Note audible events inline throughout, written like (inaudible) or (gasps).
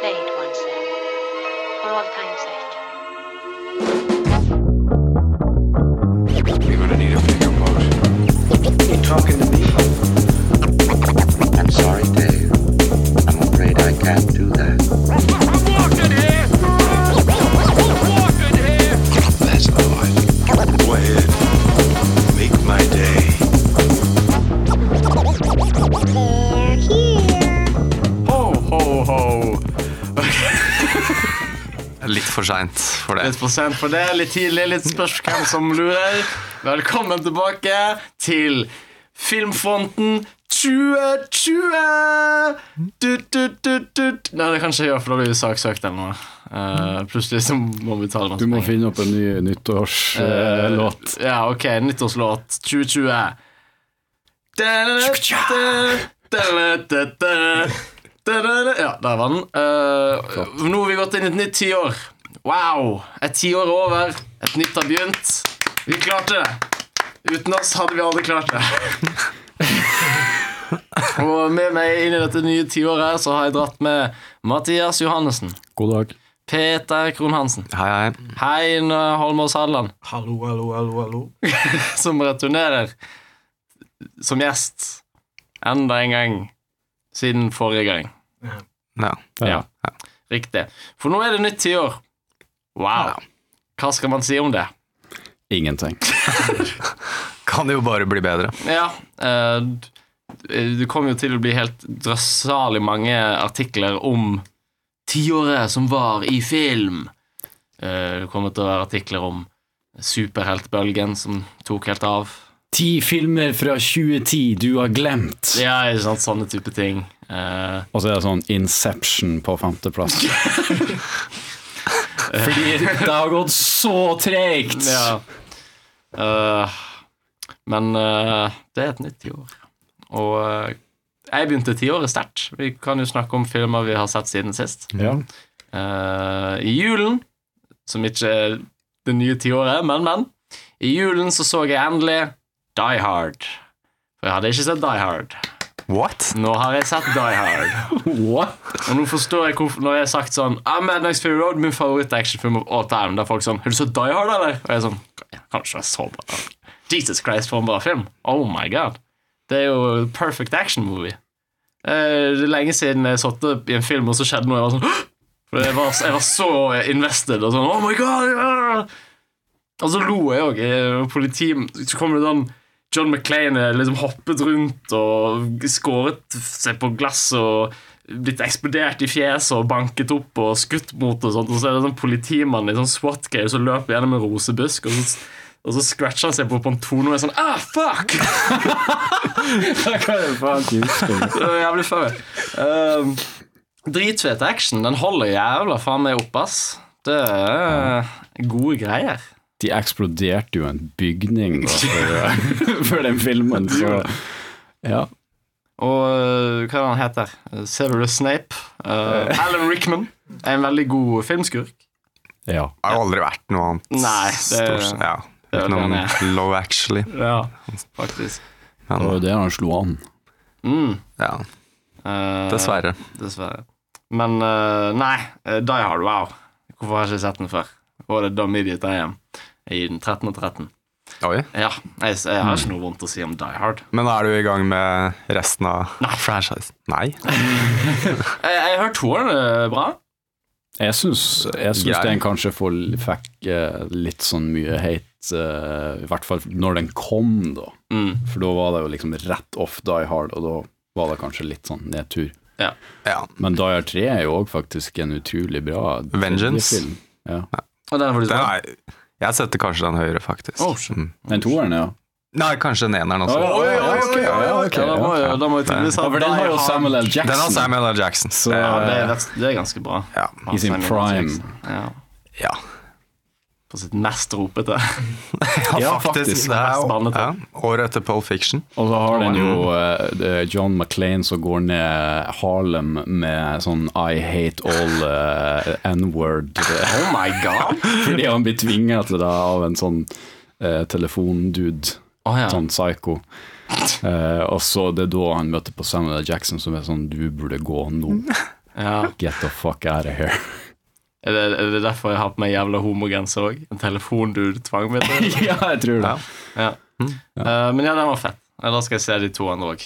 play it once then, for all time's sake. You're gonna need a bigger boat. I'm sorry, Dave. I'm afraid I can't do that. That's all right. Go ahead. Make my day. Ho, ho, ho. Litt for seint for det. Litt for sent for det, litt tidlig, litt spørs hvem som lurer. Velkommen tilbake til Filmfronten 2020! Tut, tut, tut, tut. Nei, det kan ikke jeg gjøre, for da blir vi saksøkt eller noe. Eh, plutselig så må vi betale masse Du må penger. finne opp en ny Eh, nyttårslåt. Ja, ok, nyttårslåt 2020 Ja, der var den Eh, Nå har vi gått inn i et nytt tiår Wow, et tiår er over Et nytt har begynt Vi klarte det Uten oss hadde vi aldri klart (laughs) det Og med meg inn i dette nye tiåret Så har jeg dratt med Mathias Johannesen God dag. Peter Kronhansen Hei, hei. Hei, Ine Holmås Hadeland. Hallo, hallo, hallo, hallo. (laughs) som returnerer som gjest enda en gang siden forrige gang. Ja. Ja. Riktig. For nå er det nytt tiår. Wow. Hva skal man si om det? Ingenting. Kan jo bare bli bedre. Ja, eh, det kommer jo til å bli helt drøssalig mange artikler om tiåret som var i film. Eh, Det kommer til å være artikler om superheltbølgen som tok helt av. Ti filmer fra 2010 du har glemt. Ja, ikke sant, sånne type ting. Eh, (laughs) Og så er det sånn Inception på femteplass. Fordi det har gått så tregt! ja. Eh, men eh, det er et nytt tiår. Og eh, jeg begynte tiåret sterkt. Vi kan jo snakke om filmer vi har sett siden sist. Ja. (laughs) Eh, I julen, som ikke er det nye tiåret, men, men. I julen så så jeg endelig Die Hard. For jeg hadde ikke sett Die Hard. What? Nå har jeg sett Die Hard. What? Og nå forstår jeg hvorfor når jeg har sagt sånn ah, Mad Max Fury Road, min favoritt-actionfilm of all time. Da er folk sånn Har du sett Die Hard, eller? Og jeg er sånn Kanskje jeg så bra. Jesus Christ, for en bra film. Oh my god. Det er jo perfect action movie. Eh, Det er lenge siden jeg satt opp i en film, og så skjedde noe. Jeg var sånn (gasps) «Hå!» For jeg var, jeg var så invested og sånn Oh my god! ja!» Og så Altså, lo jeg òg. Politi Så kommer det sånn John McClane liksom hoppet rundt og skåret seg på glass og blitt eksplodert i fjeset og banket opp og skutt mot og sånt. Og så er det sånn politimann i sånn SWAT-greier som løper gjennom en rosebusk, og så, og så scratcher han seg på pontonen og er sånn Ah, fuck! (laughs) Det var jævlig før. Um, dritfet action. Den holder jævla faen meg opp, ass. Det er gode greier. De eksploderte jo en bygning da, for, (laughs) for den filmen, så ja. Og øh, hva er det han heter? Severus Snape. Uh, Alan Rickman. Er en veldig god filmskurk. ja. Har jo aldri vært noe annet. Nei, det er- Stort- ja. det er vel Utenom det Low Actually. Ja, faktisk. Det var Men jo det han slo an. Mm, ja, øh, dessverre. dessverre. Men øh, nei, øh, Die Hard, wow. Hvorfor har jeg ikke sett den før? Og det er Dumb Idiot I Am. Jeg gir den 13 og 13. Oi. Ja, jeg, jeg har ikke noe vondt å si om Die Hard. Men da er du i gang med resten av franchisen? Nei. Jeg, jeg har hørt toeren er bra. Jeg syns, jeg syns Grei. den kanskje får, fikk eh, litt sånn mye hate, eh, i hvert fall når den kom, da. Mm. For da var det jo liksom rett off Die Hard, og da var det kanskje litt sånn nedtur. Ja. Ja. Men Die Hard 3 er jo òg faktisk en utrolig bra Vengeance. film. Ja. Og den var Den du sånn. er, jeg setter kanskje den høyere, faktisk. Oh, shit. Mm. Den toeren, ja. Nei, kanskje den eneren også. Oi, oi, oi, oi, oi, ok, Ja, da må ja. jo- da må jo tydeligvis ha Ja, for den har jo Die Hard. Samuel L. Jackson. Den har Samuel L. Jackson. Så- det, Ja, det er, rett- det er ganske bra. ja. I sin Samuel prime. Jackson. Ja. ja. På sitt mest ropete. Ja, faktisk. Det er jo Spennende. ja. året etter Pole Fiction. Og så har den jo eh, det er John McClain som går ned Harlem med sånn I hate all eh, N-word. Oh my god! (laughs) Fordi han blir tvinga til det av en sånn eh, telefondude. Å, ja. Sånn psycho. (laughs) Eh, og så det er da han møter på Samuel L. Jackson, som er sånn Du burde gå nå. Ja. Get the fuck out of (laughs) here. Er, det, er det derfor jeg har på meg jævla homogenser òg? En telefon du tvang meg til? ja, jeg tror det. Ja. Ja. Eh, men ja, den var fett. Eh, Da skal jeg se de to andre òg.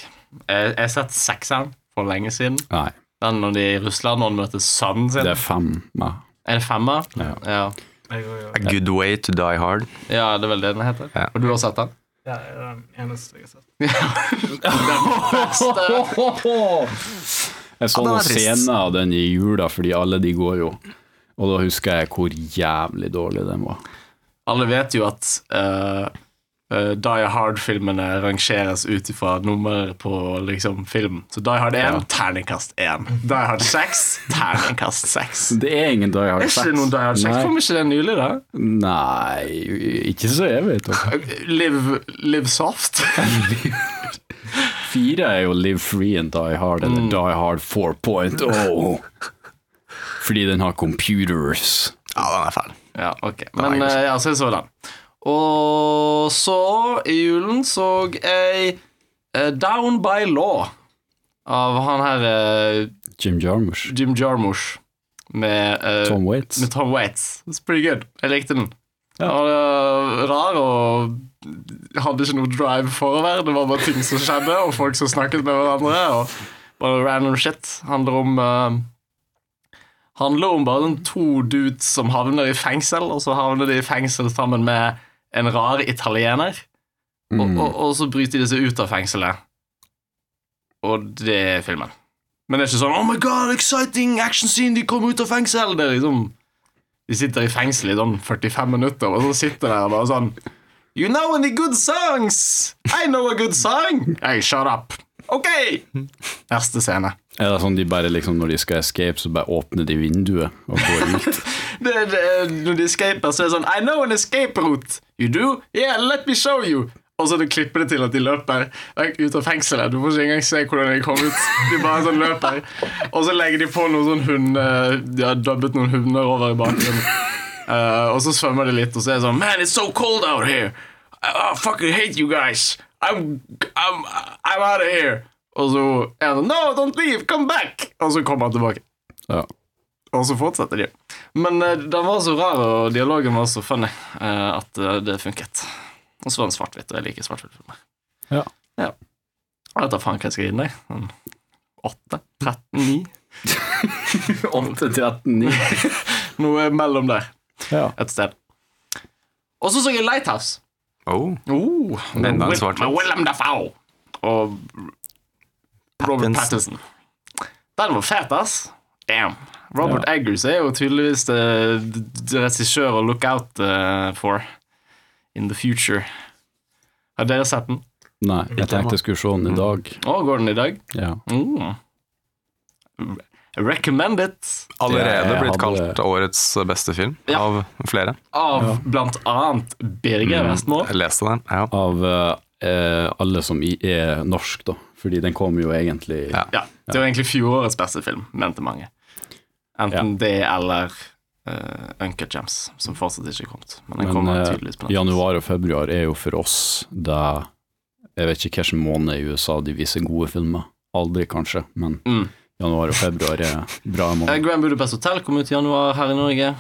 Jeg jeg har sett sekseren for lenge siden. Nei, Den når de er i Russland, når han møter sønnen sin. det er fem. Ja. Er det femmer? Ja. ja. A good way to die hard. Ja, det er vel det den heter. Ja. Og du har sett den? Det er den eneste jeg har sett. Jeg så Ja, den er noen trist. scener av den i jula, fordi alle de går jo. Og da husker jeg hvor jævlig dårlig den var. Alle vet jo at eh, eh, Die Hard-filmene rangeres ut ifra nummeret på liksom, film. Så Die Hard 1, terningkast 1. Die Hard 6, terningkast 6. Det er ingen Die Hard Er 6. ikke det noen Die Hard 6? Nei, Kom ikke det nylig, da? nei, ikke så jeg vet. om. Live, live soft? Fire er jo Live Free and Die Hard, eller Die Hard 4.0. Fordi den har computers. Ja, den er fæl. (laughs) Ja, ok. Nei, Men jeg eh, husker. ja, så jeg så den. Og så, i julen, så jeg eh, Down by Law av han her eh, Jim Jarmusch. Jim Jarmusch med eh, Tom Waits. Med Tom Waits. It's pretty good. Jeg likte den. Ja. Og det var rar og hadde ikke noe drive forover. Det var bare ting som skjedde, og folk som snakket med hverandre. Og bare random shit. Handler om eh, Handler om bare sånn to dudes som havner i fengsel, og så havner de i fengsel sammen med en rar italiener. Og, Mm. og, og så bryter de seg ut av fengselet. Og det er filmen. Men det er ikke sånn 'Oh my god, exciting action scene! De kommer ut av fengsel!' Det er liksom De sitter i fengsel i sånn 45 minutter, og så sitter de der bare sånn You know any good songs? I know a good song! Hey, shut up. Ok! Neste scene. Er det sånn de bare liksom, når de skal escape, så bare åpner de vinduet og går ut? Det, det, når de escaper, så er det sånn I know an escape route. You do? Yeah, let me show you. Og så du klipper det til at de løper vekk ut av fengselet. Du får ikke engang se hvordan de kom ut. De bare sånn løper. Og så legger de på noen sånn hund eh, De har dubbet noen hunder over i bakgrunnen. Eh, og så svømmer de litt, og så er det sånn Man, it's so cold out here. I, I fucking hate you guys. I'm, I'm, I'm out of here. Og så er han sånn No, don't leave. Come back. Og så kommer han tilbake. Ja. Og så fortsetter de. Men eh, den var så rar, og dialogen var så funny, eh, at eh, det funket. Og så var den svart-hvitt, og jeg liker svart-hvitt-filmer. Ja. ja. Jeg vet da faen hva jeg skal gi den, jeg. Sånn 8? 13? 9? 8, 13, 9. Noe mellom der Ja. et sted. Og så så jeg Lighthouse. Oh, Oh, Enda en med svart-hvitt. med Willem Dafoe og Robert Pattinson. Pattinson. Den var fet, ass. Damn. Robert Eggers er jo tydeligvis eh, d- d- regissør å look out eh, for in the future. Har dere sett den? Nei, jeg tenkte jeg skulle se den i dag. Å, går den i dag? Ja. Mm. Re- Recommend it allerede Jeg blitt hadde- kalt årets beste film Ja. av flere. av blant annet Birger Vestmo. Jeg leste den. Ja. Av eh, eh, alle som i, er norsk, da. Fordi den kom jo egentlig Ja. Ja, det var egentlig fjorårets beste film, mente mange. Enten det eller uh, Uncut Gems, som fortsatt ikke er kommet. Men den Men kommer eh, tydeligvis på Netflix. januar og februar er jo for oss da Jeg vet ikke hvilken måned i USA de viser gode filmer. Aldri, kanskje, men Mm. januar og februar er (laughs) bra Eh, måneder. Grand Budapest Hotel kom ut i januar her i Norge.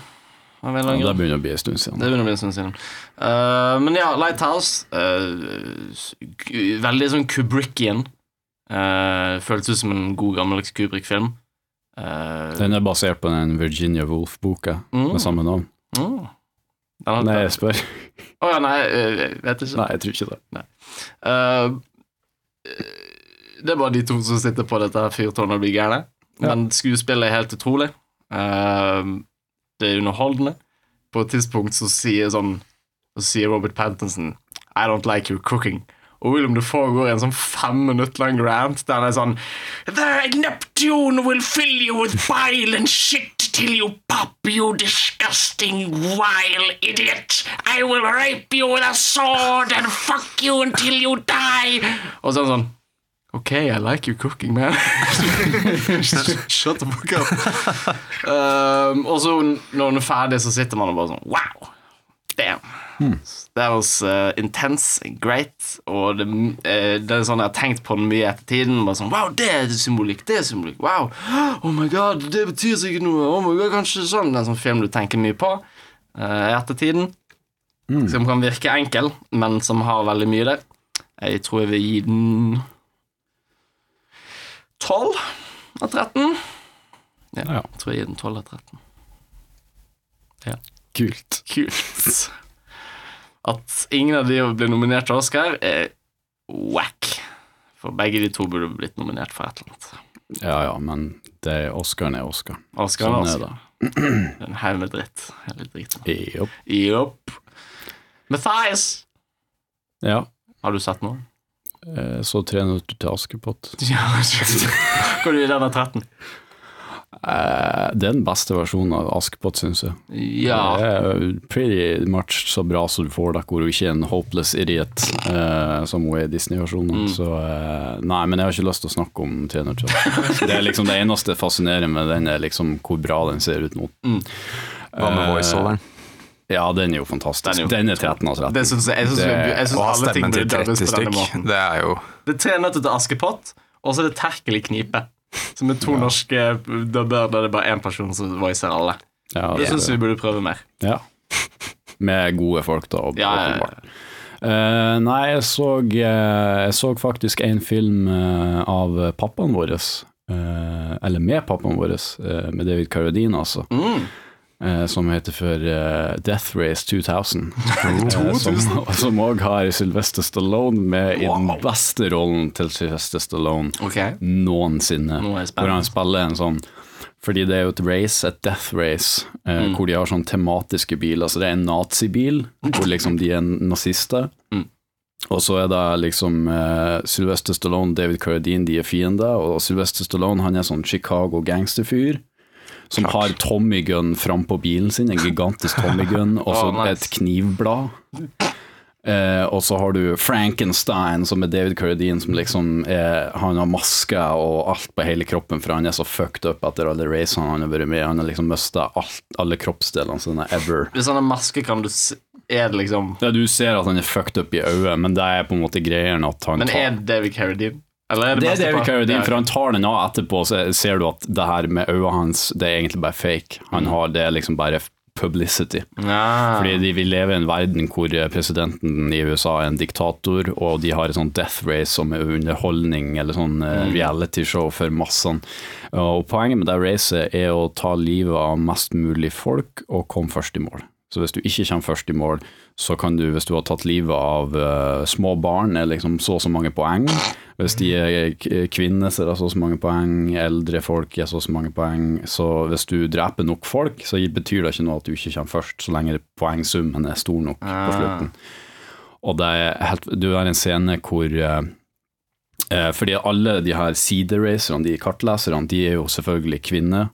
Av en eller annen Det grunn. begynner å bli en stund siden. Det begynner å bli en stund siden. Eh, men ja, Lighthouse. eh, s- gu- veldig sånn Kubrickian. Uh, føltes ut som en god, gammeldags Kubrick-film. Eh, Den er basert på den Virginia Woolf-boka mm, med samme navn. mm. Den hadde- Nei, jeg spør. Å ja, nei, eh, jeg vet ikke. Nei, jeg tror ikke det. Eh, det er bare de to som sitter på dette her fyrtårnet og blir gærne. Men skuespillet er helt utrolig. Eh, det er underholdende. På et tidspunkt så sier sånn Så sier Robert Pattinson I don't like your cooking. Og William Defoe går i en sånn fem minutter lang rant der han er sånn The Neptune will fill you with bile and shit till you pop, you disgusting vile idiot. I will rape you with a sword and fuck you until you die. Og så er han sånn OK, I like your cooking, man. (laughs) Shut the fuck up. (laughs) Um, og så når hun er ferdig, så sitter man og bare sånn Wow. Damn. That was uh, intense, great, og det, eh, det er sånn jeg har tenkt på den mye i ettertiden. Bare sånn, wow, det er symbolikk, det er symbolikk, wow. Oh my god, det betyr sikkert noe. Oh my god, kanskje sånn. Det er en sånn film du tenker mye på eh, i ettertiden. Som kan virke enkel, men som har veldig mye der. Jeg tror jeg vil gi den 12 av 13. Ja, Ja. jeg tror jeg gir den 12 av 13. Kult. (laughs) (laughs) Kult. At ingen av de ble nominert til Oscar, er wack. For begge de to burde blitt nominert for et eller annet. Ja ja, men det er Oscaren er Oscar. Oscar Sånn er er Oscar. En haug med dritt. Hele driten. Jopp. Jopp. Mathias! Ja. Har du sett noe? eh, Så 'Tre nøtter til Askepott'. Ja, Går du i denne 13? Eh, Det er den beste versjonen av Askepott, syns jeg. Det Ja. er pretty much så bra som du får det, hvor hun ikke er en hopeless idiot eh, som hun er i Mm. Disney-versjonen. Så eh, nei, men jeg har ikke lyst til å snakke om 312. det er liksom det eneste fascinerende med den, er liksom hvor bra den ser ut nå. Hva med Eh, voiceoveren? Ja, den er jo fantastisk. Den er jo- Den er 13 av 13. Det syns jeg, jeg, synes, Det- jeg Å synes ha alle ting stemmen burde til dømmes 30 på denne stykk, måten. det er jo Det er tre nøtter til Askepott, og så er det Terkel i knipe. Som er to norske dubber der det er bare én person som voicer alle. Ja, Det det- syns vi burde prøve mer. Ja. Med gode folk, da. Ja, ja, ja. åpenbart. Eh, nei, jeg så, eh, jeg så faktisk en film eh, av pappaen vår, eh, eller med pappaen vår, eh, med David Carradine, altså, Mm. eh, som heter for eh, Death Race 2000. (laughs) eh, som- som (laughs) òg har Sylvester Stallone med i den beste rollen til Sylvester Stallone Ok noensinne. Nå er jeg spent. Hvor han spiller en sånn Fordi det er jo et race, et death race, eh, Mm. hvor de har sånn tematiske biler. Så det er en nazibil, hvor liksom de er nazister. Og så er det liksom eh, Sylvester Stallone, David Carradine, de er fiender. Og Sylvester Stallone han er sånn Chicago gangsterfyr. Som har Tommy Gun frampå bilen sin, en gigantisk Tommy (laughs) Gun, og så Å, nice. et knivblad. Eh, og så har du Frankenstein, som er David Carradine, som liksom er, han har masker og alt på hele kroppen, for han er så fucked up etter alle racene han har vært med i. Han har liksom mista alle kroppsdelene sine ever. Hvis han har maske, kan du se Er det liksom Ja, du ser at han er fucked up i øyet, men det er på en måte greien at han Men tar er det David Carradine? Eller er det, det er meste David på- Carradine, Ja. for han tar den av etterpå, så ser du at det her med øyet hans, det er egentlig bare fake. Han har det er liksom bare publicity. Ja. Fordi de vil leve i en verden hvor eh, presidenten i USA er en diktator, og de har et sånn death race som er underholdning, eller sånn eh, realityshow for massene. Og poenget med det racet er å ta livet av mest mulig folk, og komme først i mål. Så hvis du ikke kommer først i mål, så kan du, hvis du har tatt livet av eh, små barn, er liksom så og så mange poeng. Hvis de er k- kvinner, så er det så og så mange poeng. Eldre folk er så og så mange poeng. Så hvis du dreper nok folk, så betyr det ikke noe at du ikke kommer først, så lenge poengsummen er stor nok på slutten. Og det er helt, du har en scene hvor eh, eh, Fordi alle de her sideracerne, de kartleserne, de er jo selvfølgelig kvinner.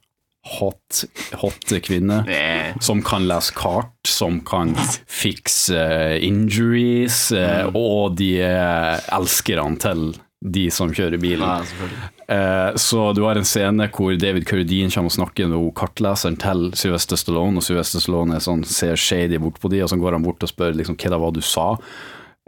Hot, hot kvinner Eh, som kan lese kart, som kan fikse eh, injuries, eh, og de er elskerne til de som kjører bilen. Ja, selvfølgelig. Eh, Så du har en scene hvor David Carradine kommer og snakker med hun kartleseren til Sylvester Stallone, og Sylvester Stallone er sånn, ser shady bort på de, og så går han bort og spør liksom, hva det var du sa,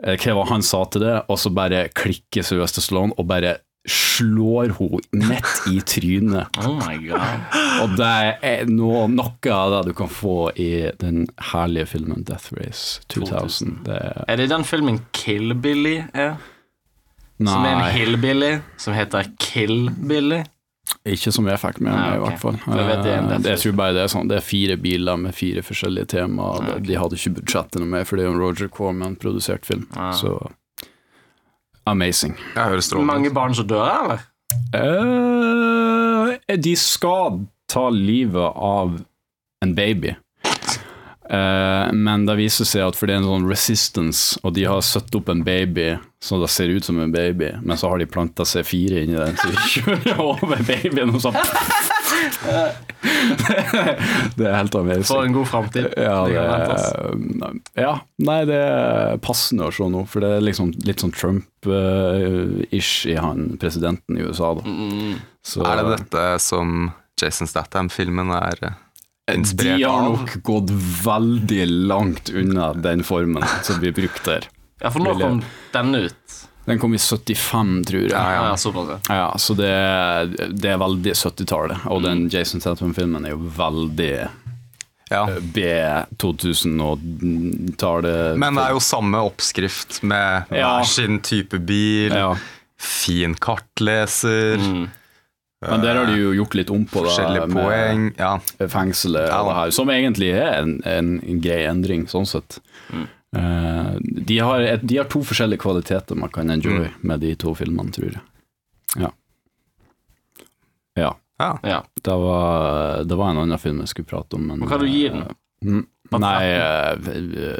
Eh, hva var han sa til det, og så bare klikker Sylvester Stallone og bare slår hun midt i trynet. Oh my god. Og det er noe, noe av det du kan få i den herlige filmen Death Race 2000. Det er, Er det den filmen Kill Billy er? Som er en nei, hillbilly som heter Kill Billy? ikke som jeg fikk med meg, Nei, i ok. hvert fall. For jeg vet det er en Eh, Death jeg tror bare det er sånn, det er fire biler med fire forskjellige temaer. De- De hadde ikke budsjettet noe mer, for det er jo en Roger Corman-produsert film. Ah. Så amazing. Jeg hører strålende Mange ut. barn som dør, eller? Eh, de skal ta livet av en baby. Eh, men det viser seg at for det er en sånn resistance, og de har satt opp en baby så det ser ut som en baby, men så har de planta C4 inni den, så de (laughs) kjører over babyen og sånn (laughs) Det er helt For en amazing. god framtid. Sånn. Ja, Det det, kan vente oss. er- ja, nei, det er passende å se nå, for det er liksom litt sånn Trump-ish i han Mm. presidenten i USA, da. Så, Er det dette som Jason Statham-filmen er? eh, Inspirert De har av. nok gått veldig langt unna den formen som vi brukte der. Ja, for nå Vil jeg- kom den ut. Den kom i 75, tror jeg. Ja, ja, såpass, ja. Ja, så det, det er veldig 70-tallet, og den Jason Statham-filmen er jo veldig eh, Ja. B2000-tallet. Men det er jo samme oppskrift med Ja. hver sin type bil, ja. fin kartleser, Mm, eh, Men der har de jo gjort litt om Mm. på det. forskjellige med poeng. Ja. Fengselet Ja, og det da. her, som egentlig er en, en, en grei endring, sånn sett. Eh, de, har et, de har to forskjellige kvaliteter man kan enjoy med de to filmene, tror jeg. Ja. Ja. Ja. Ja. Det var, det var en annen film jeg skulle prate om. Men, Men hva du gir den? Mm, Nei eh,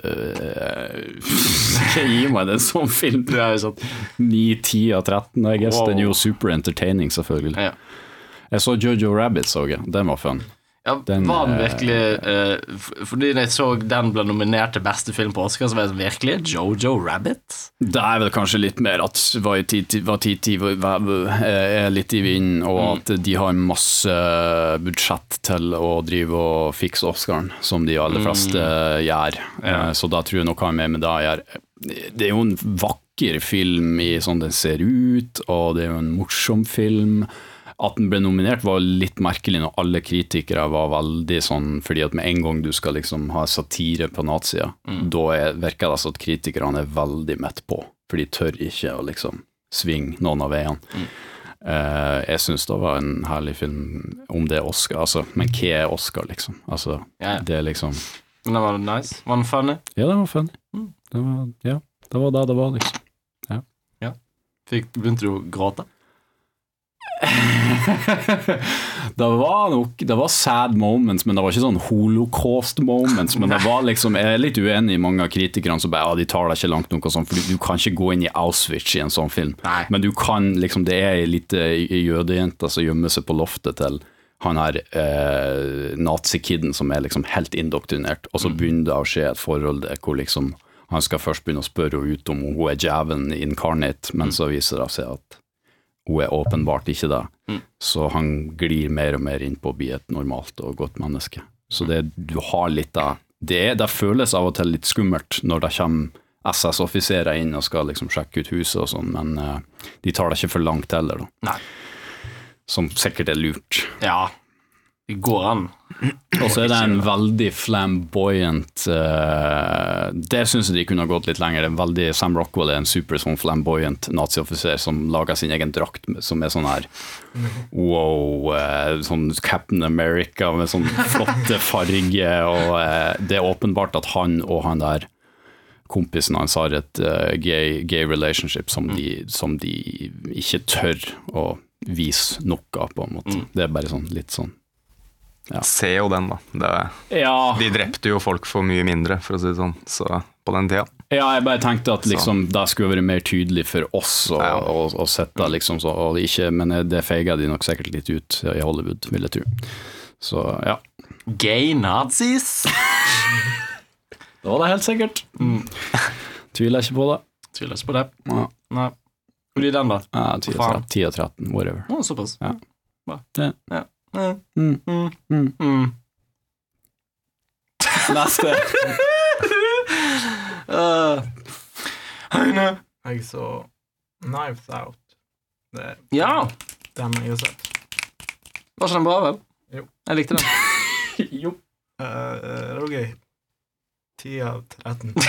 eh, (laughs) Ikke gi meg det som film. Det er jo sant. 9, 10 av 13, I guess. Wow. Den er jo super entertaining, selvfølgelig. Ja. Jeg så Jojo Rabbit, så jeg. Den var fun. Ja, Den, var den eh, virkelig eh, f- Fordi da jeg så den ble nominert til beste film på Oscar, så var jeg sånn virkelig Jojo Rabbit? Det er vel kanskje litt mer at Waititi Waititi eh, er litt i vinden, og at de har masse budsjett til å drive og fikse Oscaren, som de aller fleste gjør. Ja. Eh, Så da tror jeg nok har mer med det å gjøre. Det er jo en vakker film i sånn den ser ut, og det er jo en morsom film. At den ble nominert var litt merkelig når alle kritikere var veldig sånn fordi at med en gang du skal liksom ha satire på nazia, Mm. da er, virker det som at kritikerne er veldig mett på, for de tør ikke å liksom svinge noen av veiene. Mm. Eh, jeg syns det var en herlig film, om det er Oscar, altså, men hva er Oscar, liksom? Altså, Ja, ja. det er liksom Men den var nice. Var den funny? Ja, det var funny. Mm. Det var, ja, det var det det var, liksom. Fikk, begynte du å gråte? det var nok Det var sad moments, men det var ikke sånn holocaust moments. Men det var liksom Jeg er litt uenig i mange av kritikerne som bare ja, de tar deg ikke langt nok og sånn, for du kan ikke gå inn i Auschwitz i en sånn film. Nei. Men du kan liksom Det er ei lita jødejente som gjemmer seg på loftet til han her eh, nazikiden som er liksom helt indoktrinert, og så begynner det å skje et forhold der hvor liksom han skal først begynne å spørre henne ut om hun er djevelen incarnate, men så viser det seg at hun er åpenbart ikke det. Så han glir mer og mer inn på å bli et normalt og godt menneske. Så det, du har litt av det, er- det føles av og til litt skummelt når det kommer SS-offiserer inn og skal liksom sjekke ut huset og sånn, men eh, de tar det ikke for langt heller, da. Nei. Som sikkert er lurt. Ja. Det går an. Og så er det en veldig flamboyant eh, Det syns jeg de kunne ha gått litt lenger. Det er en veldig, Sam Rockwell er en super sånn flamboyant nazioffiser som lager sin egen drakt, med- som er sånn her wow eh, Sånn Captain America med sånn flotte farger, og eh, det er åpenbart at han og han der kompisen hans har et eh, gay, gay relationship som de, som de ikke tør å vise nok av, på en måte. Det er bare sånn litt sånn Se jo den, da. Det, ja, de drepte jo folk for mye mindre, for å si det sånn, så på den tida. Ja, jeg bare tenkte at liksom, det skulle vært mer tydelig for oss å, Ja. å, å sette liksom så, og ikke, men det feiga de nok sikkert litt ut i Hollywood, vil jeg tro. Så ja. Gay nazis? Mm, Det var det helt sikkert. Tviler ikke på det. Tviler ikke på det. Ja. Nei. Hvor blir den, da? Ja, 10 og Faen. 13, 10 og 13, whatever. Å, såpass. Ja. Bra. Det. Ja. Ja. Mm. Mm. Mm. Mm. Neste. (laughs) (laughs) Eh, Jeg så Knives Out. Det er ja. den jeg har sett. Var ikke den bra, vel? Jo. Jeg likte den. Eh, det var gøy. 10 av 13. Det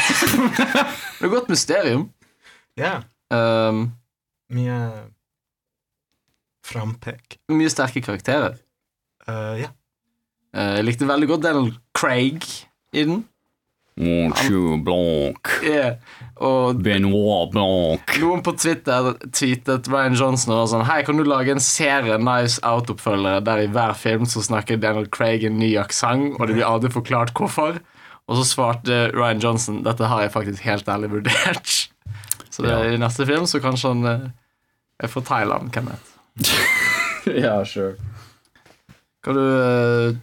er et godt mysterium. Ja. Um, Mye frampek. mye sterke karakterer. Eh, ja. Eh, jeg likte veldig godt Daniel Craig i den. Monsieur Blanc. Eh, og Benoit Blanc. noen på Twitter tweetet Ryan Johnson og var sånn Hei, kan du lage en serie Nice Out-oppfølgere der i hver film så snakker Daniel Craig en ny aksent, og det blir aldri forklart hvorfor? Og så svarte Ryan Johnson dette har jeg faktisk helt ærlig vurdert. Så det, i neste film så kanskje han eh, er fra Thailand, hvem vet. (laughs) Ja, sure. Kan du eh,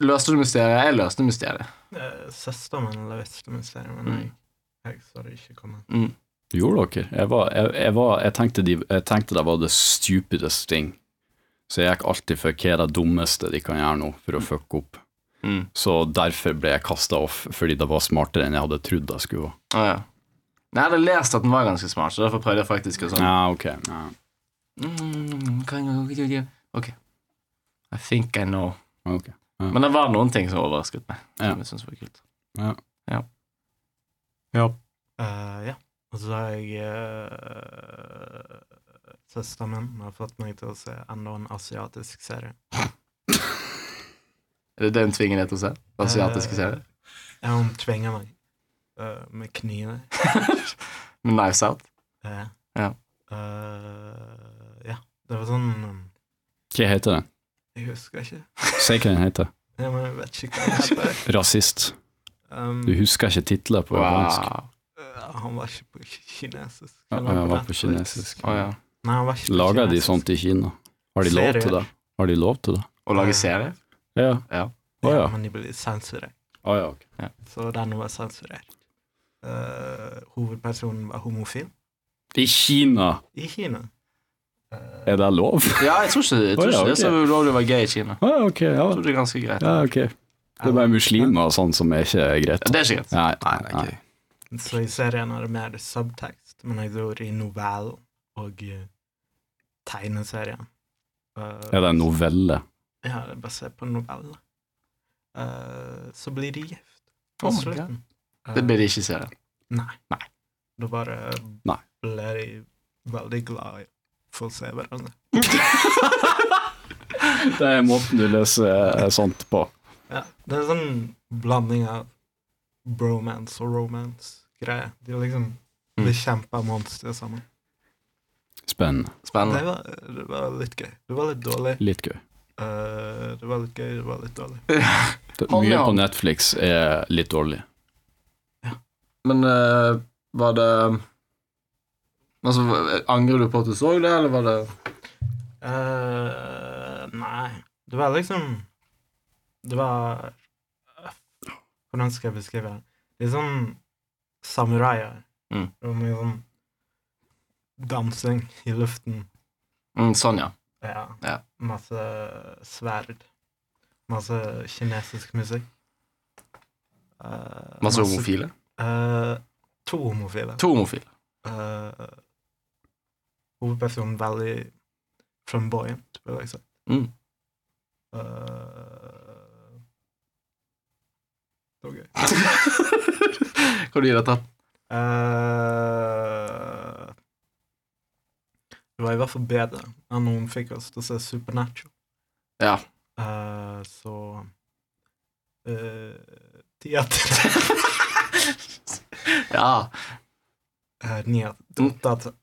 Løste du mysteriet? Jeg løste mysteriet. Eh, Søsteren min eller visste min serie, men jeg, jeg så det ikke komme. Gjorde dere? Jeg, var, jeg, jeg, var, jeg, tenkte de, jeg tenkte det var the stupidest thing. Så jeg gikk alltid for hva er det dummeste de kan gjøre nå for å fucke opp. Mm. Så derfor ble jeg kasta off, fordi det var smartere enn jeg hadde trodd det skulle være. Å, ja. Nei, Jeg hadde lest at den var ganske smart, så derfor prøvde jeg faktisk å sånn Ja, ok. Ja. mm, kan- kan- kan- Ok. I think I know. ok. Men det var noen ting som overrasket meg. Som Ja. jeg synes var kult. Eh, ja. Og så har jeg uh, Søsteren min har fått meg til å se enda en asiatisk serie. Er det det hun tvinger deg til å se? Asiatiske Eh, serier? (laughs) Ja, hun tvinger meg eh, med kniver. Med Knives Out? Eh, Ja. Eh, ja. Det var sånn um, Hva heter den? Jeg husker ikke. Si hva den heter. Ja, men jeg vet ikke hva det heter. Rasist. Um, Du husker ikke titler på japansk? Wow. eh, han var ikke på kinesisk. Ja, Han jeg var på Netflix. kinesisk. Å ja. Nei, han var ikke på Lager de kinesisk. sånt i Kina? Har de lov til det? Har de lov til det? Å lage serie? Ja. Ja. Å ja. ja. Men de blir sensurert. Å ja, ok. Så den var sensurert. Eh, hovedpersonen var homofil I Kina, i Kina. er det lov? (laughs) ja, jeg tror ikke, jeg tror Å, ja, ikke det er så ok. ulovlig å være gay i Kina. Å ja, ok. Ja. Jeg tror det er ganske greit. ja, ok. Det er bare muslimer og sånn som er ikke er greit. Det er ikke greit. Nei, Nei, det er ikke Så i serien er det mer subtekst, men jeg tror i novellen og eh, tegneserien eh, Er det en novelle? Ja, det er basert på noveller. Eh, så blir de gift Oh på my slutten. Eh, Det blir det ikke i (laughs) serien. Nei. Nei. Da bare Nei. ble de veldig glad for å se hverandre. Det er måten du leser eh, sånt på. Ja, det er en sånn blanding av bromance og romance-greie. De liksom Mm. bekjemper monstre sammen. Spennende. Det Spennende. var, det var litt gøy. Det var litt dårlig. Litt gøy. Eh, det var litt gøy, det var litt dårlig. Det, Hånd i mye på hånd. Netflix er litt dårlig. Men eh, var det Altså, Angrer du på at du så det, eller var det Eh, nei, det var liksom Det var Hvordan skal jeg beskrive det? Det er sånn samuraier. Mm. Det var mye sånn dansing i luften. mm, Sånn, ja. Ja. Ja. Masse sverd. Masse kinesisk musikk. Eh, Masse homofile? eh, to homofile. To (laughs) homofile. Eh, hovedpersonen veldig flamboyant, vil jeg si. Mm. Eh, det var gøy. Hva du gir dette? Eh, det var i hvert fall bedre enn hun fikk oss til å se Supernatural. Ja. Eh, så eh, Ti av ti. (laughs) Ja. Eh, Ni av åtte av ti. Mm.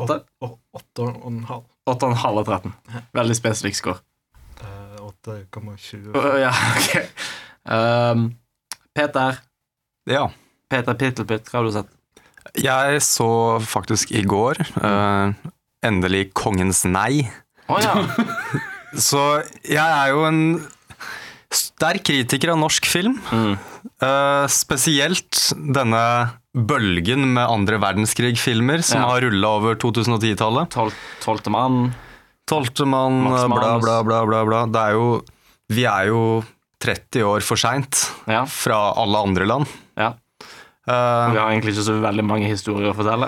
Åtte? Å- Åtte og en halv. Åtte og en halv av 13. Veldig spesifikk score. Eh, 8,20. Å, ja, ok. Um, Peter. det. Ja. Peter Pittelpitt, hva har du sett? Jeg så faktisk i går eh, endelig Kongens nei. Å ja. Så jeg er jo en sterk kritiker av norsk film. Mm. Eh, spesielt denne bølgen med andre verdenskrig-filmer som Ja. har rulla over 2010-tallet. Tol Tolvte mann. Tolvtemann, Max eh, bla, Manus. bla, bla, bla, bla. Det er jo Vi er jo 30 år for seint Ja. fra alle andre land. ja. Eh, Vi har egentlig ikke så veldig mange historier å fortelle.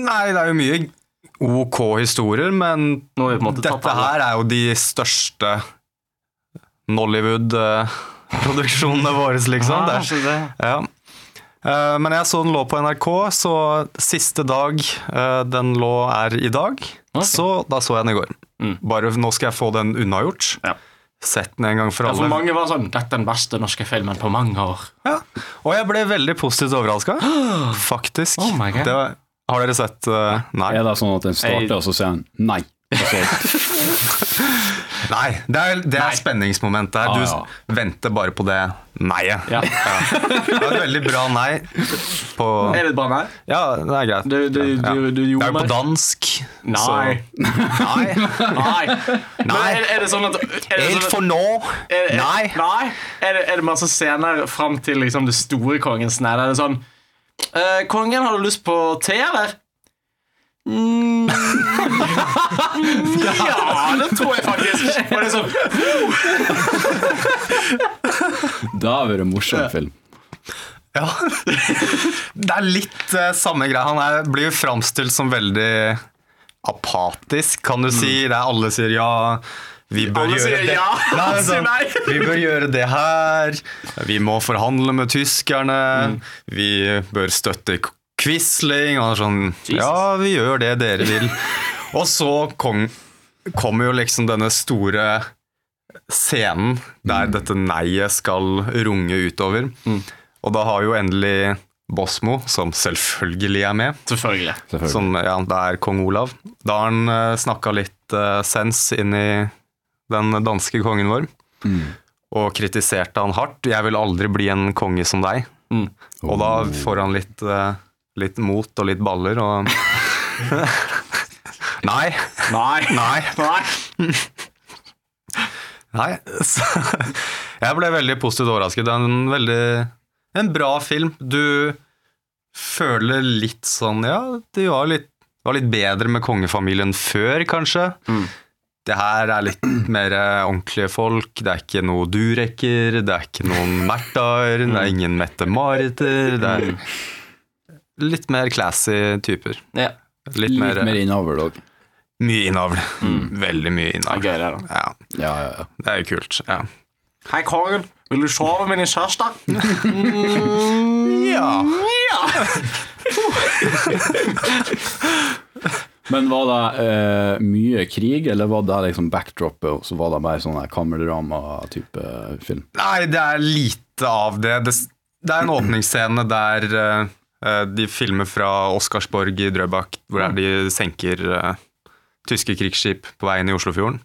Nei, det er jo mye ok historier, men Nå har vi på en måte tatt dette her er jo de største (laughs) Nollywood-produksjonene våre, liksom. Det er Ja, det. Ja. Eh, Men jeg så den lå på NRK, så siste dag eh, den lå er i dag. Ok. Så da så jeg den i går. Mm. Bare nå skal jeg få den unnagjort. Ja. Sett den en gang for Ja, for alle. mange var sånn 'Dette er den beste norske filmen på mange år'. Ja. Og jeg ble veldig positivt (gasps) overraska, faktisk. Oh my God. det var, har dere sett eh, Nei. Er det sånn at den Jeg- starter, og så sier han nei? Altså, Og så, Nei, det er, det er spenningsmomentet her. Ah, Du s- ja. venter bare på det nei-et. (laughs) Ja. Det var et veldig bra nei. På, Er det et bra nei? ja, det er greit. Du- du- Ja. du- du det gjorde er jo meg- på dansk. Nei. Så, (laughs) nei. Nei. Men Nei. Er, er det sånn at (laughs) er det Helt sånn at- for nå? er, er, Nei. nei. Er, det, er det masse scener fram til liksom, det store kongens nei? Er det sånn eh, 'Kongen, har du lyst på te, eller?' (laughs) Mm. (laughs) Ja, det tror jeg faktisk. Og det er sånn (laughs) Da har det vært en morsom film. Ja. Det er litt eh, samme greia. Han er, blir jo framstilt som veldig apatisk, kan du si. Det er alle sier ja. Vi bør Mm. Alle gjøre sier det. ja, Nei, han sier sånn, nei. Vi bør gjøre det her. Vi må forhandle med tyskerne. Mm. Vi bør støtte Qu- Quisling. Og han er sånn Ja, vi gjør det dere vil. og så kom- kommer jo liksom denne store scenen der Mm. dette nei-et skal runge utover. Og da har jo endelig Bosmo, som selvfølgelig er med, Selvfølgelig. Selvfølgelig. som ja, det er kong Olav Da har han uh, snakka litt eh, sens inn i den danske kongen vår, og kritiserte han hardt. 'Jeg vil aldri bli en konge som deg'. Mm. Og da får han litt, eh, litt mot og litt baller og (laughs) Nei. Nei. Nei. Nei. (laughs) Nei, så (laughs) jeg ble veldig positivt overrasket. Det er en veldig en bra film. Du føler litt sånn Ja, det var litt, det var litt bedre med kongefamilien før, kanskje. Mm. Det her er litt mer eh, ordentlige folk. Det er ikke noe Durekker, det er ikke noen Märthaer, det er ingen Mette-Mariter. Det er litt mer classy typer. Ja. Litt Litt mer, eh, mer innover, dog. Mye innavl. (laughs) Veldig mye Det er innavl. gøy, det, da. Ja, Ja, ja, det er jo kult. Ja. Hei, kongen. Vil du sove med din kjæreste? ja. Ja. ja. Men var det eh, mye krig, eller var det liksom backdroppet, og så var det bare sånn her kamerdrama-type film? Nei, det er lite av det. Det, det er en åpningsscene der eh, de filmer fra Oscarsborg i Drøbak, hvor de senker eh, tyske krigsskip på veien i Oslofjorden,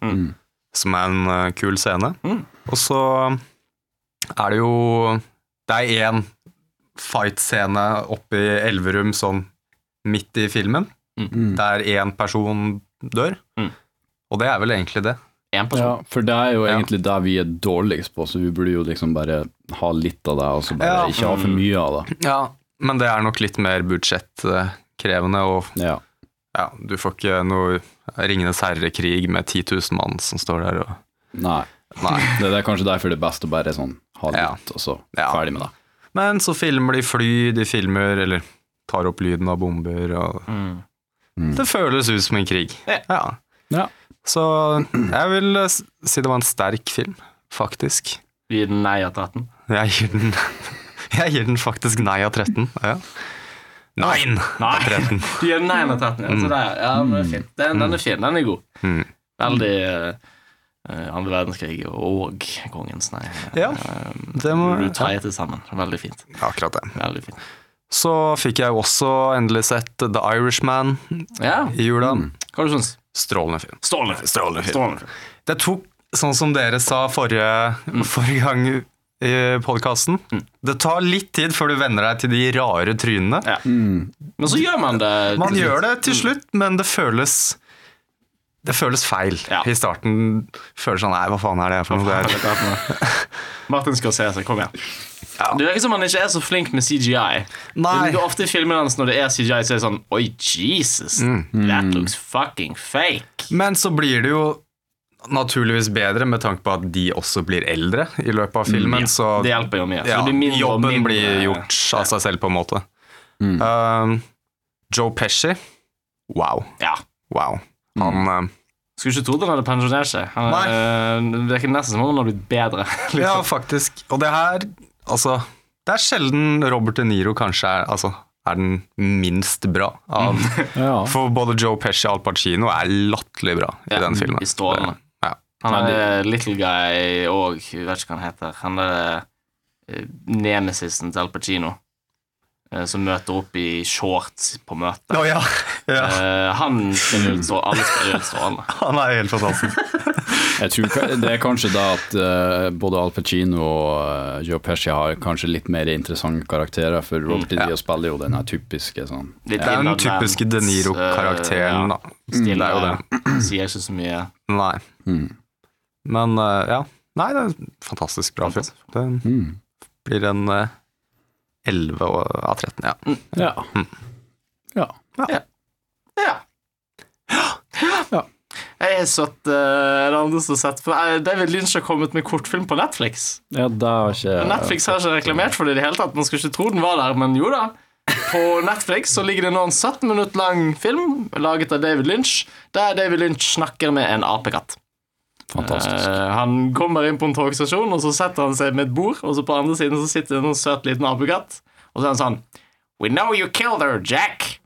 som er en eh, kul scene. Og så er det jo Det er én fight-scene oppe i Elverum sånn midt i filmen, der én person dør. Mm. Og det er vel egentlig det. En person. Ja, for det er jo Ja. egentlig det vi er dårligst på, så vi burde jo liksom bare ha litt av det, og så bare Ja. Mm. ikke ha for mye av det. Ja, men det er nok litt mer budsjettkrevende, og Ja. ja, du får ikke noe Ringenes herre-krig med 10 000 mann som står der og Nei. Nei. (laughs) Det det er kanskje derfor det er best å bare sånn ha litt, Ja. og så Ja. ferdig med det. Men så filmer de fly, de filmer eller tar opp lyden av bomber, og Mm. det føles ut som en krig. Ja. Ja. Så jeg vil eh, s- si det var en sterk film, faktisk. Gi den nei av 13. Jeg gir den, (laughs) jeg gir den faktisk nei av 13. Ja. Nein! Nei. Av 13. Du gir den nei av 13, ja. Så det er, ja, men det er fint. Den, den er fin. Den er god. Mm. Veldig eh, andre verdenskrig og kongens nei. Ja, Eh, det må- Du tar det til sammen. Veldig fint. Akkurat det. Veldig fint. Så fikk jeg jo også endelig sett The Irishman Ja, i jula. hva du syns du? Strålende film. Strålende film. Strålende film. Strålende film. Det tok, sånn som dere sa forrige, Mm. forrige gang i podkasten Det tar litt tid før du venner deg til de rare trynene. Ja. Men så gjør man det. Mm. Man gjør det til slutt, men det føles det føles feil Ja. i starten. Føles sånn Nei, hva faen er det her for noe? Det er- (laughs) Martin skal se seg. Kom igjen. Ja. Det virker som han ikke er så flink med CGI. Nei. Det er ofte i filmene hans når det er CGI, så er det sånn Oi, Jesus. Mm. That looks fucking fake. Men så blir det jo naturligvis bedre med tanke på at de også blir eldre i løpet av filmen. Så Mm. Det hjelper jo mye. Så ja, det blir mindre og jobben mindre- blir gjort av seg selv, på en måte. Um, Joe Pesci Wow. Ja. Wow. Han um, Skulle ikke trodd han hadde pensjonert seg. Han, Nei. eh, det virker nesten som om han har blitt bedre. (laughs) Ja, liksom. faktisk. Og det her, altså Det er sjelden Robert De Niro kanskje er, altså, er den minst bra av Ja. (laughs) For både Joe Pesci og Al Pacino er latterlig bra i Ja, den filmen. i strålene. Det- Ja. Han er eh, Little Guy og jeg vet ikke hva han heter. Han er eh, nemesisen til Al Pacino, eh, som møter opp i shorts på møtet. Å ja. (laughs) ja. Eh, han spiller ut så alle spiller ut (laughs) strålende. Han er helt fantastisk. Jeg tror ka- det er kanskje da at eh, både Al Pacino og eh, Joe Pesci har kanskje litt mer interessante karakterer, for Robert De Niro spiller jo den her typiske sånn Det Litt er den innadvendt, typiske De Niro-karakteren, da. eh, ja, Det er jo stille, Sier ikke så mye. Nei. Mm. Men eh, ja. Nei, det er en fantastisk bra film. Den Mm. blir en eh, 11 og- av 13, ja. Ja. Mm. Ja. Ja. Jeg har sett eh, en annen som har sett på Eh, David Lynch har kommet med kortfilm på Netflix. Ja, det har ikke Men Netflix har ikke reklamert for det i det hele tatt. Man skulle ikke tro den var der, men jo da. På Netflix så ligger det nå en 17 minutt lang film laget av David Lynch, der David Lynch snakker med en apekatt. Fantastisk. Eh, han kommer inn på en togstasjon, og så setter han seg med et bord, og så på andre siden så sitter det en søt liten apekatt, og så er han sånn We know you killed her, Jack.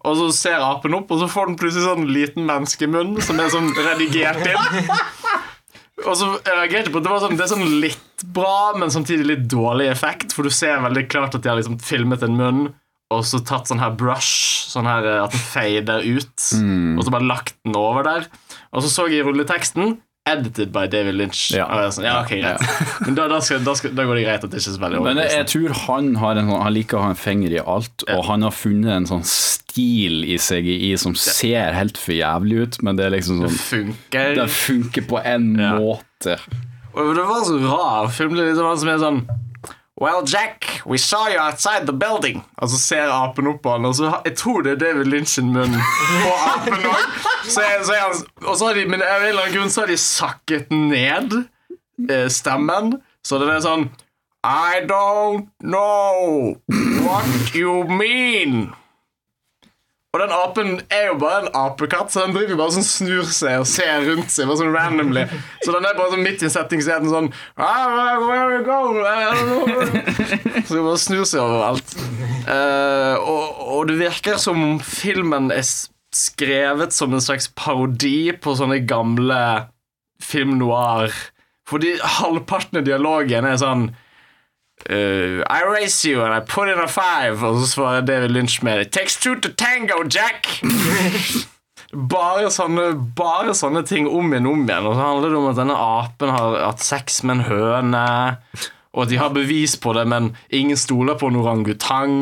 og så ser apen opp, og så får den plutselig sånn liten menneskemunn som er sånn redigert inn. Og så reagerte jeg på at Det var sånn, det er sånn litt bra, men samtidig litt dårlig effekt. For du ser veldig klart at de har liksom filmet en munn og så tatt sånn her brush, sånn her eh, at den fader ut. Og så bare lagt den over der. Og så så jeg i rulleteksten Edited by David Lynch. Ja. Og jeg var sånn, ja ok, greit. Men da, da, skal, da, skal, da går det greit at det liksom- ikke er så veldig Men jeg, overbevisende. jeg tror han, har en, sånn- han liker å ha en finger i alt, og han har funnet en sånn stil i CGI som ser helt for jævlig ut, men det er liksom sånn funker. Det funker på en Ja. måte. Og det var så rar film. Det er liksom han som er sånn Well, Jack, we saw you outside the building. Og så ser apen opp på han, og så har- jeg tror det er David Lynch sin munn på apen òg. Så er- så er han- og så har de, men av en eller annen grunn så har de sakket ned eh, stemmen, så det er sånn I don't know what you mean. Og den apen er jo bare en apekatt, så den driver bare sånn snur seg og ser rundt seg. bare sånn randomly. Så den er bare sånn midt i en setting så er den sånn "Ah, where we go? I don't know." (laughs) Så den bare snur seg overalt. Eh, og, og det virker som om filmen er s- skrevet som en slags parodi på sånne gamle film noir. Fordi halvparten av dialogen er sånn Uh, I raise you and I put in a five Og så svarer David Lynch med It takes two to tango, Jack Bare sånne Bare sånne ting om igjen om igjen Og så handler det om at denne apen har hatt sex med en høne Og at de har bevis på det Men ingen stoler på en orangutang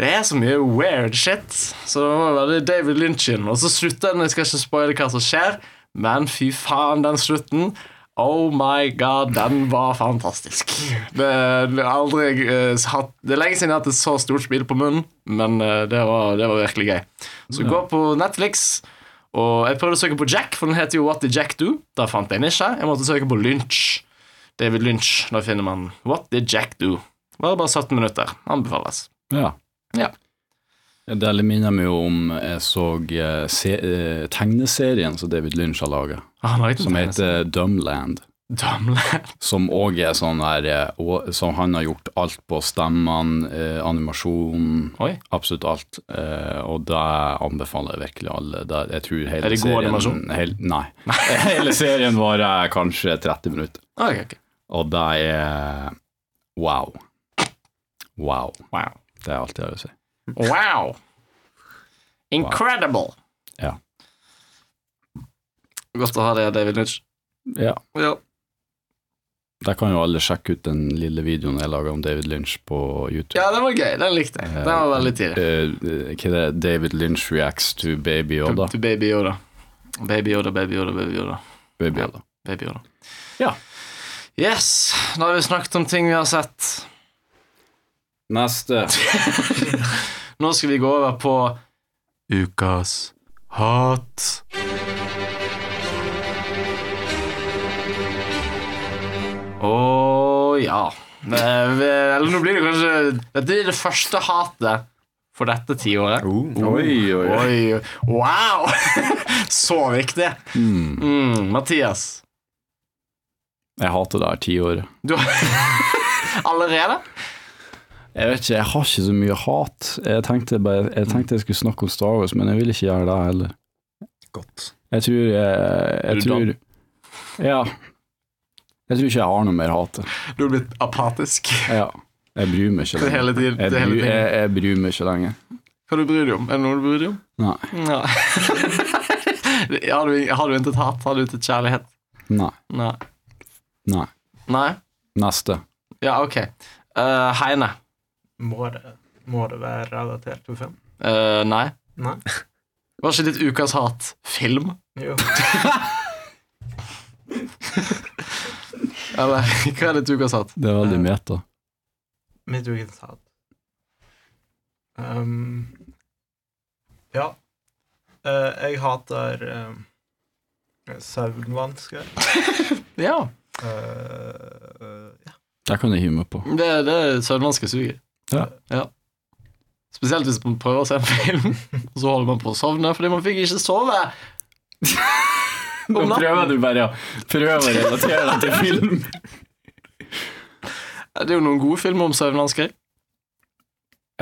Det er så mye weird shit Så det var veldig David Lynch-in Og så slutter den, jeg skal ikke spoile hva som skjer Men fy faen, den slutten Oh my god, den var fantastisk. Det, det, har aldri, eh, hatt, det er lenge siden jeg har hatt et så stort smil på munnen, men eh, det, var, det var virkelig gøy. Så gå på Netflix, og jeg prøvde å søke på Jack, for den heter jo What did Jack do? Da fant jeg den ikke. Jeg måtte søke på Lynch. David Lynch. Da finner man What did Jack do? Det var bare 17 minutter. Anbefales. Ja. Ja. Det minner meg jo om jeg så eh, se, eh, tegneserien som David Lynch har laga, Ah, Han har ikke som heter Dumland. Damle. Som òg er sånn her eh, og- Som han har gjort alt på stemmene, eh, animasjonen, Oi. absolutt alt. Eh, og det anbefaler jeg virkelig alle. Det, jeg tror hele Er det god serien- animasjon? hel- nei. (laughs) (laughs) hele serien varer kanskje 30 minutter. Ok, ok. Og det er wow. Wow. Wow. Det er alt jeg har å si. Wow. Incredible. Ja. Godt å ha det, David Lynch. Ja. Ja. Der kan jo alle sjekke ut den lille videoen jeg laga om David Lynch på YouTube. ja, den var gøy. Den likte jeg. Den var veldig tidlig. Eh, eh, hva er det? David Lynch reacts to Baby Yoda. Til Baby Yoda. Baby Yoda, Baby Yoda, Baby Yoda. Baby Yoda. Baby Yoda. Ja. Yes, da har vi snakket om ting vi har sett. Neste. (laughs) Nå skal vi gå over på Ukas hat. Å ja. Eh, vi- Eller nå blir det kanskje Dette blir det første hatet for dette tiåret. Mm. Oi, oi, oi. Oi, wow! (laughs) Så viktig. Mm. Mm, Mathias. Jeg hater det her tiåret. Du (laughs) Allerede? Jeg vet ikke, jeg har ikke så mye hat. Jeg tenkte, bare, jeg, tenkte jeg skulle snakke om Star Wars, men jeg vil ikke gjøre det heller. Godt. Jeg tror eh, jeg, jeg du tror, Ja. Jeg tror ikke jeg har noe mer hat. Du har blitt apatisk Ja. Jeg bryr meg ikke til lenger. hele tiden. Jeg til hele bryr, tiden. jeg, jeg bryr meg ikke lenger. Hva du bryr deg om? Er det noe du bryr deg om? Nei. Nei. (laughs) har, du, har du intet hat? Har du intet kjærlighet? Nei. Nei. Nei. Nei? Neste. Ja, ok. Eh, Heine. Må det, må det være relatert til film? Eh, nei. Nei? Var ikke ditt ukas hat film? Jo. Eller (laughs) hva er ditt ukas hat? Det er veldig meta. Mitt ukens hat. Um, ja. Eh, jeg hater um, Søvnvansker. Ja, Eh, eh, ja. Det kan jeg hive meg på. det, det søvnvansker suger. Ja. Spesielt hvis man prøver å se en film, (laughs) og så holder man på å sovne fordi man fikk ikke (laughs) sove. Nå natten. prøver du bare å prøve å relatere deg til (laughs) film. Det er jo noen gode filmer om søvnvansker.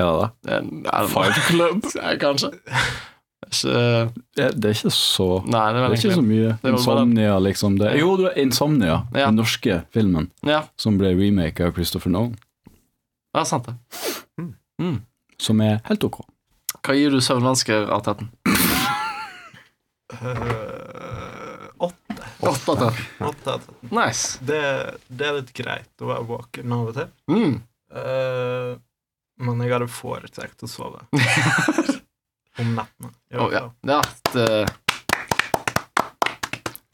Er det det? Det er- er det- Fight Club? (laughs) Ja, Kanskje. Ikke, eh, Det det er ikke så nei, det er Det vel er ikke så egentlig mye. bare- Insomnia, liksom. Det. Jo, det er Insomnia, Ja. den norske filmen Ja, som ble remake av Christopher Nolan, det er sant, det. som er helt ok. Hva gir du søvnvansker av 13? Eh, åtte, 8 av 13. åtte av tretten. Nice. Det, det er litt greit å være våken av og til. Mm. Eh, men jeg hadde foretrekt å (laughs) sove. Om nettene. i Å, hvert ja. fall. Ja, det, eh,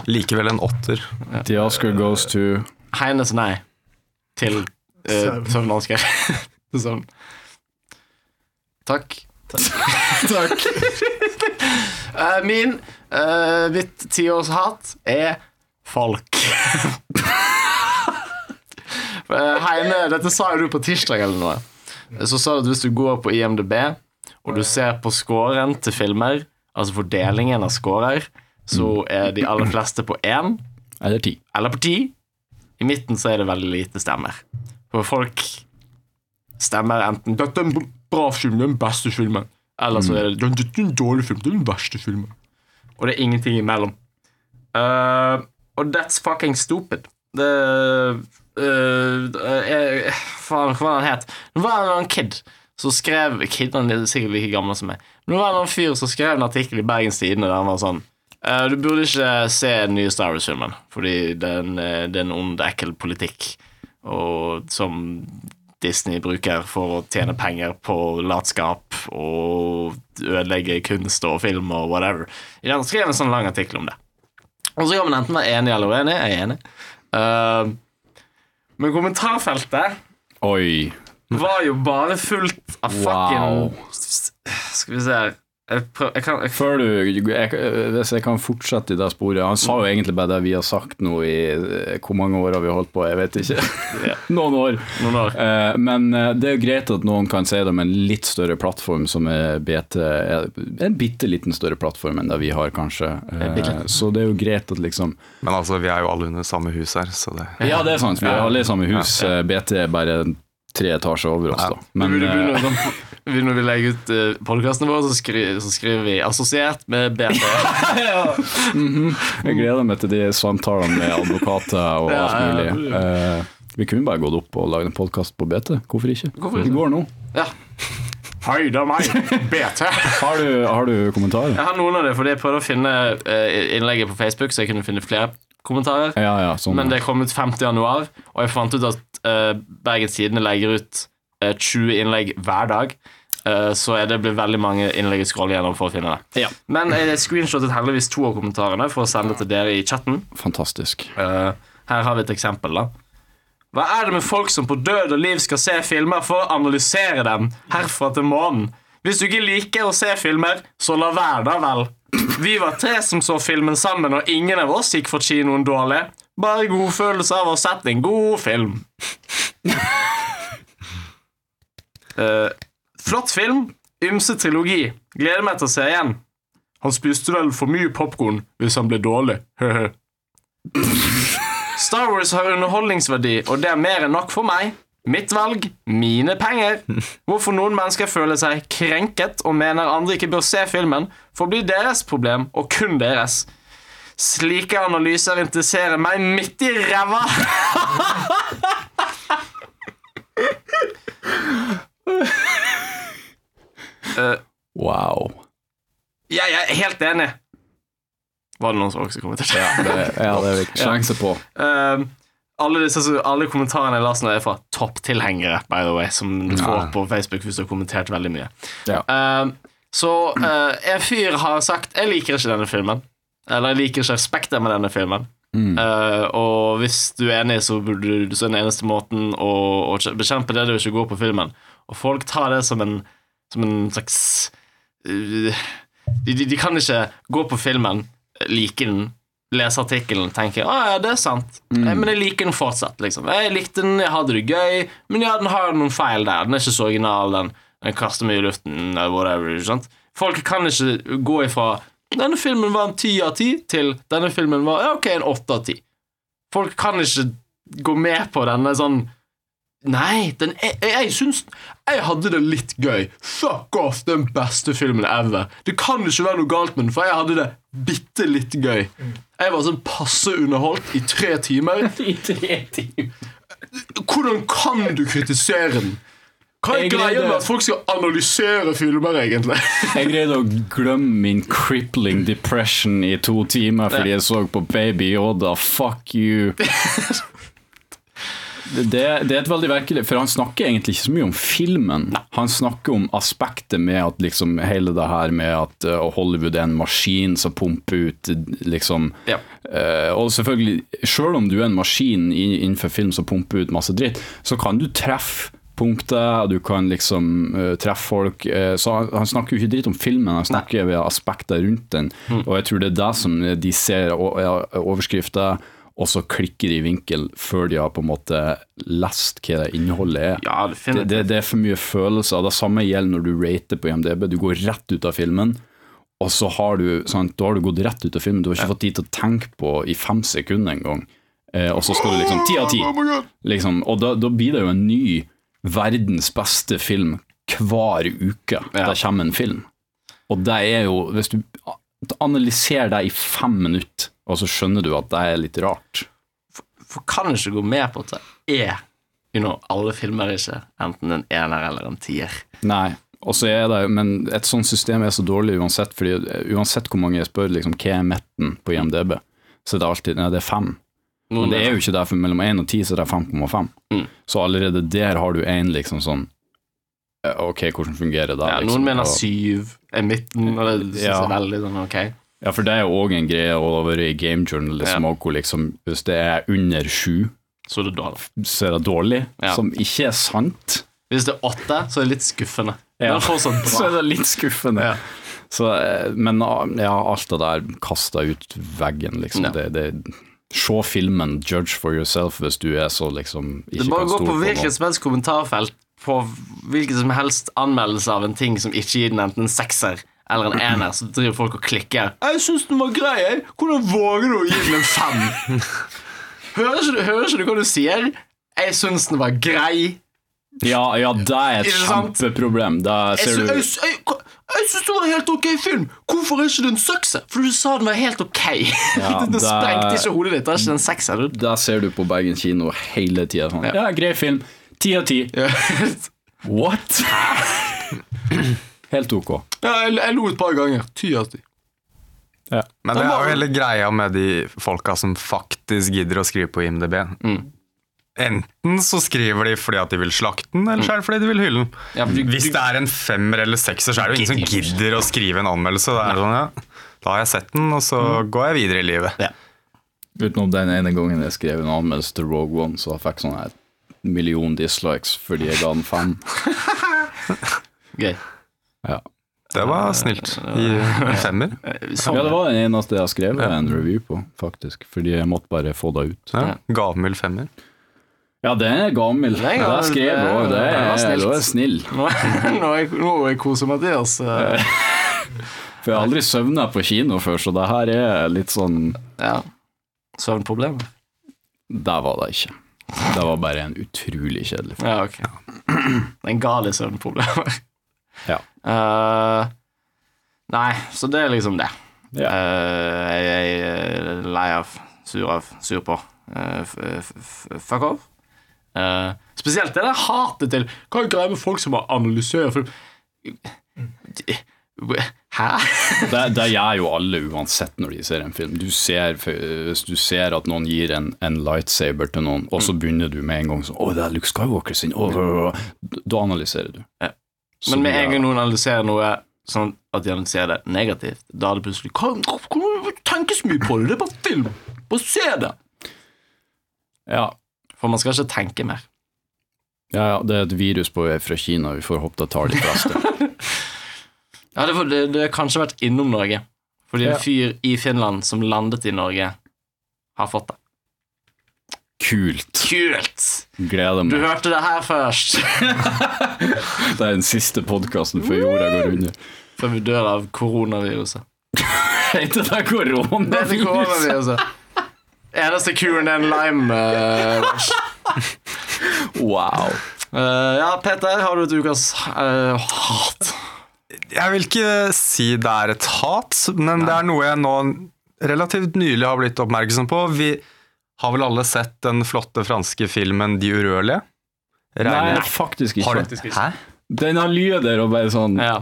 Likevel en åtter. The Oscar goes to Heines nei til uh, Søvn. søvnvansker. (laughs) Til søvn. Takk. (laughs) Takk. Eh, min, eh, mitt tiårshat er folk. (laughs) Eh, Heine, dette sa jo du på tirsdag eller noe. Så sa du at hvis du går på IMDb, og du ser på scoren til filmer, altså fordelingen av scorer, så er de aller fleste på én Eller ti. eller på ti. I midten så er det veldig lite stemmer. For folk stemmer enten 'Dette er en b- bra film, det er den beste filmen', eller så er det 'Dette er en dårlig film, det er den verste filmen'. Og det er ingenting imellom. Eh, og that's fucking stupid. Det eh, eh, Faen, hva var det han het? Det var en annen kid som skrev Kid, han er sikkert like gammel som meg. Men det var en annen fyr som skrev en artikkel i Bergens Tidende der han var sånn Eh, Du burde ikke se den nye Star Wars-filmen, fordi den, eh, det er en ond, ekkel politikk og som Disney bruker for å tjene penger på latskap og ødelegge kunst og film og whatever. Ja, Han skrev en sånn lang artikkel om det. Og så kan man enten være enig eller uenig. Jeg er enig. Eh, men kommentarfeltet Oi. var jo bare fullt av fucking Wow. Skal vi se her jeg, prøv, jeg kan jeg, Før du, jeg, hvis jeg kan fortsette i det sporet Han sa jo egentlig bare det vi har sagt nå i eh, Hvor mange år har vi holdt på? Jeg vet ikke. Ja. (laughs) Noen år. Noen år. Eh, Men eh, det er jo greit at noen kan si det om en litt større plattform som er BT er En bitte liten større plattform enn det vi har, kanskje. Eh, bitteliten. Så det er jo greit at liksom Men altså, vi er jo alle under samme hus her, så det Ja, det er sant, vi er alle i samme hus. eh, BT er bare tre etasjer over oss, da. Men, Men vi eh, begynner, sånn, når vi legger ut uh, podkasten vår, så, skri, så skriver vi 'assosiert med BT'. jeg gleder meg til de samtalene med advokater og Ja, alt ja, ja. mulig. Eh, Vi kunne bare gått opp og lagd en podkast på BT, hvorfor ikke? Hvorfor ikke? Det går nå. ja. Hei, det er meg, BT. Har du, har du kommentarer? Jeg har noen av det, fordi jeg prøvde å finne eh, innlegget på Facebook, så jeg kunne finne flere kommentarer. Ja, ja, sånn. Men det kom ut 5. januar, og jeg fant ut at eh, Bergens Tidende legger ut eh, 20 innlegg hver dag. Eh, så er det blir veldig mange innlegg å scrolle gjennom for å finne det. Ja. Men jeg screenshottet heldigvis to av kommentarene for å sende til dere i chatten. Fantastisk. Eh, her har vi et eksempel, da. Hva er det med folk som på død og liv skal se filmer for å analysere dem herfra til månen? Hvis du ikke liker å se filmer, så la være, da vel. Vi var tre som så filmen sammen, og ingen av oss gikk for kinoen dårlig. Bare god følelse av å ha sett en god film. (laughs) Eh, flott film. Ymse trilogi. Gleder meg til å se igjen. Han spiste vel for mye popkorn hvis han ble dårlig. Hehe. Star Wars har underholdningsverdi, og det er mer enn nok for meg. Mitt valg mine penger. Hvorfor noen mennesker føler seg krenket og mener andre ikke bør se filmen, får bli deres problem, og kun deres. Slike analyser interesserer meg midt i ræva! Wow. Eh, Jeg er helt enig. Var det noen som også kommenterte? Det, ja, det er vi sjanse på. Ehm, alle, disse, så alle kommentarene jeg leste nå er fra topptilhengere, by the way, som du får på Facebook hvis du har kommentert veldig mye. Ja. Ehm, så eh, en fyr har sagt 'Jeg liker ikke denne filmen'. Eller 'Jeg liker ikke aspekter med denne filmen'. Eh, og hvis du er enig, så burde du så er den eneste måten å, å kje- bekjempe det, det er å ikke gå på filmen. Og folk tar det som en, som en slags eh, de, de, de kan ikke gå på filmen, eh, like den, leser artikkelen, tenker jeg, ah, ja, det er sant. Eh, Men jeg liker den fortsatt. liksom Jeg likte den, jeg hadde det gøy, men ja, den har noen feil der. Den er ikke så original, den, den kaster mye i luften, eller whatever. ikke sant? Folk kan ikke gå ifra 'denne filmen var en ti av ti' til 'denne filmen var ja, ok, en åtte av ti'. Folk kan ikke gå med på denne sånn Nei, den jeg, jeg, jeg syns Jeg hadde det litt gøy. Fuck off, den beste filmen ever. Det kan ikke være noe galt med den, for jeg hadde det bitte litt gøy. Jeg var sånn passe underholdt i tre timer. (laughs) I tre timer. Hvordan kan du kritisere den? Hva er Jeg greia gleder- med at folk skal analysere filmer, egentlig? Jeg greide å glemme min crippling depression i to timer fordi jeg så på Baby Yoda. Fuck you. Det, det er et veldig verkelig For han snakker egentlig ikke så mye om filmen. Han snakker om aspektet med at liksom hele det her med at eh, Hollywood er en maskin som pumper ut liksom Ja. Eh, og selvfølgelig, selv om du er en maskin i- innenfor film som pumper ut masse dritt, så kan du treffe punkter, og du kan liksom eh, treffe folk. eh, så han, han snakker jo ikke dritt om filmen, han snakker ved aspekter rundt den. Og jeg tror det er det som de ser o- ja, overskrifter, og så klikker de i vinkel før de har på en måte lest hva det innholdet er. Ja, det Det, finner det, det er for mye følelser. og Det samme gjelder når du rater på IMDb. Du går rett ut av filmen, og så har du, sant, da har du gått rett ut av filmen. Du har ikke fått tid til å tenke på i fem sekunder engang. Eh, og så står det liksom ti av ti. Liksom, og da, da blir det jo en ny verdens beste film hver uke. Ja. Der kommer en film. Og det er jo Hvis du analyserer det i fem minutter, og så skjønner du at det er litt rart. For kan ikke gå med på at det er you know, alle filmer ikke enten en ener eller en tier. Nei, og så er det jo- Men et sånt system er så dårlig uansett, fordi uansett hvor mange jeg spør liksom, hva er metten på IMDb, så er det alltid nei, det er fem. Men det er jo ikke det, for mellom 1 og 10 så er det 5,5. Mm. Så allerede der har du en liksom sånn eh, Ok, hvordan fungerer det? ja, liksom? Noen mener Og- syv er midten, og det synes Ja. jeg er veldig sånn ok. Ja, for det er jo òg en greie å være i gamejournalism Ja. og hvor liksom Hvis det er under sju, Så det er dårlig. så er det dårlig, Ja. som ikke er sant. Hvis det er åtte, så er det litt skuffende. Ja. Men fortsatt bra. (laughs) så er det litt skuffende. Ja. Så, eh, men ah, ja, alt det der kasta ut veggen, liksom. Ja. Det, det, se filmen, judge for yourself, hvis du er så liksom ikke Det bare kan gå stole på noe. hvilket som helst kommentarfelt på hvilken som helst anmeldelse av en ting som ikke gir den enten en sekser eller en ener, så driver folk og klikker. 'Jeg syns den var grei, jeg. Hvordan våger du å gi den en fem?' (laughs) Hører ikke, du- hører ikke du hva du sier? 'Jeg syns den var grei'. Ja, ja, det er et Ikke sant? kjempeproblem. Det Jeg, ser sy- jeg, du. sy- jeg, hva- jeg syns det var en helt ok film. Hvorfor er ikke det en sekser? For du sa den var helt (laughs) ok. Ja, den det- sprengte ikke hodet ditt. Det er ikke en sekser. du. Det ser du på Bergen kino hele tida. Sånn. Ja. grei film. Ti av ti. What?! Helt ok. (laughs) Ja, jeg, jeg lo et par ganger. Ty av ti. Men det er jo hele greia med de folka som faktisk gidder å skrive på IMDb. Enten så skriver de fordi at de vil slakte den, eller så er det fordi de vil hylle den. Ja, for du- Hvis du- det er en femmer eller sekser, så er det jo ingen som Gidder. gidder å skrive en anmeldelse. Det er sånn, ja, da har jeg sett den, og så går jeg videre i livet. Utenom den ene gangen jeg skrev en anmeldelse til Rogue One, så jeg fikk sånn her million dislikes fordi jeg ga den (laughs) fem. Gøy. Ja. Det var snilt. I en femmer. Sånn. Ja, det var den eneste jeg har skrevet en review på, faktisk. Fordi jeg måtte bare få det ut. Ja, Gavmild femmer. Ja, den er gammel. er Det gammel. skrev jeg òg. Det Den var er snilt. da er jeg snill. Nå er, (laughs) nå er, jeg- nå er jeg koser Mathias. eh, For jeg har aldri søvna på kino før, så det her er litt sånn Ja. Søvnproblemer? Der var det ikke. Det var bare en utrolig kjedelig film. Ja, ok. (clears throat) Den gale søvnproblemer. Ja. (laughs) Eh, nei, så det er liksom det. Ja. Eh, jeg, jeg er lei av, sur av, sur på. Eh, f f f- fuck off. Eh, spesielt det der hatet til Hva er greia med folk som har analysert film? Hæ? Det, det gjør jo alle uansett når de ser en film. Du ser, hvis du ser at noen gir en, en lightsaber til noen, og så Mm. begynner du med en gang sånn Å, det er Luke Skywalker sin! Å, å, å, å». Da analyserer du. Ja. Så Men med det er- en gang noen analyserer noe sånn at de analyserer det negativt, da er det plutselig Kan det tenkes mye på det? Det er bare film! Bare se det! Ja, For man skal ikke tenke mer. Ja, ja, det er et virus på vei fra Kina, vi får håpe det tar de (laughs) fleste. Ja, Det, var- det, det har kanskje vært innom Norge. Fordi Ja. en fyr i Finland som landet i Norge har fått det. Kult. Kult! Gleder Du meg. hørte det her først! (laughs) Det er den siste podkasten før jorda går under. (laughs) Før vi dør av koronaviruset. Heter det Det er ikke koronavirus? koronaviruset. Eneste kuren er en lime. eh, Wow. eh, ja, Peter, har du et ukas eh, hat? Jeg vil ikke si det er et hat, men det er noe jeg nå relativt nylig har blitt oppmerksom på. Vi har vel alle sett den flotte franske filmen De urørlige? Nei, Regner- faktisk har ikke. du? ikke. Hæ? Den har lyder og bare sånn Ja.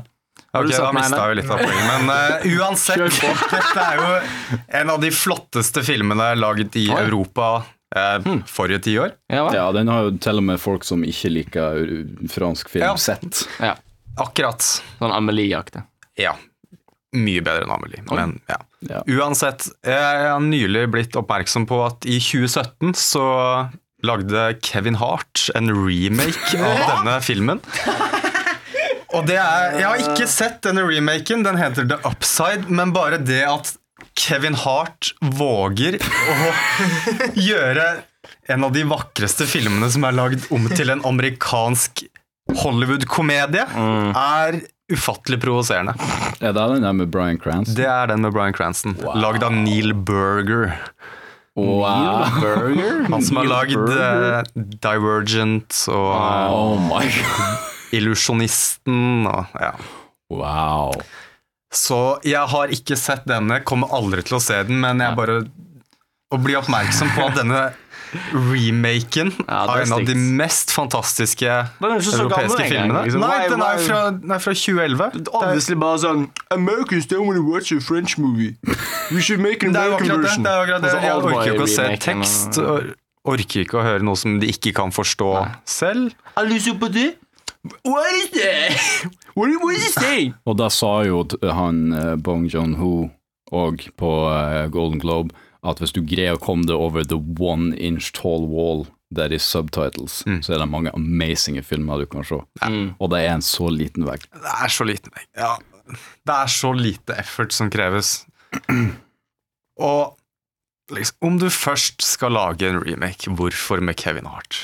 Har du Ok, sett da den mista ene? jeg jo litt av poenget, men (laughs) eh, uansett (laughs) Dette er jo en av de flotteste filmene laget i Oi. Hmm. Europa eh, forrige tiår. Ja, hva? Ja, den har jo til og med folk som ikke liker uh, fransk film, Ja. sett. Ja. Akkurat. Sånn Amelie-aktig. Ja. Mye bedre enn Amelie, men ja. Ja. Uansett, jeg har nylig blitt oppmerksom på at i 2017 så lagde Kevin Hart en remake av denne filmen. Og det er Jeg har ikke sett denne remaken, den heter The Upside, men bare det at Kevin Hart våger å gjøre en av de vakreste filmene som er lagd om til en amerikansk Hollywood-komedie, er ufattelig provoserende. Er det den der med Bryan Cranston? Det er den med Bryan Cranston. Lagd av Neil Berger. Wow. Han som har lagd Burger? eh, Divergent og eh, (laughs) Oh my god. Illusjonisten og ja. Wow. Så jeg har ikke sett denne, kommer aldri til å se den, men jeg bare Å bli oppmerksom på at denne remaken (laughs) Ja, det er er en av de stygt. mest fantastiske Den er ikke så gammel europeiske engang, filmene. liksom. Nei, Why- den er why- fra, den er fra 2011. Det er- Obviously bare sånn Americans don't want to watch a French (laughs) movie. We should make an Det er jo American akkurat det. version. det, er jo akkurat det. Og så Jeg Oldboy orker jo ikke å se remaken, tekst. og- og Orker ikke å høre noe som de ikke kan forstå selv. Har du lyst på det? What is that? (laughs) What is, what is it saying? Og da sa jo t- han eh, Bong Joon-ho og på eh, Golden Globe at hvis du greier å komme deg over the one inch tall wall that is subtitles, Mm. så er det mange amazinge filmer du kan se. Og det er en så liten vegg. Det er så lite ja, Det er så lite effort som kreves. (clears throat) Og liksom, om du først skal lage en remake, hvorfor med Kevin Hart?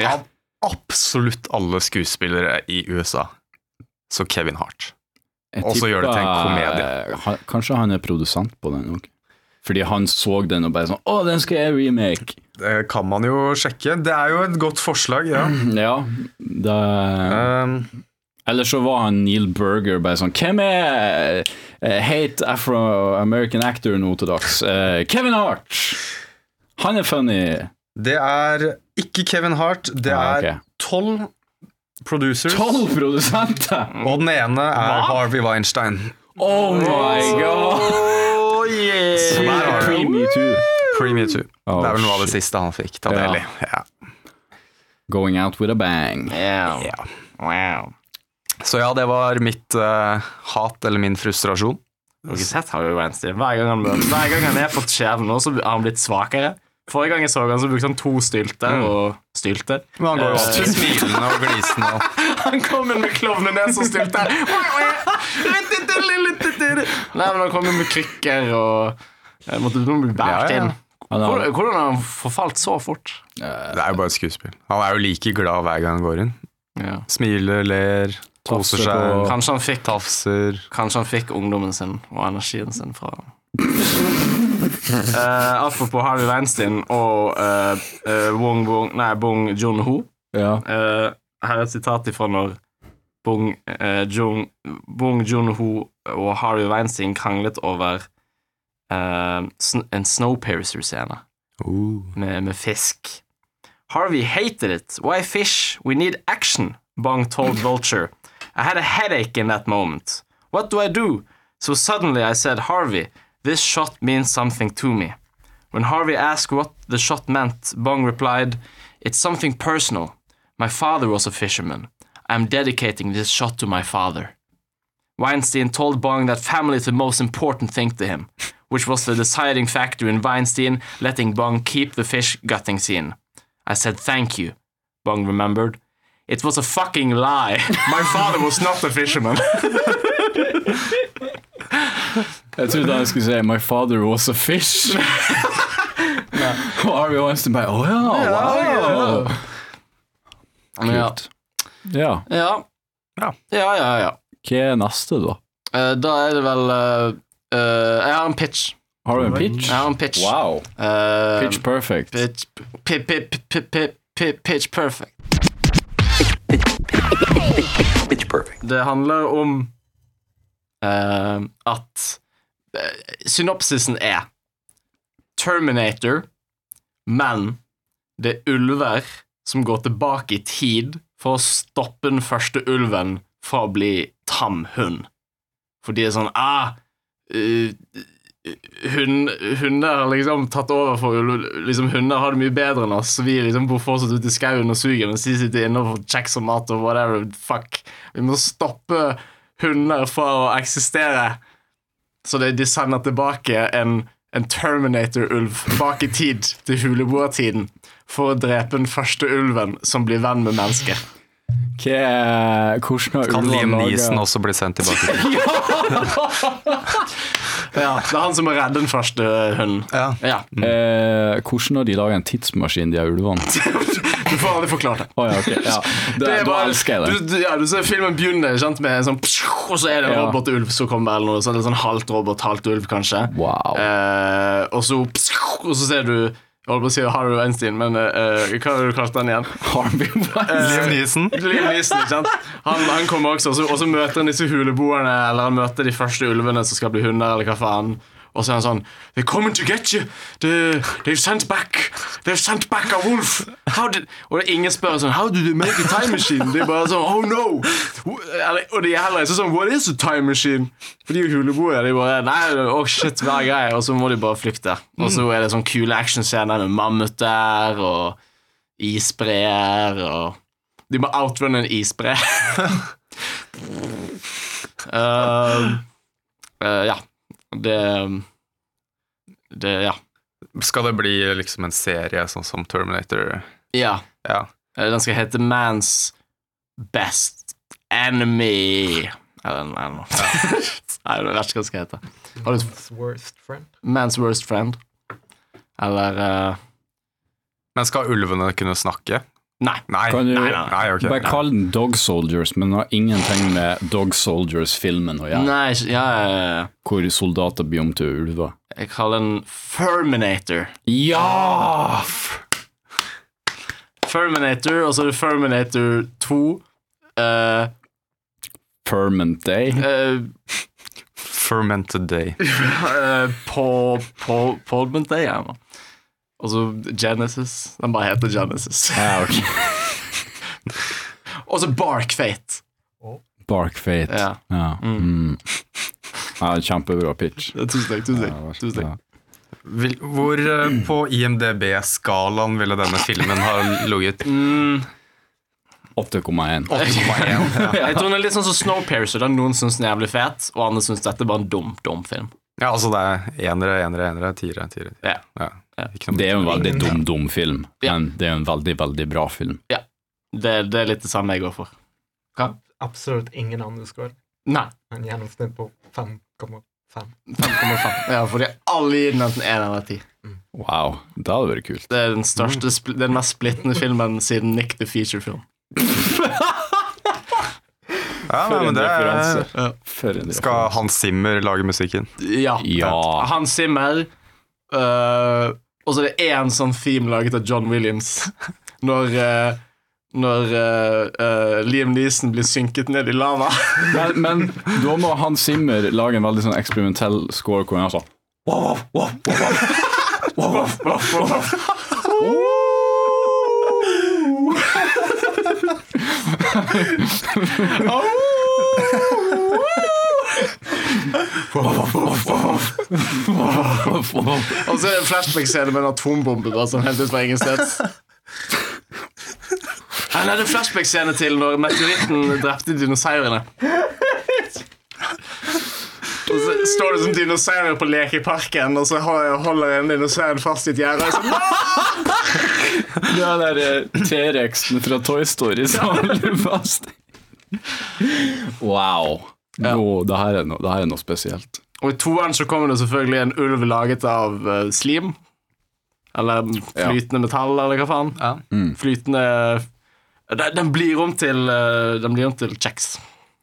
Ja. Av absolutt alle skuespillere i USA, så Kevin Hart. Jeg Og så gjør det til en tipper, komedie. eh, han- Kanskje han er produsent på den òg. Fordi han så den og bare sånn Å, den skal jeg remake! (clears throat) Det kan man jo sjekke. Det er jo et godt forslag, (clears throat) ja. Ja, det Um, Eller så var han Neil Berger bare sånn Hvem er eh, hate afro-american actor nå til dags? Eh, Kevin Hart! Han er funny. Det er ikke Kevin Hart, det Ah, ok. er tolv producers. Tolv produsenter! Og den ene er Harvey Weinstein. Oh my god! Oh, Som yeah. er Creamy too. Premie 2. Oh, det er vel noe av det shit. siste han fikk ta Ja. del i. Ja. Going out with a bang. Yeah. Ja. Wow. Så ja, det var mitt eh, hat, eller min frustrasjon. Har dere sett Harry Weinstein? Hver gang han, møter, hver gang han er på skjevn nå, så har han blitt svakere. Forrige gang jeg så han, så brukte han to stylter og stylter. Men han går jo Eh, alltid smilende og glisende. Han kom inn med klovnenes og stylter. Nei, men han kom inn med krykker og jeg måtte nå bli Ja, båret ja. inn. Han har- Hvordan, hvordan har han forfalt så fort? (laughs) Det er jo bare et skuespill. Han er jo like glad hver gang han går inn. Ja. Smiler, ler, Tafser koser seg, på- Kanskje han fikk tafser. Kanskje han fikk ungdommen sin og energien sin fra han. Eh, apropos Harvey Weinstein og eh, eh, Wong Bong, nei, Bong Joon-ho. Ja. Eh, her er et sitat ifra når Bong, eh, Jung, Bong Joon-ho og Harvey Weinstein kranglet over eh, sn en Snowpiercer-scene Uh. med, med fisk. Harvey hated it. Why fish? We need action, Bong told Vulture. I had a headache in that moment. What do I do? So suddenly I said, Harvey, this shot means something to me. When Harvey asked what the shot meant, Bong replied, It's something personal. My father was a fisherman. I'm dedicating this shot to my father. Weinstein told Bong that family is the most important thing to him, which was the deciding factor in Weinstein letting Bong keep the fish gutting scene. I said thank you, Bong remembered. It was a fucking (laughs) lie. My father was not (laughs) a fisherman. (laughs) Jeg trodde han skulle si 'My father was a fish'. Og Harvey Weinstein bare Å ja, wow! Ja. Kult. Ja. Ja. Ja. ja, ja, ja. Hva er neste, da? Eh, da er det vel eh, eh, Jeg har en pitch. Har du en pitch? Jeg har en pitch. Wow. Eh, Pitch perfect. pitch, pi- pi- pi- pi- pi- pitch perfect. Pitch perfect. Det handler om eh, at eh, Synopsisen er Terminator, men det er ulver som går tilbake i tid for å stoppe den første ulven fra å bli tam hund. For de er sånn ah, eh, hund, Hunder har liksom tatt over for ulver. Liksom, hunder har det mye bedre enn oss, så vi liksom bor fortsatt ute i skauen og suger, mens de sitter inne og får kjeks og mat og whatever. Fuck. Vi må stoppe hunder fra å eksistere. Så det, de sender tilbake en, en Terminator-ulv bak i tid, til huleboertiden, for å drepe den første ulven som blir venn med mennesker. Hva er, eh, hvordan har Kan Liam ulvene Neeson laget også bli sendt tilbake? (laughs) Ja, det er han som må redde den første hunden. Ja. Ja, eh, Hvordan har de laget en tidsmaskin, de her ulvene? Du får aldri forklart det. Å ja, ok. Ja. Da, (laughs) Det er da bare- elsker jeg det. Du, du, ja, du ser filmen begynner ikke sant, med en sånn Og så er det en Ja. robotulv som kommer, eller noe sånt. Sånn halvt robot, halvt ulv, kanskje. Wow. Eh, og, så, og så ser du Jeg holdt på å si Harry Weinstein, men eh, hva har du kalt den igjen? Harvey Weinstein. Liam Neeson? Liam Neeson, ikke sant? Han, han kommer også, og så, og så møter han disse huleboerne, eller han møter de første ulvene som skal bli hunder, eller hva faen. Og så er han sånn They're coming to get you! They, they've sent back They've sent back a wolf! How did Og det er ingen spør sånn How did you make a time machine? De er bare sånn Oh no! Eller, og de er heller ikke sånn What is a time machine? For de er jo huleboere. De bare Nei, oh shit, hver greie. Og så må de bare flykte. Og så er det sånn kule actionscener med mammuter og isbreer og de må outrunne en isbre. Ehm, eh, ja. Det Det Ja. Skal det bli liksom en serie sånn som Terminator? ja. Ja. Eh, Den skal hete Man's Best Enemy. Eller, eller noe. Nei, jeg vet ikke hva den skal hete. Har du- Man's worst friend. Man's Worst Friend. Eller eh, Men skal ulvene kunne snakke? Nei. Nei. Kan du nei, nei, nei, ok. bare Nei. kalle den Dog Soldiers, men har ingenting med Dog Soldiers-filmen å gjøre, Nei, ikke- ja, ja, ja, ja. hvor soldater blir om til ulver? Jeg kaller den Ferminator. Ja! Ferminator, og så er det Ferminator 2. eh, Ferment Day. eh, Fermented Day. Eh, på på Podment Day, ja. Og så Genesis. Den bare heter Genesis. Ja, ok. (laughs) Og så Bark Fate. Bark Fate. Ja. Ja. Mm. ja kjempebra pitch. Tusen takk. tusen Ja, takk, tusen takk. ja. Vil, hvor eh, på IMDb-skalaen ville denne filmen ha ligget? 8,1. 8,1. Jeg tror den er litt sånn som Snowpiercer. Den noen syns den er jævlig fet, og andre syns dette er bare en dum, dum film. Ja, altså det er enere, enere, enere, tiere, tiere. tiere. Ja. Ja. Ikke noe- Det er jo en veldig dum, dum film, Ja. men det er jo en veldig, veldig bra film. Det, det er litt det samme jeg går for. Absolutt ingen andre score. Nei. En gjennomsnitt på 5,5. 5,5. Ja, fordi alle gir den enten 1 eller 10. Wow, det hadde vært kult. Det er den største, spl- det er den mest splittende filmen siden Nick the Feature-film. Ja, nei, men det er, For en skal referanse. Hans Zimmer lage musikken? Ja. Ja. Hans Zimmer øh, Og så er det én sånn theme laget av John Williams Når øh, Når øh, øh, Liam Neeson blir synket ned i lava (laughs) Men, men da må Hans Zimmer lage en veldig sånn eksperimentell score hvor han er sånn Og så er det en flashback-scene med en atombombe Bare sånn helt ut fra ingen sted Han hadde en flashback-scene til Når meteoritten drepte dinosaurene og så står det som dinosaurer på lekeparken Og så holder en dinosauren fast i et gjerde Og så Det er der eh, T-rexen fra Toy Story (laughs) som holder fast. Wow. Nå, det, her er noe, det her er noe spesielt. Og i toeren så kommer det selvfølgelig en ulv laget av eh, slim. Eller flytende metall, eller hva faen. Ja. Flytende eh, den, den blir om til eh, Den blir om til kjeks.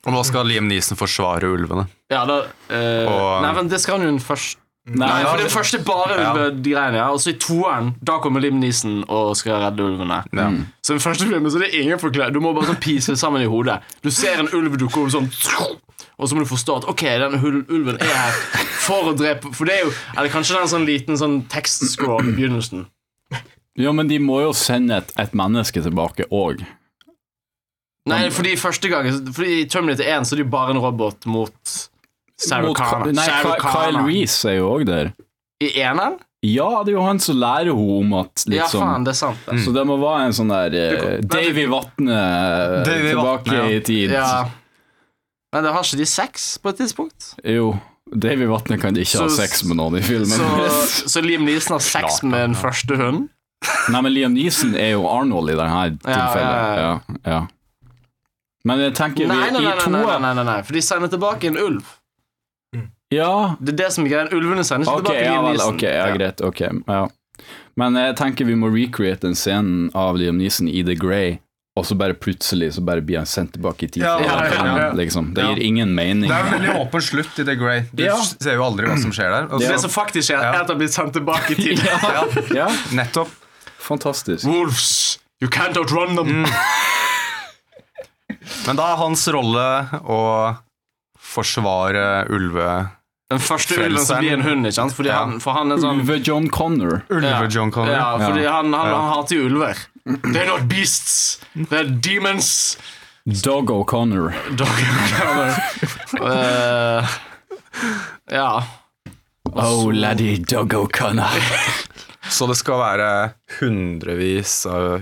Og nå skal Liam Neeson forsvare ulvene. Ja, da eh, Og- Nei, men det skal han jo først Nei, Nei, for det første er bare Ja. ulvegreiene. Ja. Og så i toeren, da kommer Liam Neeson og skal redde ulvene. Ja. Så i den første filmen så er det ingen forklaring. Du må bare sånn pise det sammen i hodet. Du ser en ulv dukke opp sånn og så må du forstå at ok, den hul- ulven er her for å drepe For det er jo Eller kanskje det er en sånn liten sånn tekstscroll i begynnelsen. Jo, men de må jo sende et, et menneske tilbake òg. Nei, fordi første gang Fordi I Terminator 1 så er det jo bare en robot mot Sarah Connor. Nei, Sarah Ky- Kyle Connor. Reese er jo òg der. I eneren? Ja, det er jo han som lærer henne om at Ja, liksom faen, det er sant. det. Så det må være en sånn der eh, Det- Davy Vatne eh, Davy tilbake Vatne, ja. i tid. Ja. Men det har ikke de sex på et tidspunkt? Jo, Davy Vatne kan ikke ha Så- sex med noen i filmen. Så, så Liam Neeson har sex Klart, med en første hund? (laughs) Nei, men Liam Neeson er jo Arnold i denne ja, ja. tilfellet. Ja, ja. Men jeg Nei, tenker nei, nei, vi, nei, i nei, nei, to nei, nei, nei. for de sender tilbake en ulv. Ja, Det er det som er greia. Ulvene sender ikke Ok, tilbake ja, Liam vel, Neeson. ok, ja, greit, ok ja. Men jeg tenker vi må recreate den scenen av Liam Neeson i The Grey Og så bare plutselig så bare blir han sendt tilbake i tid Ja, til ja, den ja, filmen, ja. liksom. Det Ja. gir ingen mening Det er en veldig åpen slutt i The Grey. Du Ja. ser jo aldri hva som skjer der. Og Det så, som faktisk skjer, er at han blir sendt tilbake til ja, (laughs) Ja, nettopp. fantastisk Wolves! You can't outrun them! Mm. Men da er hans rolle å forsvare ulve... Den første ulven som Frelseren. blir en hund, ikke sant? Fordi Ja. han, for han er sånn Ulve John Connor Ulve-John Connor. Ja, fordi sånn, Ja. Han, han, Ja. han hater jo ulver. They're not beasts, they're demons. Dog O'Connor Dog (laughs) Eh, Ja. Oh, laddie, Dog O'Connor Så det skal være hundrevis av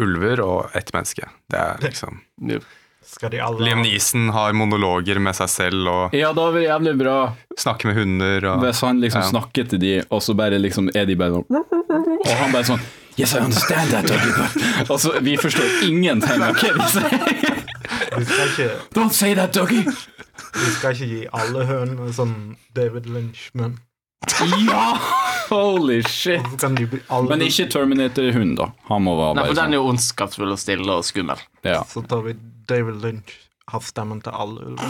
ulver og ett menneske. Det er liksom Skal de alle Liam Neeson har monologer med seg selv og (laughs) Ja, da var det jævlig bra snakker med hunder og Hvis han liksom Ja. snakker til de Og så bare liksom er de bare sånn Og han bare sånn Yes, I understand that, Doggy (laughs) Boy." Altså, vi forstår ingenting (laughs) av hva de sier De skal ikke, Don't say that, Doggy de skal ikke gi alle hønene sånn David Lynch, men Ja! Holy shit. hvorfor kan de bli alle Men ikke Terminator hund, da. Han må være Nei, for bare den sånn. er jo ondskapsfull og stille og skummel. Ja. Så tar vi David Lynch, har stemmen til alle ulver.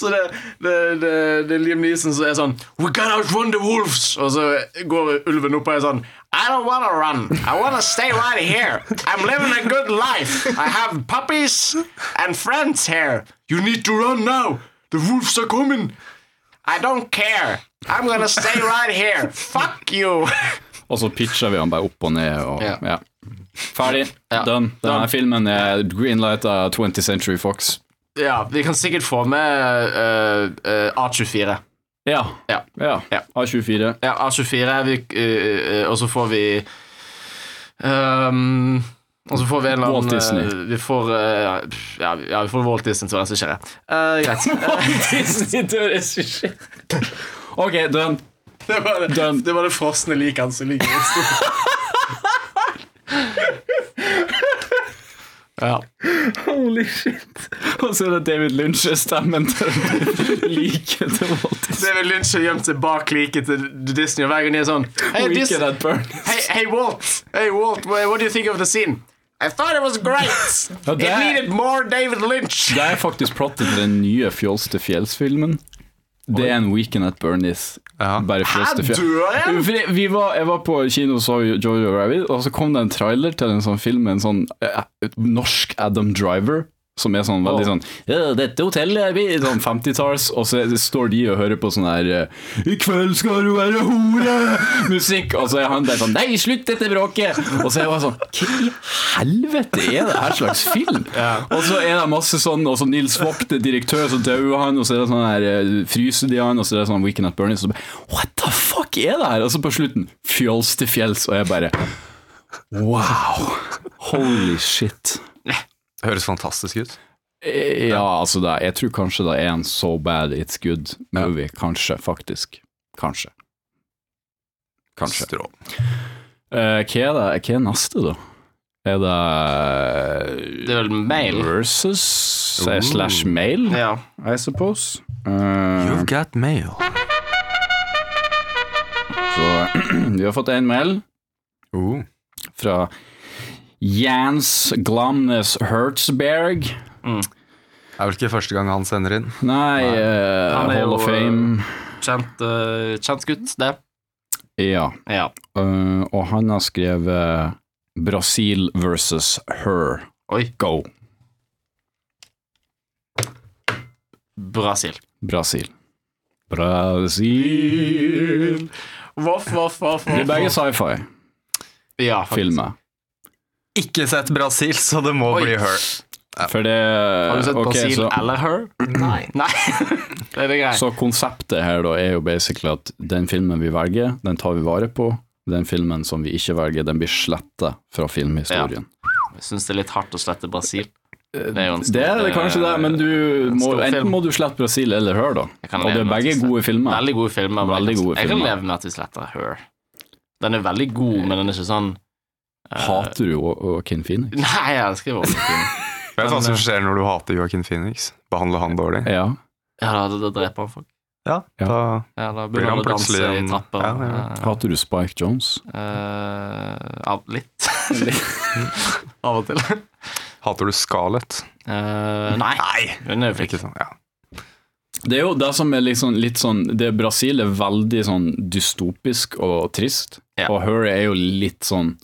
Så det, det, det, det er Liam Neeson som er sånn We gotta outrun the wolves! Og så går ulven opp og er sånn I don't wanna run. I wanna stay right here. I'm living a good life. I have puppies and friends here. You need to run now. The wolves are coming. I don't care. I'm gonna stay right here. Fuck you. (laughs) Og så pitcher vi han bare opp og ned. Og, Ja. ja. Ferdig. Ja. Done. Denne Done. filmen er greenlight av 20th Century Fox. Ja, vi kan sikkert få med eh, eh, A24. Ja. Ja. Ja. (laughs) A24. Ja, A24 vi, eh, eh, Og så får vi ehm, Og så får vi en eller annen Walt Disney. eh, Vi får eh, ja, vi- ja, vi får Walt Disney til å regissere. Uh, greit. (laughs) OK, done. det, var det, Done. det var det frosne liket hans som ligger i stolen. Ja. Holy shit. Og så er det David Lynch er stemmen til (laughs) liket til Walt Disney. David Lynch har gjemt seg bak liket til Disney, og hver gang de er (laughs) sånn Hei, Wicked Disney, at Bernie's. Hey, hey Walt! Hey Walt! wha- What do you think of the scene? I thought it was great. (laughs) Ja, det It er- needed more David Lynch. Det er faktisk plottet til den nye Fjols til fjells-filmen. Det er en Weekend at Bernies. Ja. Bare Fjols til Hæ, dør han? fjells. Fordi Vi var, jeg var på kino og så Jojo Rabbit, og så kom det en trailer til en sånn film med en sånn eh, norsk Adam Driver. Som er sånn veldig sånn «Ja, 'Dette hotellet er vi i Sånn 50-talls, og så står de og hører på sånn her eh, 'I kveld skal du være hore!'-musikk, og så er han der sånn 'Nei, slutt dette bråket!' Og så er jeg bare sånn Hva i helvete er det her slags film? Og så er det masse sånn, og så Nils Vogt er direktør, så dør han, og så er det sånn her eh, fryser de han, og så er det sånn Weekend at Bernie's, og så bare What the fuck er det her? Og så på slutten Fjols til fjells, og jeg bare Wow. Holy shit. Det høres fantastisk ut. Eh, Ja, altså det, jeg tror kanskje det er en so bad it's good movie. Kanskje, faktisk. Kanskje. Kanskje. Strål. Eh, hva, er det, hva er neste, da? Er det eh, Det er vel mail. Versus eh, slash mail, Ja. I suppose. Eh, got mail. Så (clears throat) vi har fått en mail Oh. fra Jans Glamnes Hertzberg. Det er vel ikke første gang han sender inn. Nei, eh, Han er Hall jo, of Fame. Kjent, eh, kjent gutt, det. Ja. Ja. Eh, og han har skrevet Brasil versus her. Oi. Go, Brasil. Brasil. Brasil Voff, voff, voff. Det er begge sci-fi-filmer. Ja, faktisk. Ikke sett Brasil, så det må Oi. bli her. For det Har du sett ok, Brasil så, eller Her? Nei. Nei. det er det greit. så konseptet her da er jo basically at den filmen vi velger, den tar vi vare på. Den filmen som vi ikke velger, den blir sletta fra filmhistorien. Jeg syns det er litt hardt å slette Brasil. Det er jo en stor- Det er det kanskje det, men du må, stor enten film. må du slette Brasil eller Her, da. Jeg kan Og det leve er med at vi begge gode sletter- filmer. Veldig gode filmer. men Veldig jeg kan- gode jeg kan filmer. leve med at vi sletter Her. Den er veldig god, men den er ikke sånn Hater du Joaquin (laughs) Phoenix? Nei, jeg elsker Wolverine. Vet du hva Men, som skjer når du hater Joaquin Phoenix? Behandler han dårlig? Ja. Ja, da, da dreper han folk. Ja, Ja. da Ja, da Blir begynner han han å danse plutselig i en- trapper. Ja, ja. eh, Hater du Spike Jones? eh, av- litt. av og til. hater du Scarlett. Eh, nei. Hun er jo flink. Ikke sånn, ja. Det er jo det som er liksom, litt sånn det Brasil er veldig sånn dystopisk og trist, Ja. og Her er jo litt sånn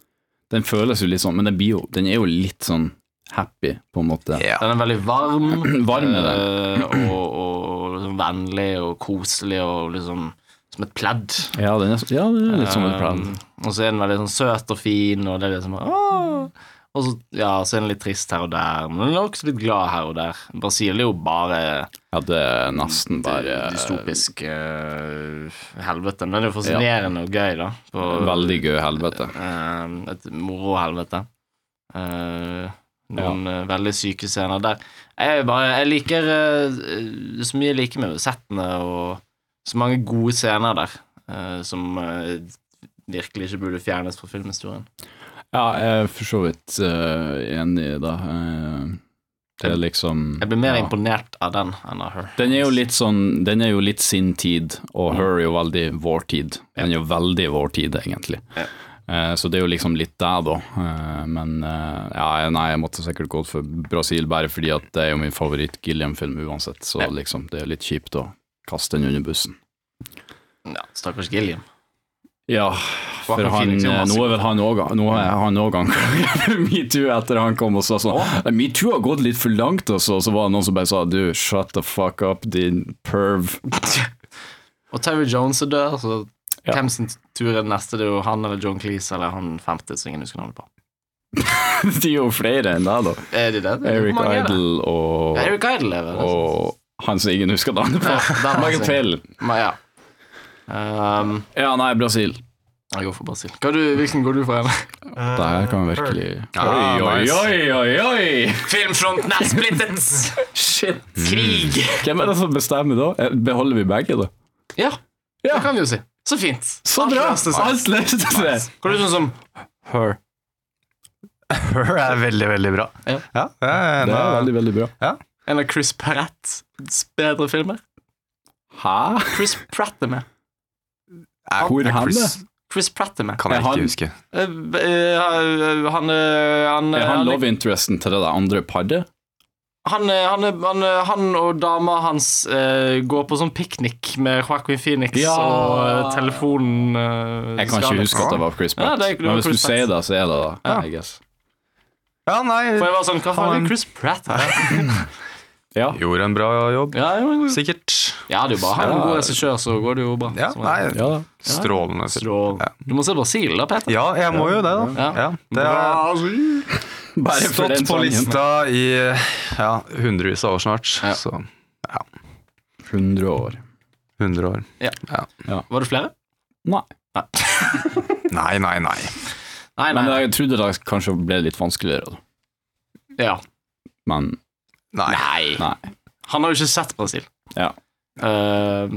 Den føles jo litt sånn, men den, blir jo, den er jo litt sånn happy, på en måte. Ja. Den er veldig varm. (clears throat) Varm er eh, og, og liksom vennlig og koselig og liksom som et pledd. Ja, den er, så- ja, den er litt som et plan. Um, og så er den veldig sånn søt og fin, og det er liksom «Åh!» Og så, ja, så er den litt trist her og der, men den er også litt glad her og der. Brasil er jo bare Ja, det er nesten bare dystopisk eh, helvete. Men det er jo fascinerende og gøy, da. på- Veldig gøy helvete. Eh, et moro-helvete. Eh, noen eh, veldig syke scener der. Jeg, er bare, jeg liker eh, så mye jeg liker med settene, og så mange gode scener der eh, som eh, virkelig ikke burde fjernes fra filmhistorien. Ja, jeg er for så vidt eh, enig i det. Eh, det er liksom Jeg blir mer ja. imponert av den enn av her. Den er jo litt sånn Den er jo litt sin tid, og her er jo veldig vår tid. Den er jo veldig vår tid, egentlig. Ja. Eh, Så det er jo liksom litt der, da. Eh, Men eh, ja, nei, jeg måtte sikkert gått for Brasil, bare fordi at det er jo min favoritt-Gilliam-film uansett, så Ja. liksom det er litt kjipt å kaste den under bussen. Ja, Stakkars Gilliam. Ja, for Joaquin han, eh, Phoenix er jo masse- nå er vel han òg Nå er han òg anklaget (laughs) for metoo etter han kom og sa sånn «Nei, Metoo har gått litt for langt, altså. Og så var det noen som bare sa du, shut the fuck up, din perv. (laughs) Og Terry Jones er død, så Ja. hvem sin tur er det neste? Det er jo han eller John Cleese eller han femte som ingen husker navnet på. Det er jo flere enn deg, da. Er de det? Hvor Eric mange er det? Idle og, Ja, Eric Idle lever. det er sant. og han som ingen husker navnet (laughs) på. Ja, altså. det er Michael Brasil. Pell. Men ja. Ehm, Ja, nei, Brasil. jeg går for Brasil. Hva du, hvilken går du for? Emil? Eh, Det her kan virkelig Ah, Oi, oi, nice. oi, oi, oi! (laughs) Filmfronten er (laughs) splittet! Mm. Shit. Krig! Hvem er det som bestemmer da? Eh, Beholder vi begge, da? Ja, Ja. det kan vi jo si. Så fint. Så bra! løste seg. Alt løste seg. Hva er det sånn som Her. Her er veldig, veldig bra. Ja. det er en Det er av- veldig, veldig bra. en av Chris Pratts bedre filmer? Hæ? Chris Pratt er med. er, Hvor er hen Chris- Chris Pratt er med. Kan jeg Er han- ikke huske. Eh, eh, han, eh, han, Er eh, han han, love interesten til det der andre paret? han, eh, han, eh, han, eh, han og dama hans eh, går på sånn piknik med Joaquin Phoenix Ja. og eh, telefonen eh, Jeg kan skal- ikke huske at det var Chris Ja, Pratt. det er- det var Men hvis du Chris Pratt. sier det, så er det det. Ja. I guess. Ja, nei, For jeg var sånn, hva faen Han- er Chris Pratt her? (laughs) Ja. gjorde en bra jobb. Ja, jo, jo. Sikkert. Ja, det er jo bare han er en Ja. god regissør, så går det jo bra. Ja, Som nei, er- ja da. strålende. film. Så, du må se Brasil, da, Peter. Ja, jeg må jo det, da. Ja. Ja, det er Bare for den stått på sangen. lista i ja, hundrevis av år snart. Ja. Så 100 år. 100 år. Var det flere? Nei. Nei, nei, nei. Nei, Men nei. jeg trodde det kanskje ble litt vanskeligere, da. Ja. Men Nei, Nei. eh, nei. Han har jo ikke sett Brasil. Ja. Eh,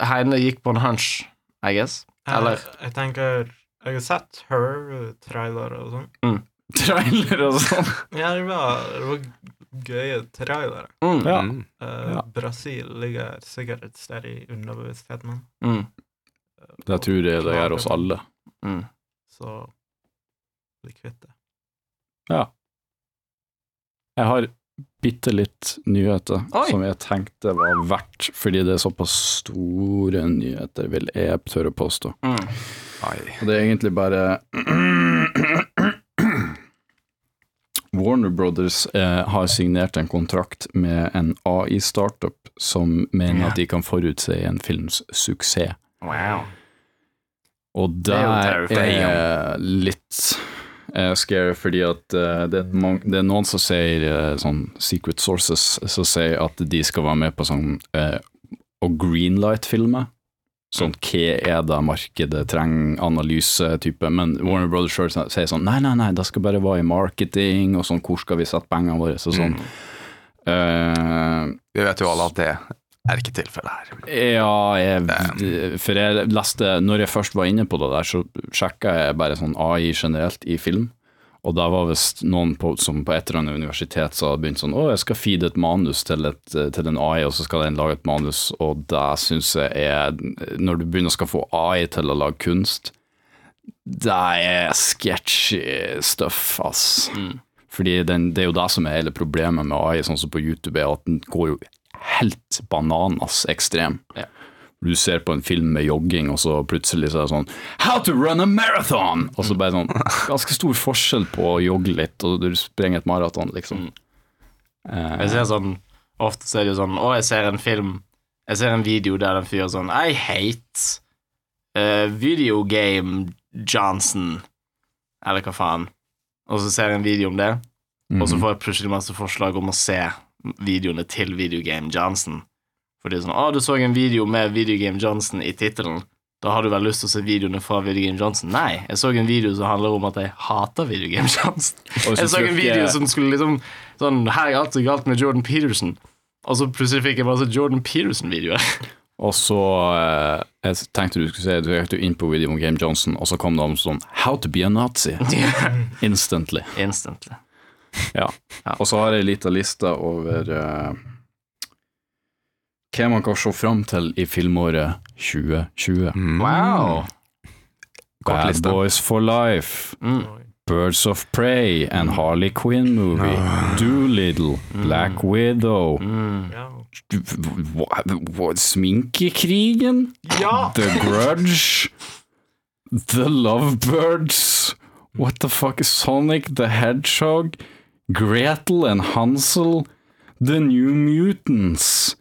Heine gikk på en hunch, I guess. Eller? Eller? eh, Jeg, jeg tenker Jeg har sett her, trailer og sånn. Trailer og sånn. Ja, det var, det var gøye trailere. Mm. Ja. Mm. Eh, Ja. Brasil ligger sikkert et sted i underbevisstheten min. Mm. Det tror jeg det gjør oss alle. Mm. Så bli kvitt det. Jeg har bitte litt nyheter Oi. som jeg tenkte var verdt, fordi det er såpass store nyheter, vil jeg tørre å påstå. Mm. Nei. Og det er egentlig bare (clears throat) Warner Brothers eh, har signert en kontrakt med en AI-startup som mener at de kan forutse en films suksess. Wow. Og Det er jo der terrifying. er litt eh, scary, fordi at eh, det, er mang- det er noen som sier, eh, sånn secret sources, som sier at de skal være med på sånn eh, og greenlight-filmer. Sånn Mm. hva er det markedet trenger, analyse-type. Men Warner Brothers selv sier- sier sånn nei, nei, nei, det skal bare være i marketing, og sånn hvor skal vi sette pengene våre, og sånn. Mm. Eh, Mm. Vi vet jo alle at det er ikke tilfellet her. ja, jeg, for jeg leste Når jeg først var inne på det der, så sjekka jeg bare sånn AI generelt i film. Og da var visst noen på, som på et eller annet universitet så hadde begynt sånn Å, jeg skal feede et manus til, et, til en AI, og så skal den lage et manus. Og det syns jeg er Når du begynner å skal få AI til å lage kunst, det er sketchy stuff, ass. Fordi den, det er jo det som er hele problemet med AI, sånn som på YouTube, er at den går jo helt bananas ekstrem. Ja. Du ser på en film med jogging, og så plutselig så er det sånn How to run a marathon! Og så bare (laughs) sånn Ganske stor forskjell på å jogge litt, og du sprenger et maraton, liksom. Mm. Eh, Jeg ser sånn Ofte så er det jo sånn Å, jeg ser en film Jeg ser en video der en fyr er sånn I hate eh, video game Johnson Eller hva faen Og så ser jeg en video om det mm. Og Mhm. så får jeg plutselig masse forslag om å se Videoene til Video Game Johnson For det er sånn Å, du så en video med Video Game Johnson i titelen da har du vel lyst til å se videoene fra Video Game Johnson? Nei, jeg så en video som handler om at jeg hater Video Game Johnson. Og Jeg så en tror video jeg- som skulle liksom Sånn, her er alt så galt med Jordan Peterson Og så plutselig fikk jeg masse Jordan (laughs) Peterson-videoer Og så eh, Jeg tenkte du skulle si Du gikk jo inn på William Game Johnson, og så kom det om sånn How to be a Nazi. Instantly. Instantly Ja. Ja. Og så har jeg ei lita liste over eh, hva man kan se fram til i filmåret 2020. Mm. Wow Kort Bad liste. Boys for Life, mm. Birds of Prey, en Harley Quinn-movie, Doolittle, Black Widow, Mm. Ja. hva- hva- Sminkekrigen, Ja! The Grudge, The Lovebirds, What the fuck is Sonic the Hedgehog, Gretel and Hansel, The New Mutants,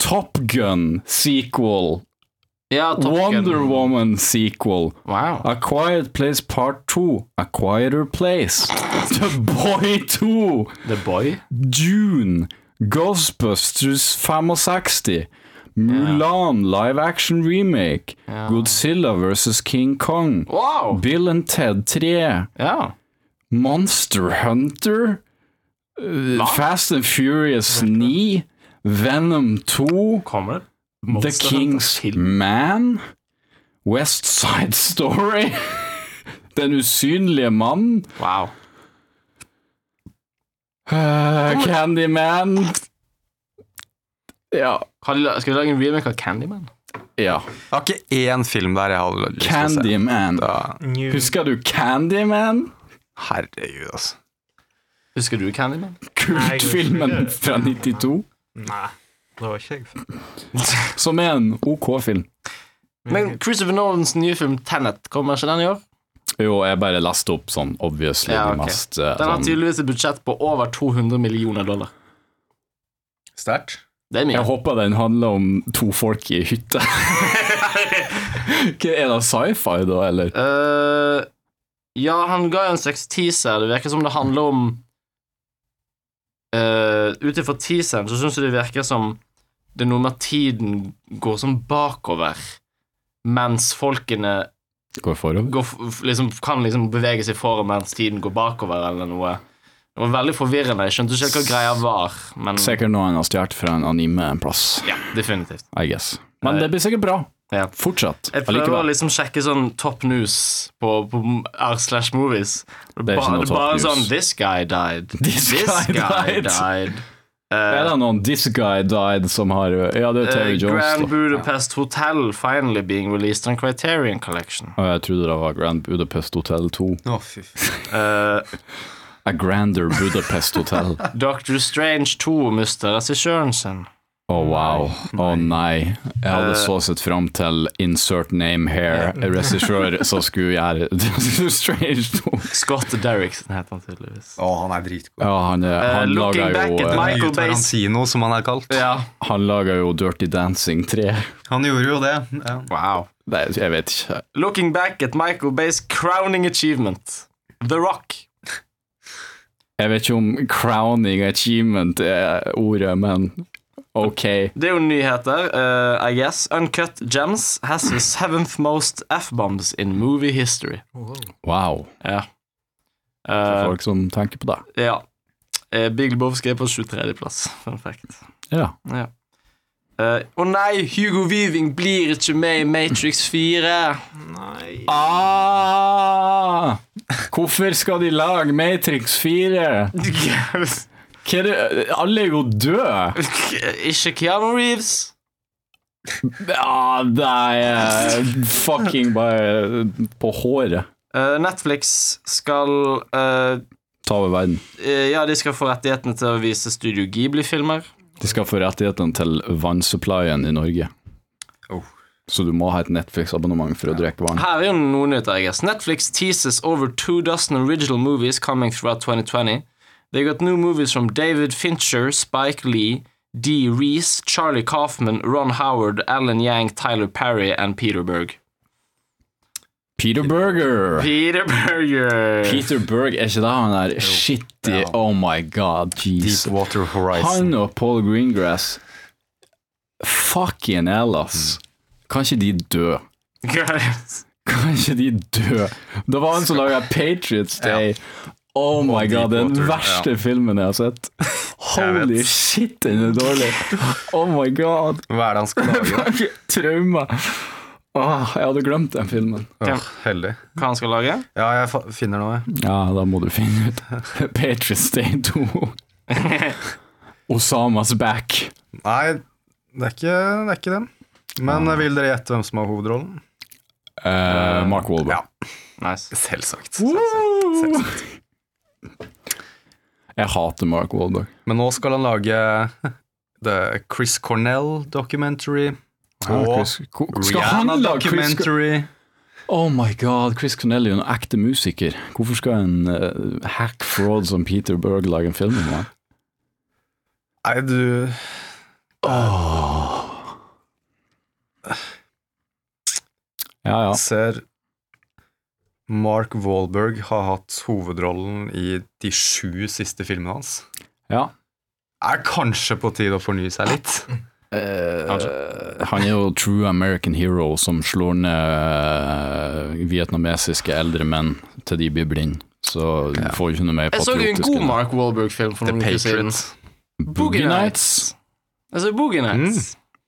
Top Gun sequel, Ja, Top Gun. Wonder Woman sequel, Wow A Quiet Place Part 2, A Quieter Place, The Boy 2, The Boy Dune, Ghostbusters 65, Mulan live action remake, Godzilla vs. King Kong, Wow Bill and Ted 3, Ja Monster Hunter, uh, Fast and Furious 9, Venom 2, Kommer det? The Monster Hunter King's Man, West Side Story, (laughs) Den usynlige mannen, Wow uh, Candyman Ja. Har de la- Skal vi lage en remake av Candyman? ja. Jeg har ikke én film der jeg hadde lyst til å se. Candyman. Da- New Husker du Candyman? Herregud, altså. Husker du Candyman? Kultfilmen fra 92, Nei, det var ikke jeg før. som er en ok film. Men Mm. Christopher Nolans nye film Tenet Kommer ikke den i år? Jo, jeg bare leste opp sånn obviously Ja, de ok. mest eh, Den har sånn- tydeligvis et budsjett på over 200 millioner dollar Sterkt. Det er mye Jeg håper den handler om to folk (laughs) i hytte. Hva Er det sci-fi, da, eller? Eh, ja, han ga jo en slags teaser. Det virker som det handler om uh, Ut ifra teaseren så syns jeg det virker som det er noe med at tiden går sånn bakover, mens folkene Går forover? går, f- f- liksom, kan liksom bevege seg foran mens tiden går bakover, eller noe. Det var veldig forvirrende. Jeg skjønte ikke helt hva greia var, men Sikkert noe han har stjålet fra en anime en plass, ja, definitivt. I guess. Men det blir sikkert bra. Ja. Fortsatt. Jeg prøver å Allikevel. liksom sjekke sånn top news på, på r slash movies. Det Det er er ikke noe bare top news. (laughs) sånn This guy died. This guy died. died. Er det noen This Guy Died som har Ja, det er Terry Eh, Grand Jones. da. Budapest Hotel finally being released on Criterion Collection. Å, jeg trodde det var Grand Budapest Hotel 2. Å, fy faen. Eh, A Grander Budapest (laughs) Hotel. Doctor Strange 2 mister regissøren sin. Å, Oh, wow. Å nei. Jeg hadde Eh, så sett fram til Insert Name Here, (laughs) regissør som skulle (laughs) gjøre Doctor Strange 2. Scott Derrickson heter han tydeligvis. Å, han er dritgod. Ja, han, er- Eh, han looking laga back jo, at eh, Michael Michael Bay- Tarantino, som han er kalt. Ja. han laga jo Dirty Dancing 3. Han gjorde jo det. Ja. Wow. Nei, jeg vet ikke. Looking back at Michael Bay's crowning achievement, The Rock. Jeg vet ikke om crowning achievement er ordet, men ok. Det er jo nyheter, eh, I guess. Uncut Gems has the seventh most F-bombs in movie history. Wow. Wow. Ja. For Eh, folk som tenker på det. ja. Eh, Big Lebowski er på 23. plass, fun fact. Ja. Ja. Eh, Å nei, Hugo Weaving blir ikke med i Matrix 4. Nei Ah! Hvorfor skal de lage Matrix 4? Hva er det? Alle er jo døde! (laughs) ikke Keanu Reeves. Ja, det er eh, fucking bare på håret. Eh, Netflix skal eh, Ta over verden. eh, Ja, de skal få rettighetene til å vise Studio Ghibli-filmer. De skal få rettighetene til vannsupplyen i Norge. Oh. Så du må ha et Netflix-abonnement for å drikke vann. Her er jo noe nytt, I guess. Netflix teases over two dozen original movies coming throughout 2020. They got new movies from David Fincher, Spike Lee, Dee Reese, Charlie Kaufman, Ron Howard, Alan Yang, Tyler Perry and Peter Berg. Peter Berger! Peter Berger! (laughs) Peter Berg, er ikke det han der shitty Ja. Oh my god, jeez. Deepwater Horizon. Han og Paul Greengrass Fucking hell, Mm. ass. Kan ikke de dø? Kan ikke de dø? Det var han som laga Patriots Day. Oh my god, det er den Deepwater, verste filmen jeg har sett. Holy vet. shit, den er dårlig. Oh my god. Hva er det han skal (laughs) lage? Traume. Åh, Ah, jeg hadde glemt den filmen. Åh, heldig. Hva han skal lage? Ja, jeg fa- finner noe. jeg. Ja, da må du finne ut. Patriots Day 2. Osamas back. Nei, det er ikke, det er ikke den. Men eh, vil dere gjette hvem som har hovedrollen? Eh, Mark Wahlberg. Nice. Selvsagt. Jeg hater Mark Wahlberg. Men nå skal han lage (laughs) The Chris Cornell documentary. Og skal han Rihanna lage Chris documentary. Oh my god, Chris Cornell er jo en ekte musiker. Hvorfor skal en eh, hack fraud som Peter Berg lage en film om han? Nei, du Ja, ja. ser Mark Wahlberg har hatt hovedrollen i de sju siste filmene hans. ja. Er kanskje på tide å fornye seg litt. Eh, han er jo true American hero som slår ned eh, vietnamesiske eldre menn til de blir blinde. Så du får jo ikke noe mer Jeg så en patriotisk god enn det. Mark Wahlberg-film for The noen uker siden. Patriots. Boogie Nights. Jeg så Boogie Nights. Mm.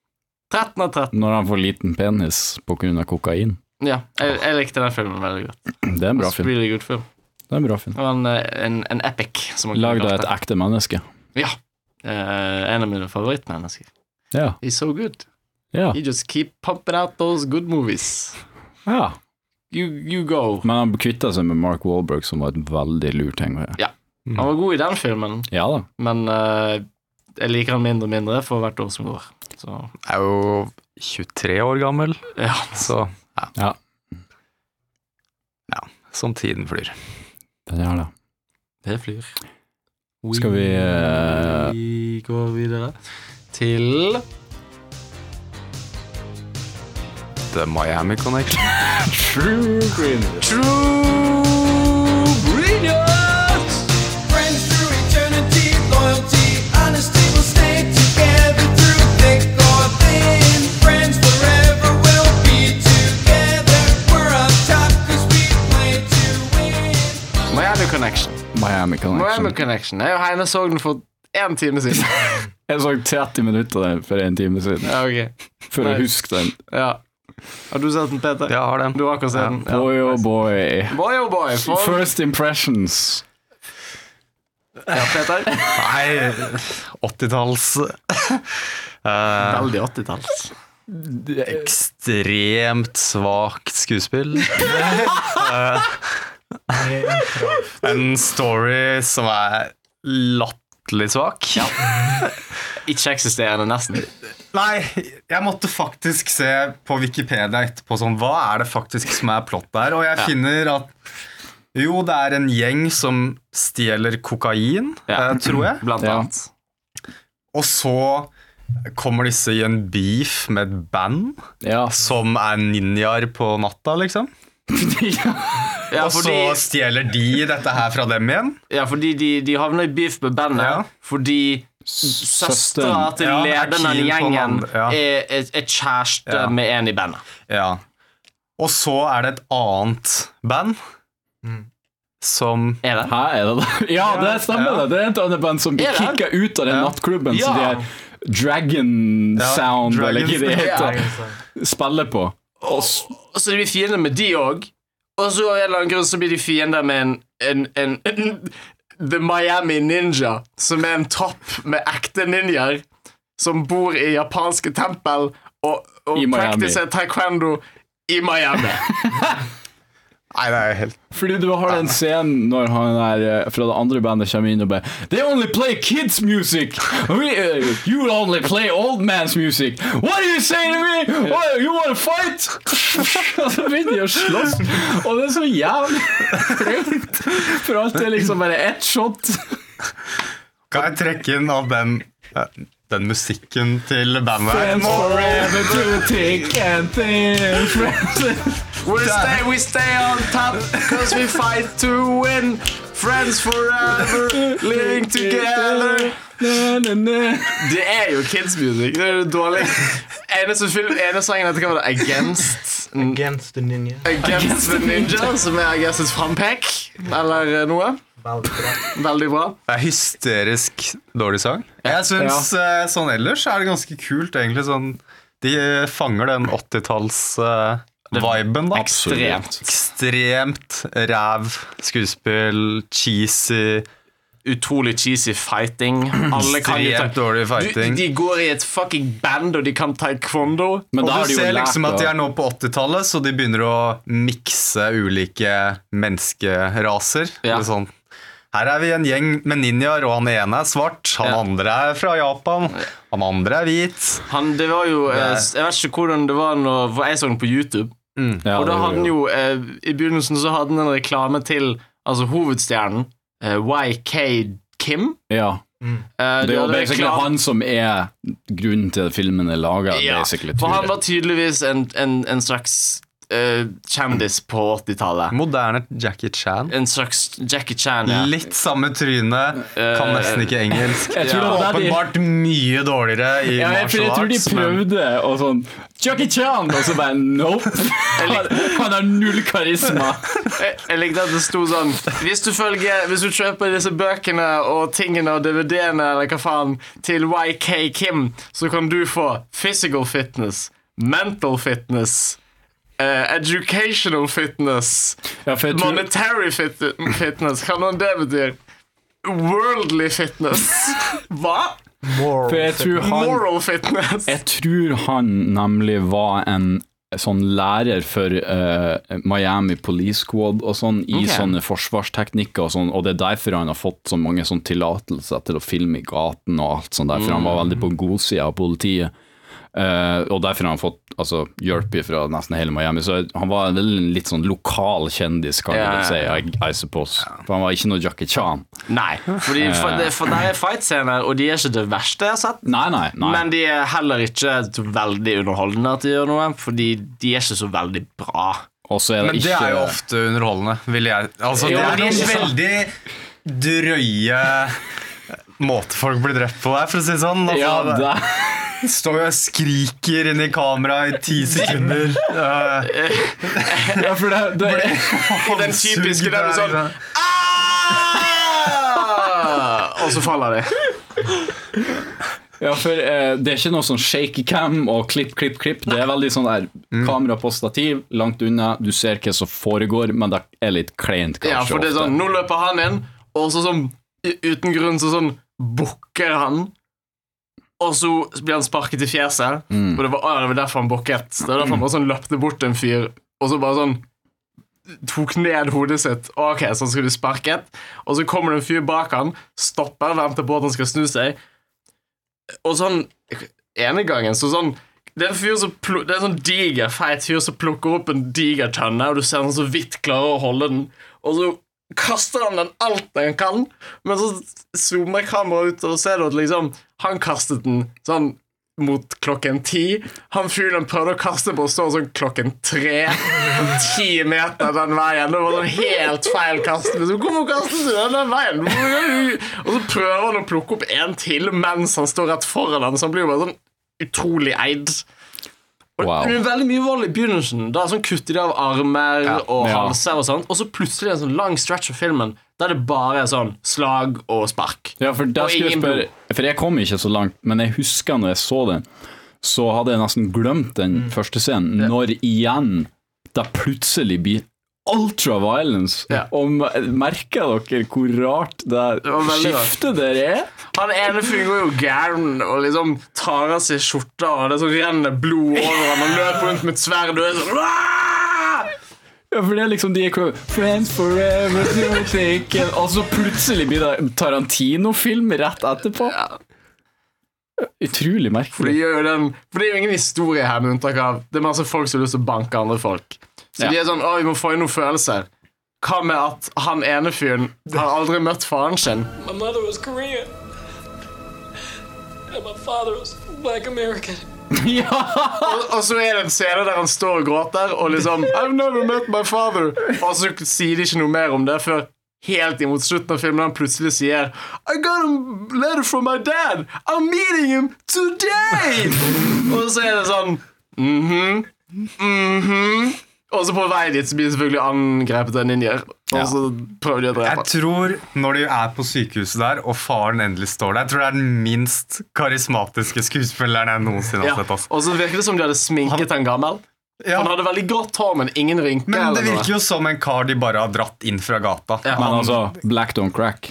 13 av 13. Når han får liten penis pga. kokain. Ja, jeg, jeg likte den filmen veldig godt. Det er en bra film. Really good film. Det er en bra film. Det var en, eh, en, en epic. som man kunne Lag deg kalt et det. ekte menneske. Ja. Eh, en av mine favorittmennesker. Ja. He's so good. ja. He just keep pumping out those good movies. ja. You, you go. Men han kvitta seg med Mark Wahlberg, som var et veldig lur ting å gjøre. Han var god i den filmen, Ja da. men eh, jeg liker han mindre og mindre for hvert år som går. Så Er jo 23 år gammel, ja. så ja. Ja. Ja, Som tiden flyr. Den gjør det. Det flyr. Skal vi, eh, Vi går videre til The Miami Connection. True Green. True Brilliance! Friends through eternity, loyalty, honesty will stay together through thick or thin. Friends forever will be together. We're on top 'cause we play to win. Miami Connection. Miami Connection. Miami Connection. Jeg og Heine så den for én time siden. (laughs) Jeg så 30 minutter av den for en time siden, ja, ok. for å Nei. huske den. Ja. Har du sett den, Peter? Jeg har den. Du har akkurat sett den. Boy oh boy. Boy oh boy. For First impressions. Ja, Peter? Nei, 80-talls (laughs) eh, Veldig 80-talls. Ekstremt svakt skuespill. Eh, Med intro. En story som er latterlig svak. Ikke eksisterende, nesten. Nei, jeg måtte faktisk se på Wikipedia etterpå sånn, hva er det faktisk som er plott der? Og jeg finner at jo, det er en gjeng som stjeler kokain, Ja. eh, tror jeg. Blant Ja. annet. Og så kommer disse i en beef med et band Ja, som er ninjaer på natta, liksom. Ja, Og så fordi, stjeler de dette her fra dem igjen. ja, fordi de, de havner i beef med bandet Ja. fordi søstera til Ja, er lederen av keen på gjengen den andre, ja. er, er, er kjæreste Ja. med en i bandet. Ja. Og så er det et annet band Mm. som Er det? Hæ, er det det? Ja, det stemmer Ja. det. Det er et annet band som blir Er det? kicka ut av den Ja. nattklubben som Ja. de her Dragon Sound, Dragon eller hva det heter, Egen sang. spiller på. Og, s- og så er vi fiender med de òg. Og så av en eller annen grunn så blir de fiender med en, en, en, The Miami Ninja, som er en topp med ekte ninjaer som bor i japanske tempel og, og I Miami. praktiserer taekwondo i Miami. Nei, det er helt Fordi du har den scenen når han er eh, fra det andre bandet kommer inn og bare They only play kids music! We, eh, you only play old man's music! What do you say to me? What, you wanna fight? (laughs) Og så begynner de å slåss, og det er så jævlig flaut. For alt er liksom bare ett shot. Kan jeg trekke inn av den eh, den musikken til bandet her? And forever to take and (laughs) think. (laughs) We stay, we stay on top Cause we fight to win Friends forever Living together Na, na, na. Det er jo kids music Det er jo dårlig Eneste, film, eneste sangen dette kan være Against Against the Ninja. Against the Ninja Som er I guess et frampek Eller eh, noe Veldig bra. Veldig bra Det er hysterisk dårlig sang. Jeg syns eh, sånn ellers er det ganske kult, egentlig. Sånn, de eh, fanger den 80-talls-viben, da. Ekstremt Ekstremt ræv skuespill, cheesy Utrolig cheesy fighting Alle kan jo ta Ekstremt dårlig fighting. du, De går i et fucking band Og de kan taekwondo Men Og da har du de jo ser lært liksom at de å- er nå på 80-tallet, så de begynner å mikse ulike menneskeraser. Ja. Eller Sånn. Her er vi en gjeng med ninjaer, og han ene er svart, han Ja. andre er fra Japan, han andre er hvit. Han, det var jo eh, Det er- s- Jeg vet ikke hvordan det var når for jeg så den på YouTube. Ja, og da hadde det var han jo jo- eh, I begynnelsen så hadde han en reklame til Altså hovedstjernen, eh, YK Kim. Ja. Eh, Det de er jo hadde basically reklam- han som er grunnen til at filmen er laga, ja, basically. For tror han jeg. var tydeligvis en, en, en slags eh, kjendis på 80-tallet. Moderne Jackie Chan. En slags Jackie Chan. Ja. Litt samme tryne, kan nesten ikke engelsk. Eh, (laughs) Jeg tror det var der de- Åpenbart mye dårligere i ja, jeg, for martial jeg tror de arts. men- prøvde og sånn Chucky Chan! Og så bare (laughs) nope! Han, han har null karisma. Jeg, jeg likte at det sto sånn Hvis du, følger, hvis du kjøper disse bøkene og tingene og DVD-ene eller hva faen til YK Kim, så kan du få physical fitness, mental fitness, eh, educational fitness, Ja, for jeg tror, monetary fit fitness Hva nå det betyr? Worldly fitness. Hva? Moral. for jeg tror han Moral fitness. Jeg tror han nemlig var en sånn lærer for eh, Miami Police Squad og sånn, i Ok. sånne forsvarsteknikker og sånn, og det er derfor han har fått så mange sånn tillatelser til å filme i gaten og alt sånt der, for han var veldig på god side av politiet. Eh, og derfor har han fått altså, hjelp fra nesten hele Miami. Så han var vel en litt sånn lokal kjendis, kan Ja, jeg ja, vel si, I, I suppose. For han var ikke noe Jackie Chan. Nei, fordi for, det, for det er fight-scener, og de er ikke det verste jeg har sett. Nei, nei, nei. Men de er heller ikke så veldig underholdende at de gjør noe, fordi de er ikke så veldig bra. Og så er det Men det ikke er jo ofte underholdende, vil jeg Altså, Jo, det men er det er noen ikke veldig drøye måter folk blir drept på der, for å si det sånn. (laughs) Altså, ja, det, Står jo og skriker inn i kameraet i (laughs) ti sekunder. Uh, ja, for det, det, Den typiske der du sånn «Ah!» Og så faller de. Ja, for eh, det er ikke noe sånn shaky cam og klipp, klipp, klipp. Det er veldig sånn der kamera på stativ, langt unna. Du ser hva som foregår, men det er litt kleint, kanskje. Ja, for det er ofte. sånn Nå løper han inn, og så sånn u- uten grunn så sånn bukker han, og så blir han sparket i fjeset. Og det var, å, ja, det var derfor han bukket. Det var derfor han bare sånn løpte bort til en fyr, og så bare sånn tok ned hodet sitt. Ok, sånn skal du sparket. Og så kommer det en fyr bak han, stopper, venter på at han skal snu seg. Og sånn ene gangen, så sånn det er, en fyr som plu- det er en sånn diger, feit fyr som plukker opp en diger tønne, og du ser han så vidt klarer å holde den. Og så kaster han den alt den kan, men så zoomer kameraet ut, og ser du at liksom Han kastet den sånn mot klokken ti. Han fyren prøvde å kaste på stå sånn klokken tre. Ti meter den veien. Det var sånn helt feil kast. Liksom, Hvorfor kastet du den den veien? Hvorfor gjør du-" Og så prøver han å plukke opp en til mens han står rett foran han, så han blir jo bare sånn utrolig eid. Og Wow. Det er veldig mye vold i begynnelsen. Da sånn kutter de av armer og Ja. halser. Og sånt Og så plutselig en sånn lang stretch av filmen der det bare er sånn slag og spark. Ja, for, der Og skulle jeg ingen spørre, for jeg kom ikke så langt, men jeg husker når jeg så den, så hadde jeg nesten glemt den Mm. første scenen. Når igjen det plutselig blir ultraviolence. Ja. Og me- merker dere hvor rart det, var veldig rart. skiftet der er? Han ene fyren går jo gæren og liksom tar av seg skjorta, og det så renner blod over ham. Han løper rundt med et sverd og er sånn "Aah!" Ja, for det er liksom de er klo- Friends forever, do you think and-" Og så plutselig blir det Tarantino-film rett etterpå. For Utrolig det merkelig. gjør jo den For det er jo ingen historie her, med unntak av det er masse folk som har lyst til å banke andre folk. Så Ja. de er sånn Å, vi må få inn noen følelser. Hva med at han ene fyren har aldri møtt faren sin? My mother was Korean. And my father was black American. Og så er det en scene der han står og gråter og liksom I've never met my father Og så sier de ikke noe mer om det før helt imot slutten av filmen han plutselig sier I got a letter from my dad I'm meeting him today Og så er det sånn Mhm Mhm Og så på vei dit så blir det selvfølgelig angrepet av ninjer Og så prøver de å drepe Jeg han. tror når de er på sykehuset der, og faren endelig står der Jeg tror det er den minst karismatiske skuespilleren jeg noensinne ja. har sett. altså. ass. Og så virker det som de hadde sminket han gammel Ja. Han hadde veldig grått hår, men ingen rynker Men det eller noe. virker jo som en kar de bare har dratt inn fra gata. Ja. Men altså, Black Don't Crack.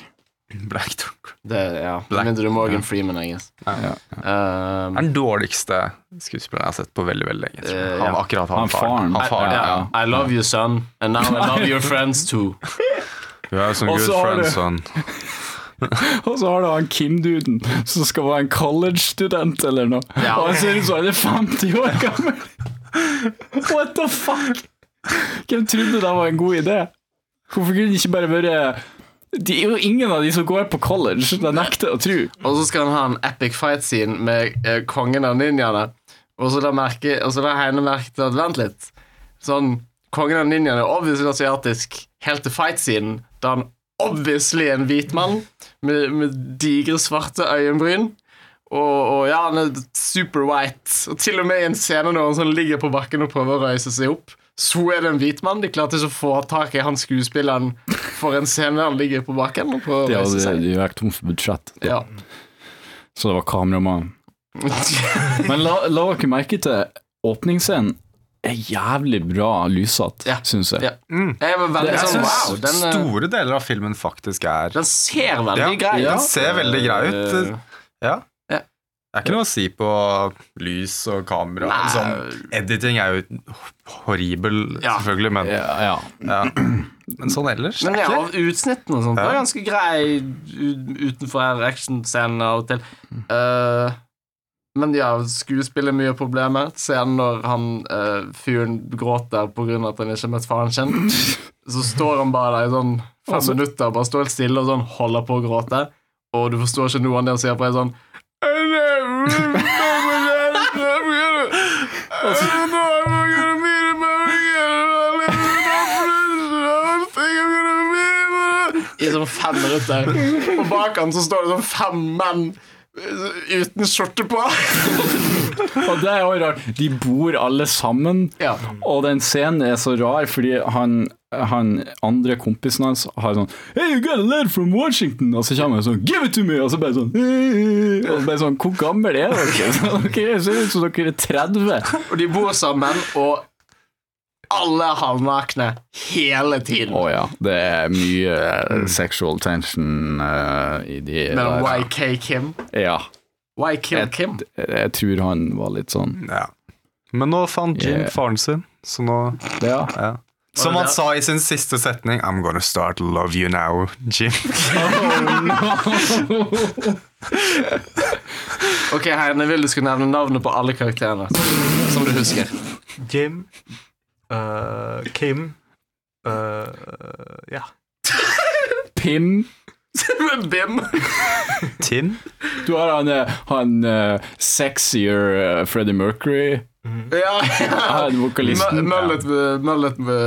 Black Dog. Det, ja, med Black- mindre du er Morgan Freeman, I guess. Ja. Um, er den dårligste skuespilleren jeg har sett på veldig veldig lenge. tror jeg. Eh, ja. Han, akkurat han, Han faren. Han faren ja. ja. I love you, son, and now I love your friends too. You are some Og good så har friends, sånn. du- son. Og så har du han Kim-duden, som skal være en college-student eller noe. Ja. Og han ser ut som han er 50 år gammel! What the fuck? Hvem trodde det var en god idé? Hvorfor kunne det ikke bare vært Det er jo ingen av de som går på college, det nekter jeg å tro. Og så skal han ha en epic fight scene med eh, kongen av ninjaene. Og så la, merke, og så la Heine merke til at vent litt. Sånn, Kongen av ninjaene er obviously asiatisk helt til fight scenen, da han obviously er en hvit mann med, med digre, svarte øyenbryn. Og, og ja, han er super white. Og til og med i en scene når han sånn ligger på bakken og prøver å røyse seg opp, så er det en hvit mann. De klarte ikke å få tak i han skuespilleren for en scene der han ligger på bakken og prøver Det å røyse hadde seg. jo vært tomt for budsjett, Ja. så det var kameramann. (laughs) Men la, la dere merke til åpningsscenen. Er jævlig bra lyssatt, Ja. syns jeg. Ja. Jeg var veldig Det- jeg sånn, synes wow, den, eh, Store deler av filmen faktisk er den ser veldig Ja, grei ut. Den ser veldig grei ut. Eh, Ja. Ja. Det er ikke noe å si på lys og kamera. Nei. Sånn, editing er jo horribel, Ja. selvfølgelig, men, Ja, ja. ja. men sånn ellers Men ja, ikke. av utsnittene og sånt Det Ja. var ganske grei u- utenfor her actionscenen av og til. Eh, men ja, skuespillet er mye problemer. Scenen når han eh, fyren gråter på grunn av at han ikke har møtt faren (laughs) sin, så står han bare der i sånn fem Altså- minutter, bare står helt stille og sånn holder på å gråte, og du forstår ikke noe av det han sier på, er sånn "I never forgot it." I sånn fem minutter. Og bak han så står det sånn fem menn eh, uten skjorte på. Og det er jo rart. De bor alle sammen, Ja. og den scenen er så rar fordi han, han andre kompisen hans har sånn Hey, you got a letter from Washington! Og så kommer han sånn Give it to me! Og så bare sånn (laughs) «Eh, eh, eh», Og så bare sånn Hvor gammel sånn, er dere? Så dere ser ut som dere er 30. Og de bor sammen, og alle halvnakne hele tiden. Å ja. Det er mye eh, sexual tension eh, i de Mellom der. YK Kim Ja. YK Kim. Jeg tror han var litt sånn Ja. Men nå fant Jim Yeah. faren sin, så nå Ja. ja. Som det han det? sa i sin siste setning I'm gonna start love you now, Jim. (laughs) Ok, Heine, vil du skulle nevne navnet på alle karakterene som du (laughs) husker? Jim, eh, Kim eh, Ja. Pim. Bim. Tim? Du har han, eh, han eh, sexier eh, Freddie Mercury. Ja, ja. Han vokalisten. Mu- Mullet, eh, mullet med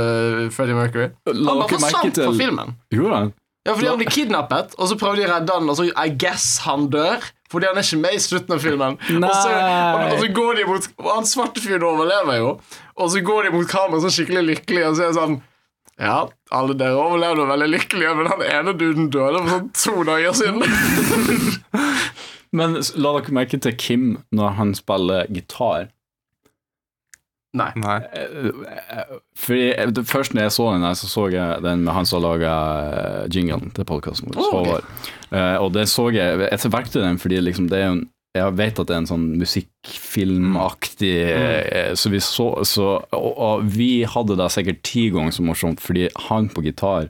Freddie Mercury. La Han bare dere merke forsvant fra til- filmen. Gjorde han? Ja, fordi han ble kidnappet, og så prøvde de å redde han, og så I guess han dør. Fordi han er ikke med i slutten av filmen. Og så, og, Nei. og så går de mot og Han svarte fyren overlever jo. Og så går de mot kameraet sånn skikkelig lykkelig, og så er det sånn Ja, alle dere overlevde veldig lykkelige, men han ene duden døde for sånn to dager siden. Men s- la dere merke til Kim når han spiller gitar. Nei. Nei. Fordi eh, det- Først når jeg så den, her, så så jeg den med han som laga jinglen til podkasten vår. Å, ok. Håvard. Eh, Og det så jeg Jeg valgte den fordi liksom det er jo en jeg vet at det er en sånn musikkfilmaktig Mm. eh, Så vi så, så og, og vi hadde det sikkert ti ganger så morsomt, fordi han på gitar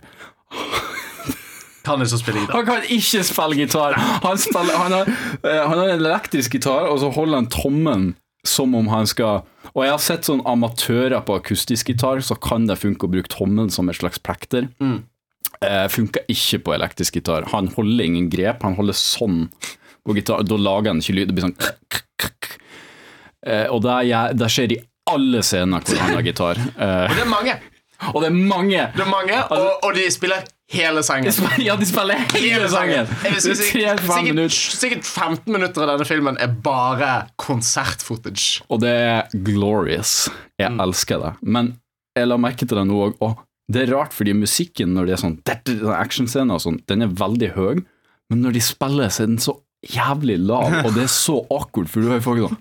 Kan ikke spille gitar. Han kan ikke spille gitar! Han, spiller, han, har, eh, han har en elektrisk gitar, og så holder han tommen som om han skal Og jeg har sett sånn amatører på akustisk gitar, så kan det funke å bruke tommen som et slags plekter. Mm. Eh, funka ikke på elektrisk gitar. Han holder ingen grep, han holder sånn på gitar. Da lager han ikke lyd, det blir sånn kk, kk, kk. Eh, Og det, er, det skjer i alle scener hvor han har gitar. (laughs) Eh, Det er mange. og det er mange! Det er mange, Altså- og, og de spiller hele sangen. De spiller- Ja, de spiller hele sangen! Jeg vil si- Tre, fem Sikkert, minutter. sikkert 15 minutter av denne filmen er bare konsertfootage. Og det er glorious. Jeg elsker det. Men jeg la merke til det nå òg. Og det er rart, fordi musikken når det er sånn det- det- sånn actionscener og sånn, den er veldig høy. Men når de spiller, så er den så jævlig lav, og det er så awkward, for du hører folk sånn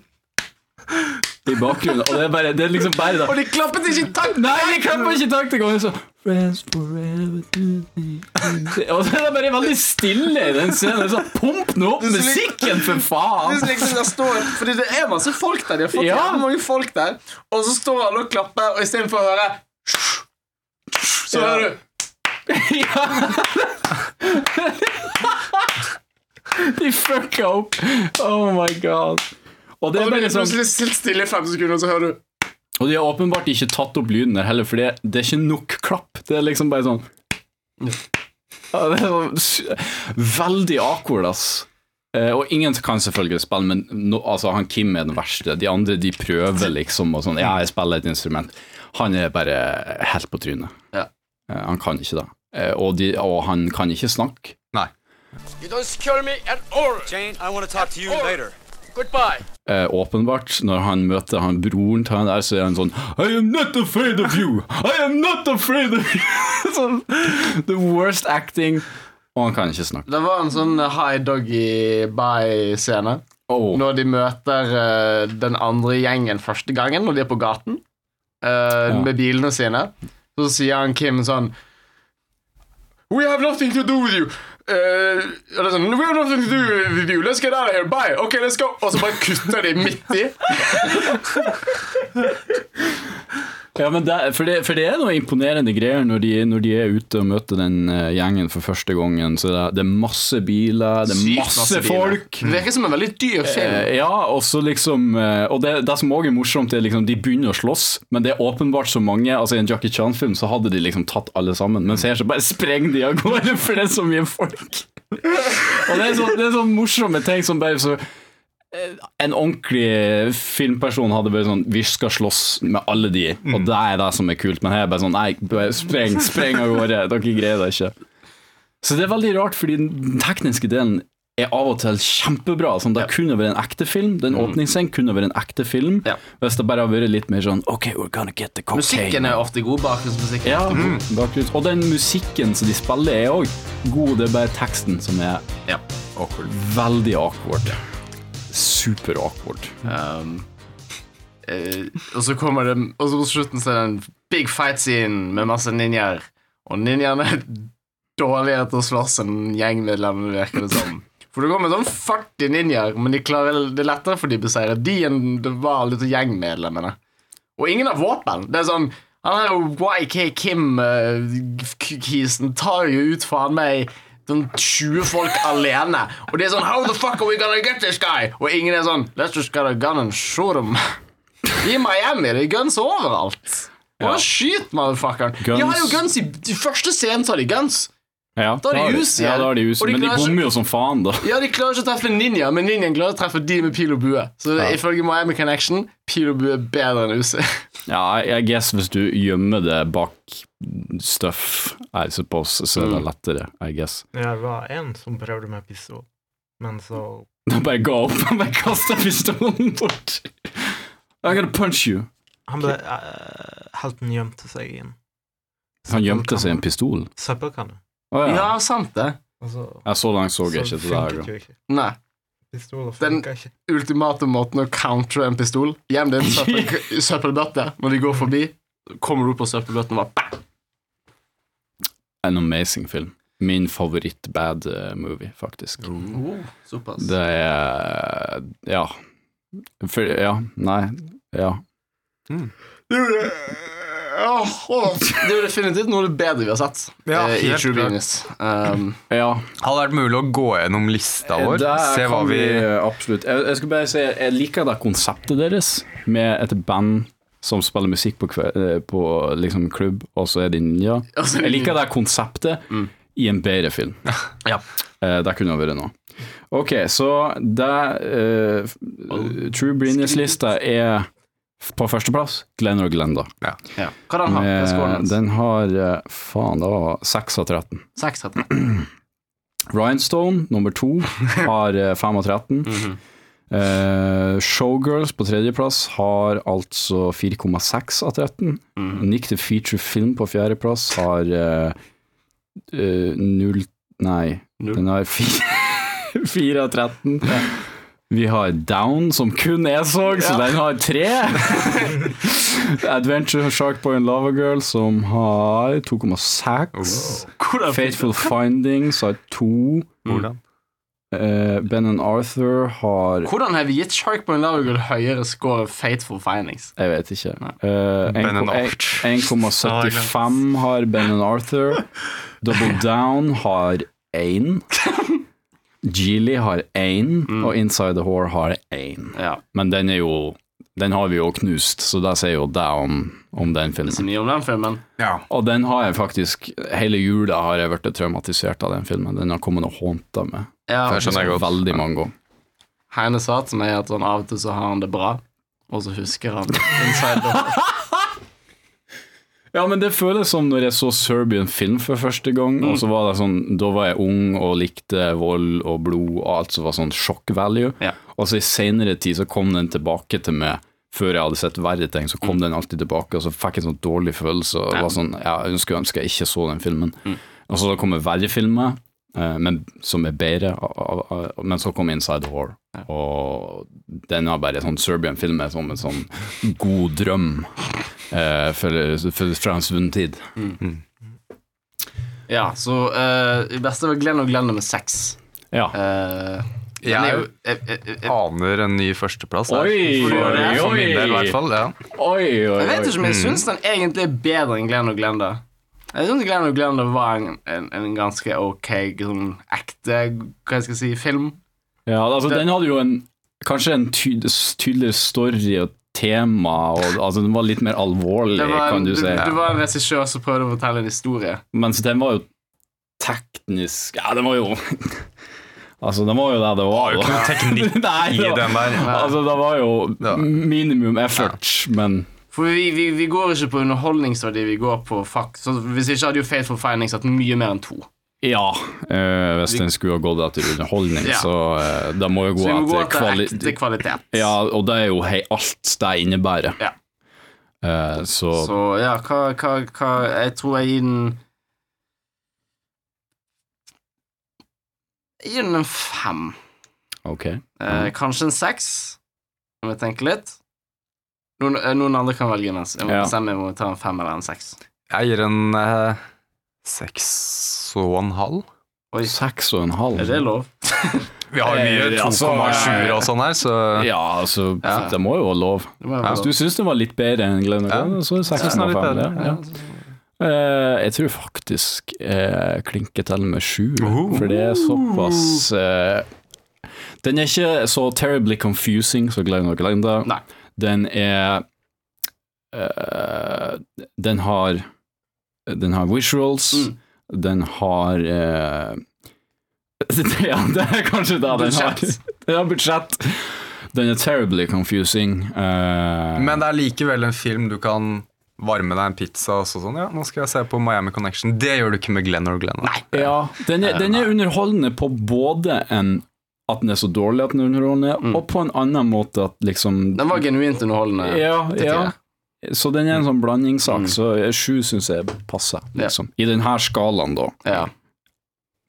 i bakgrunnen. Og det er, bare, det er liksom bare Og det. de klappet ikke i takt! Nei, jeg klapper ikke takt engang! Så Friends forever to the end. Og så er det bare veldig stille i den scenen. Så pump nå opp musikken, for Det er faen! Liksom, der står, fordi det er masse folk der. De har fått Ja. jævlig mange folk der. Og så står alle og klapper, og istedenfor å høre Så hører du Ja. (laughs) De fucka opp. Oh my god. Og det Og det er bare blir sånn plutselig stilt stille i fem sekunder, og så hører du Og de har åpenbart ikke tatt opp lyden der heller, for det, det er ikke nok klapp. Det er liksom bare sånn ja, det er sånn s- Veldig awkward, ass. Eh, og ingen kan selvfølgelig spille, men nå- altså, han Kim er den verste. De andre de prøver liksom og sånn Ja, jeg spiller et instrument. Han er bare helt på trynet. Ja. Eh, han kan ikke det. Eh, og, de, og han kan ikke snakke. Nei. eh, åpenbart, når han møter han broren til han der, så er han sånn I am not afraid of you! I am not afraid of you! (laughs) sånn, the worst acting. Og han kan ikke snakke. Det var en sånn high doggy bye-scene. Oh. Når de møter eh, den andre gjengen første gangen, når de er på gaten eh, med bilene sine, så sier han Kim sånn We have nothing to do with you. Eh, og det er sånn, We have nothing to do with you. Let's get out of here. Bye. Ok, let's go. Og så bare kutter de midt i. Ja, men det, for, det, for det er noe imponerende greier når de, når de er ute og møter den eh, gjengen for første gangen. Så det, er- det er masse biler, det er Sykt masse, biler. folk. Det virker som en veldig dyr film. Eh, ja, og så liksom eh, Og det, det som òg er morsomt, er liksom de begynner å slåss, men det er åpenbart så mange. Altså I en Jackie Chan-film så hadde de liksom tatt alle sammen, mens her så bare sprenger de av gårde, (laughs) for det er så mye folk. (laughs) og det er så- det er sånn morsomme ting som bare så eh, en ordentlig filmperson hadde vært sånn Vi skal slåss med alle de, Mm. og det er det som er kult. Men her er det bare sånn Nei, bare (laughs) spreng, spreng av gårde. Dere greier det ikke. Så det er veldig rart, fordi den tekniske delen er av og til kjempebra. Sånn, det kunne vært en ekte film. Den åpningsscenen kunne vært en ekte film. Mm. Ja. Hvis det bare hadde vært litt mer sånn OK, we're gonna get the cocaine. Musikken er Mm. ofte god. Bakgrunnsmusikken. ja, bakgrunns- Og den musikken som de spiller, er òg god. Det er bare teksten som er Ja. veldig awkward. Super awkward. Um, eh, og så kommer det Og så på slutten så er det en big fight scene med masse ninjaer, og ninjaene er dårligere til å slåss enn gjengmedlemmene, virker det som. For det går med sånn 40 ninjaer, men de klarer, det er lettere for de å beseire de enn det var alle til gjengmedlemmene. Og ingen har våpen. Det er sånn Han her YK Kim-kisen eh, tar jo ut faen meg sånn 20 folk alene. Og de er sånn How the fuck are we gonna get this guy? Og ingen er sånn Let's just get a gun and shoot him. I Miami det er guns overalt. Bare skyt motherfuckeren. De har jo Guns. guns i, i første scenen så har de guns. Ja, Da er det hus Ja, igjen. da er det hus, Og de men de klarer ikke- bommer jo som faen, da. Ja, De klarer ikke å treffe ninja, men ninjaen klarer å treffe de med pil og bue. Så ifølge Miami Connection pil og bue er bedre enn UC. (laughs) Ja, I I guess hvis du gjemmer det bak stuff, I suppose, så er det lettere, I guess. Ja, det var en som prøvde med pistol, men så Da bare ga opp (laughs) og bare kasta pistolen bort. I'm gonna punch you. Han ble eh, Helten gjemte seg i en Han gjemte seg i en pistol. søppelkanne. Å ja. Ja, sant det. Og så Jeg så langt så jeg ikke det der. funket jo ikke. Nei. Pistoler Den- funka ikke. ultimate måten å countre en pistol Gjem din (laughs) søppel, søppelbøtte Når de går forbi Kommer du på søppelbøtten og bare bang! En amazing film. Min favoritt-bad eh, movie, faktisk. Oh, Såpass Det er Ja. For, ja, nei, ja. Det er jo det Åh, åh. Det er jo definitivt noe av det bedre vi har sett Ja, eh, I helt True klart. Genius (laughs) um, Ja, Hadde vært mulig å gå gjennom lista vår. Eh, Der Se hva kan eh, vi Absolutt. Jeg, jeg skal bare si jeg liker det konseptet deres med et band som spiller musikk på, kve- eh, på liksom klubb, og så er de ninja. Og så er de Jeg liker det konseptet Mm. i en bedre (laughs) film. Ja. Eh, det kunne ha vært noe. Ok, så det eh, f- True Brinius-lista er f- på førsteplass Glenn og Glenda. ja. Hva den har? Hva er Eh, skålen hans? den har eh, Faen, det var 6 av 13. Seks heter den. Rhinestone nummer to har eh, 5 av 13. Eh, Showgirls på tredjeplass har altså 4,6 av 13. Nick the Feature Film på fjerdeplass har eh, eh, null Nei, Null. den har fi- (laughs) 4 av 13. Vi har Down, som kun jeg så, så den har 3. Adventure Shark Boy and Lava Girl, som har 2,6. Hvordan Fateful Findings har to. Hvordan? Eh, ben and Arthur har Hvordan har vi gitt Sharkboy and Lavagull høyere score enn Fateful Findings? Jeg vet ikke. Eh, Ben and 1,- Arthur. (laughs) 1,75 har Ben and Arthur. Double (laughs) Down har én. Geely har én, Mm. og Inside the Whore har én. Ja, Men den er jo Den har vi jo knust, så det sier jo down om den så filmen. mye om den filmen Ja. Og den har jeg faktisk Hele jula har jeg vært traumatisert av den filmen. Den har kommet og hånta meg ja, Det skjønner jeg godt. veldig mange ganger. Heine sa til meg at sånn, av og til så har han det bra Og så husker han Inside the (laughs) Ja, men det føles som når jeg så Serbian film for første gang, og så var det sånn, da var jeg ung og likte vold og blod og alt som var sånn shock value, Ja. og så i senere tid så kom den tilbake til meg, før jeg hadde sett verre ting, så kom den alltid tilbake, og så fikk jeg en sånn dårlig følelse, og var sånn, ja, jeg skulle ønske jeg ikke så den filmen. Og så da kommer verre filmer, eh, men, som er bedre, av- av- av- men så kom Inside the War, og den har bare sånn Serbian film er som en sånn god drøm, eh, for, for, fra en svunnen tid. Ja, så eh, det beste var Glenn og Glenn med seks. Ja. Eh, den Jeg er jo eh, eh, eh, jeg, aner en ny førsteplass. her. Oi, For- oi, For min del, i oi. hvert fall. Ja. Oi, oi, mm. vet oi. ikke om jeg syns den egentlig er bedre enn Glenn og Glenda. Jeg syns Glenn og Glenda var en, en, en ganske ok, sånn ekte hva jeg skal si, film. Ja, altså, Det- den hadde jo en, kanskje en ty tydeligere story og tema, og, altså, den var litt mer alvorlig, Det var en, kan du si. det, det var en regissør som prøvde å fortelle en historie. Mens den var jo teknisk Ja, den var jo (laughs) Altså, den var jo der det var. Det var jo da. ikke noe teknikk Nei, I (laughs) det var- den der. Altså, det var jo Ja. minimum effort, men For vi, vi, vi går ikke på underholdningsverdi, vi går på fuck. Så hvis ikke hadde jo Fateful Findings hatt mye mer enn to. ja. eh, hvis den skulle ha gått etter underholdning, Ja. så uh, det må jo gå Så vi må gå etter etter kvali ekte kvalitet. Ja, og det er jo hei, alt det innebærer. Ja. Eh, så, Så ja, hva, hva, hva Jeg tror jeg gir den Jeg gir den en fem. ok. Mm. Eh, Kanskje en seks, om jeg tenker litt. Noen, eh, noen andre kan velge mens. Jeg må Ja. bestemme om jeg tar en fem eller en seks. Jeg gir en eh, seks og en halv. Oi, Seks og en halv? er det lov? Vi har mye Eh, altså, 2,7 eh, og sånn her, så Ja, altså, Ja. det må jo være lov. Det må jeg Hvis du syns det var litt bedre enn Glenn O'Glenn, så er det Jeg synes den er 6,5. litt Ja, bedre, ja. Eh, jeg tror faktisk jeg klinker til med sju, Oho. for det er såpass eh, Den er ikke så terribly confusing som Glenn og Glenda. Nei. Den er eh, Den har Den har visuals, Mm. den har eh, (laughs) ja, det er kanskje det den har. (laughs) Budsjett. Den har budsjett. Den er terribly confusing. eh, Men det er likevel en film du kan varme deg en pizza og så sånn. Ja, nå skal jeg se på Miami Connection. Det gjør du ikke med Glenn og Glenn. Ja, den er, den er underholdende på både en at den er så dårlig at den er underholdende, og på en annen måte at liksom Mm. Den var genuint underholdende. Ja, det ja. tror Så den er en sånn Mm. blandingssak, så sju syns jeg passer, Ja. liksom. I denne skalaen, da. Ja.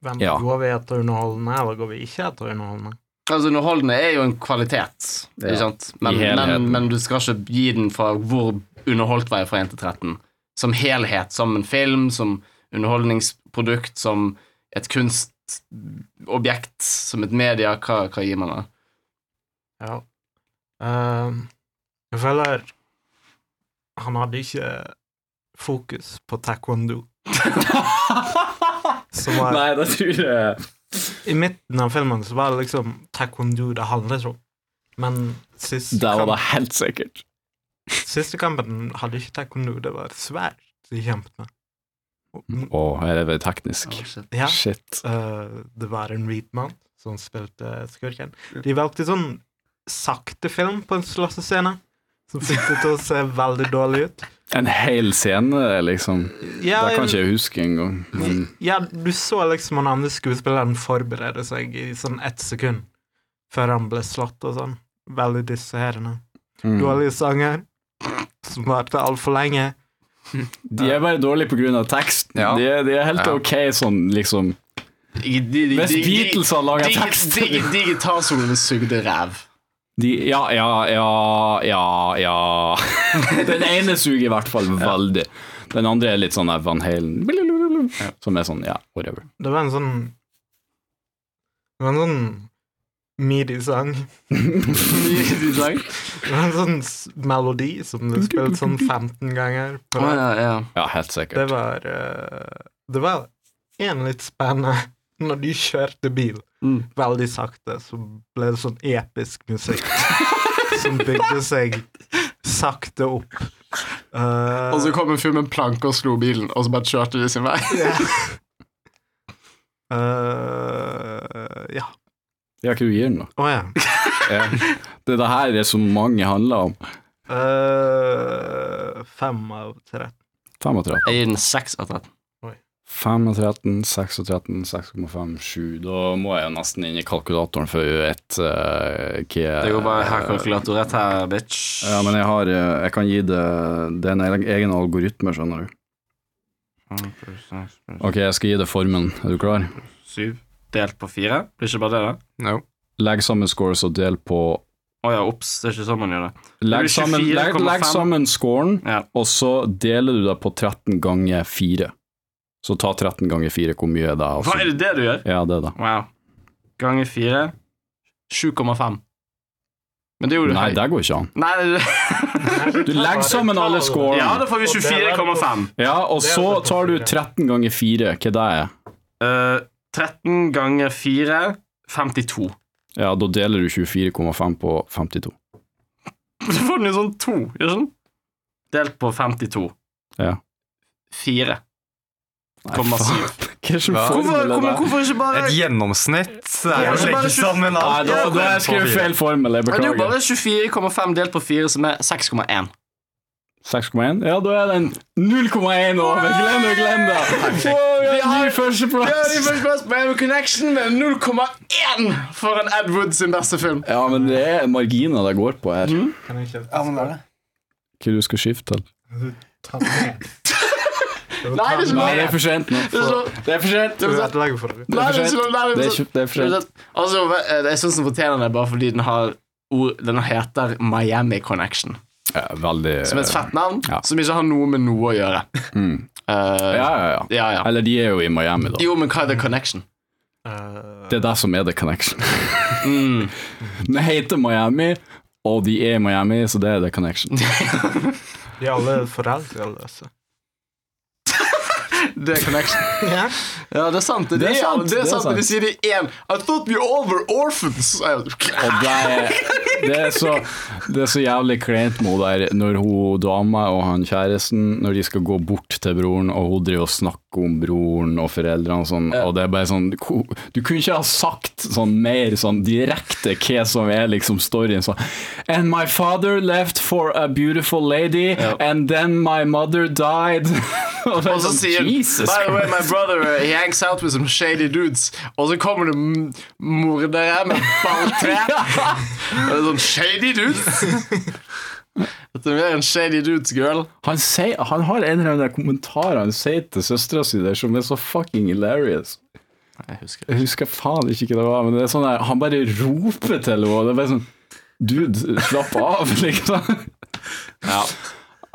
Hvem Ja. Går vi etter underholdende, eller går vi ikke etter underholdende? Altså, underholdende er jo en kvalitet, Ja. ikke sant? Men, I helheten. men, men du skal ikke gi den fra hvor underholdt var jeg fra 1 til 13. Som helhet, som en film, som underholdningsprodukt, som et kunstobjekt, som et media. Hva, hva gir man det? Ja. Ehm, jeg føler han hadde ikke fokus (laughs) på taekwondo. Som var, det tror jeg I midten av filmen så var det liksom taekwondo det handlet om. Men siste, Der var kamp, det helt sikkert. siste kampen hadde ikke taekwondo, det var sverd de kjempet med. Og- Å, her er det teknisk. Ja, Shit. eh, det var en hvit mann som spilte skurken. De valgte sånn sakte film på en slåssescene, som fikk det til å se veldig dårlig ut. En hel scene, liksom. Ja, det kan jeg- ikke jeg huske engang. Men Ja, du så liksom han andre skuespilleren forberede seg i sånn ett sekund før han ble slått og sånn. Veldig distraherende. mm. Dårlige sanger som varte altfor lenge. de er bare dårlige på grunn av teksten. Ja. De, er, de er helt Ja. ok sånn, liksom. Hvis Beatles hadde laga tekst Digitarsoloen sugde (laughs) ræv. de, Ja, ja, ja, ja, ja. (laughs) Den ene suger i hvert fall veldig. Den andre er litt sånn der Van Halen blablabla, Som er sånn, ja, whatever. Det var en sånn Det var en sånn midi-sang. Det var en sånn s- melodi som ble spilt sånn 15 ganger. på Å, rad. ja, ja. Ja, helt Det sikkert. var eh, Det var en litt spennende (laughs) Når de kjørte bil Mm. veldig sakte, så ble det sånn episk musikk som bygde seg sakte opp. Eh, Og så kom en fyr med en planke og slo bilen, og så bare kjørte de sin vei. ja. Eh, ja. Ja, hva du gir den, da? Å ja. Ja. Det er det her det som mange handler om. Eh, fem av tre. 35. Jeg gir den 6 av 13. 35, 36, 6,5, 7 Da må jeg jo nesten inn i kalkulatoren for å vite eh, hva Det går bare her kalkulator rett her, bitch. Ja, men jeg har eh, Jeg kan gi det Det er en egen algoritme, skjønner du. Ok, jeg skal gi det formen. Er du klar? 7 delt på 4. Blir ikke bare det, da? No. Legg sammen scores og del på Å ja, ops. Det er ikke sånn man gjør det. Legg blir sammen, 24,5. legg, legg sammen scoren, Ja. og så deler du det på 13 ganger 4. Så ta 13 ganger 4, hvor mye er det? Hva er Altså. det det du gjør? Ja, det er det. Wow. Ganger 4 7,5. Men det gjorde du Nei, høyt. det går ikke an. Nei, det... Du legger sammen (laughs) alle Ja, scorene, da får vi 24,5. ja, og Det er så det på tar du fire. 13 ganger 4, hva det er? Eh, 13 ganger 4 (laughs) 52. Ja, da deler du 24,5 på 52. Så får den jo sånn 2, gjør den ikke? Delt på 52. Ja. 4,7. Hva er det som Hva? formel Hvorfor, er hvorfor, det? hvorfor ikke bare Et gjennomsnitt er jo å Ja, men bare legge tjue- sammen Nei, alt. da, Ja, da skrev jeg feil formel, jeg Ja, Det er jo beklager. bare 24,5 delt på 4, som er 6,1. 6,1? Ja, da er den 0,1 over. Glem det, glem det! (laughs) Wow, Vi har førsteplass! Miami Connection med 0,1 for en Ed Wood sin beste film. Ja, men det er marginer det går på her. Mm. Kan jeg ikke Hva du skal skifte til? ta den ned? Nei, det er Nei, det ikke er for sent nå. Det er så- Det er for sent. Du ødelegger for det. Nei, det er ikke- nei, Det det er er ikke- ikke- det er for det er sent. ikke- sånn Altså, eh, jeg syns den fortjener det bare fordi den har ord Den heter Miami Connection. Ja, veldig Som et fett navn Ja. Mm. som ikke har noe med noe å gjøre. Eh, ja, ja, ja. ja, ja. Eller de er jo i Miami, da. Jo, men hva er the connection? Det er det som er the connection. (laughs) Den heter Miami, og de er i Miami, så det er the connection. De er alle foreldreløse. The connection Ja. Ja, det er sant. Det, Det er er, sant, det er sant. det er De sier det igjen. I thought we all were orphans. Jeg- Og det er, det er, så, det er så jævlig kleint med hun der når hun dama og han kjæresten Når de skal gå bort til broren, og hun driver og snakker om broren og foreldrene og sånn, og det er bare sånn ko- Du kunne ikke ha sagt sånn mer sånn direkte hva som er liksom storyen. Sånn And my father left for a beautiful lady, and then my mother died. (laughs) og det er Og så sånn, sier Jesus By the way, my Christ. brother uh, he hangs out with some shady dudes. Og så kommer det m- mordere med (laughs) balltre. Og det er sånn shady (laughs) dudes. Dette er mer en shady dudes, girl. Han, sier, han har en eller annen kommentar han sier til søstera si der, som er så fucking hilarious. Jeg husker Jeg husker faen ikke hva det var, men det er sånn der, han bare roper til henne. og Det er bare sånn Dude, slapp av, (laughs) liksom. Ja.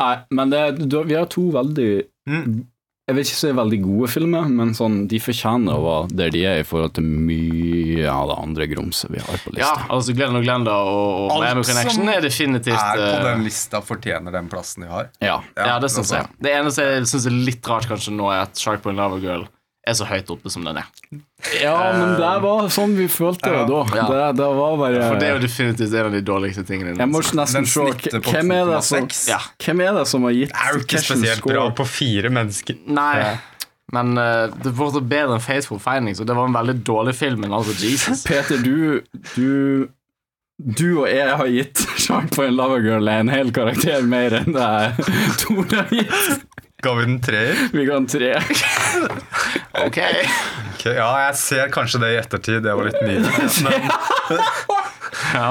Nei, men det, du, vi har to veldig Mm. Jeg vil ikke si veldig gode filmer, men sånn, de fortjener å være der de er i forhold til mye av det andre grumset vi har på ja, lista. altså Glenn og Glenda og, og Alt Miami Connection som er definitivt Er på eh, den lista fortjener den plassen de har. Ja. Ja, det syns jeg. altså. Det eneste jeg syns er litt rart kanskje nå, er at Sharkboy and Lava Girl er så høyt oppe som den er. ja, men det var sånn vi følte det da. Ja. Det, det var bare For det er jo definitivt en av de dårligste tingene. Jeg må nesten Den se snitter på hvem er, det som, 2,6. Ja. hvem er det som har gitt Er jo ikke Cashen spesielt score? bra på fire mennesker. Nei, men eh, det var så bedre enn Faithful Findings, og det var en veldig dårlig film, men altså Jesus. (laughs) Peter, du, du Du og jeg har gitt (laughs) Shark på en Lava Girl en hel karakter mer enn det (laughs) Tor har gitt. Ga vi den treer? Vi kan tre. Ok. Ok, ja, jeg ser kanskje det i ettertid. Det var litt mye. Men Ja.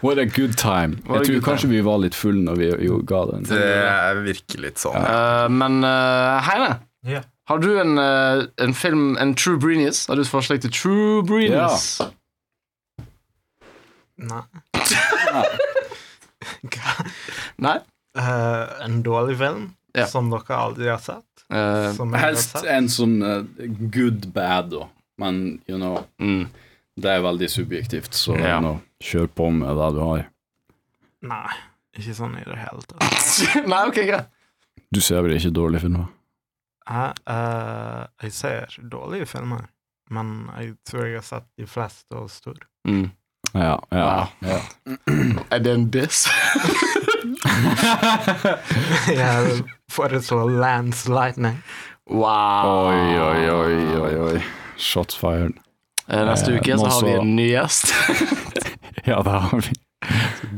What a good time. a Jeg tror good kanskje vi var litt fulle når vi jo ga den. det virker litt sånn. Eh, men eh, Heine, Ja. har du en, eh, en film, en True Breenies? Har du et forslag til True Breenies? Nei. Nei? Eh, en dårlig film Ja. som dere aldri har sett. Eh, Som jeg har Helst sett. en som good bad, da. Men you know, mm. det er veldig subjektivt, så Ja. nå, kjør på med det du har. Nei, ikke sånn i det hele tatt. (laughs) Nei, ok, greit. Du ser vel ikke dårlige filmer? Jeg, eh, jeg ser dårlige filmer, men jeg tror jeg har sett de fleste og store. Mm. Ja, ja, ja. Er det en diss? (laughs) Jeg foreslår Lance Lightning. Wow. Oi, oi, oi, oi, oi. Ah. Shots fired. (laughs) Eh, Neste Eh, uke så nå har vi så- en ny (laughs) gjest. Ja, det har vi.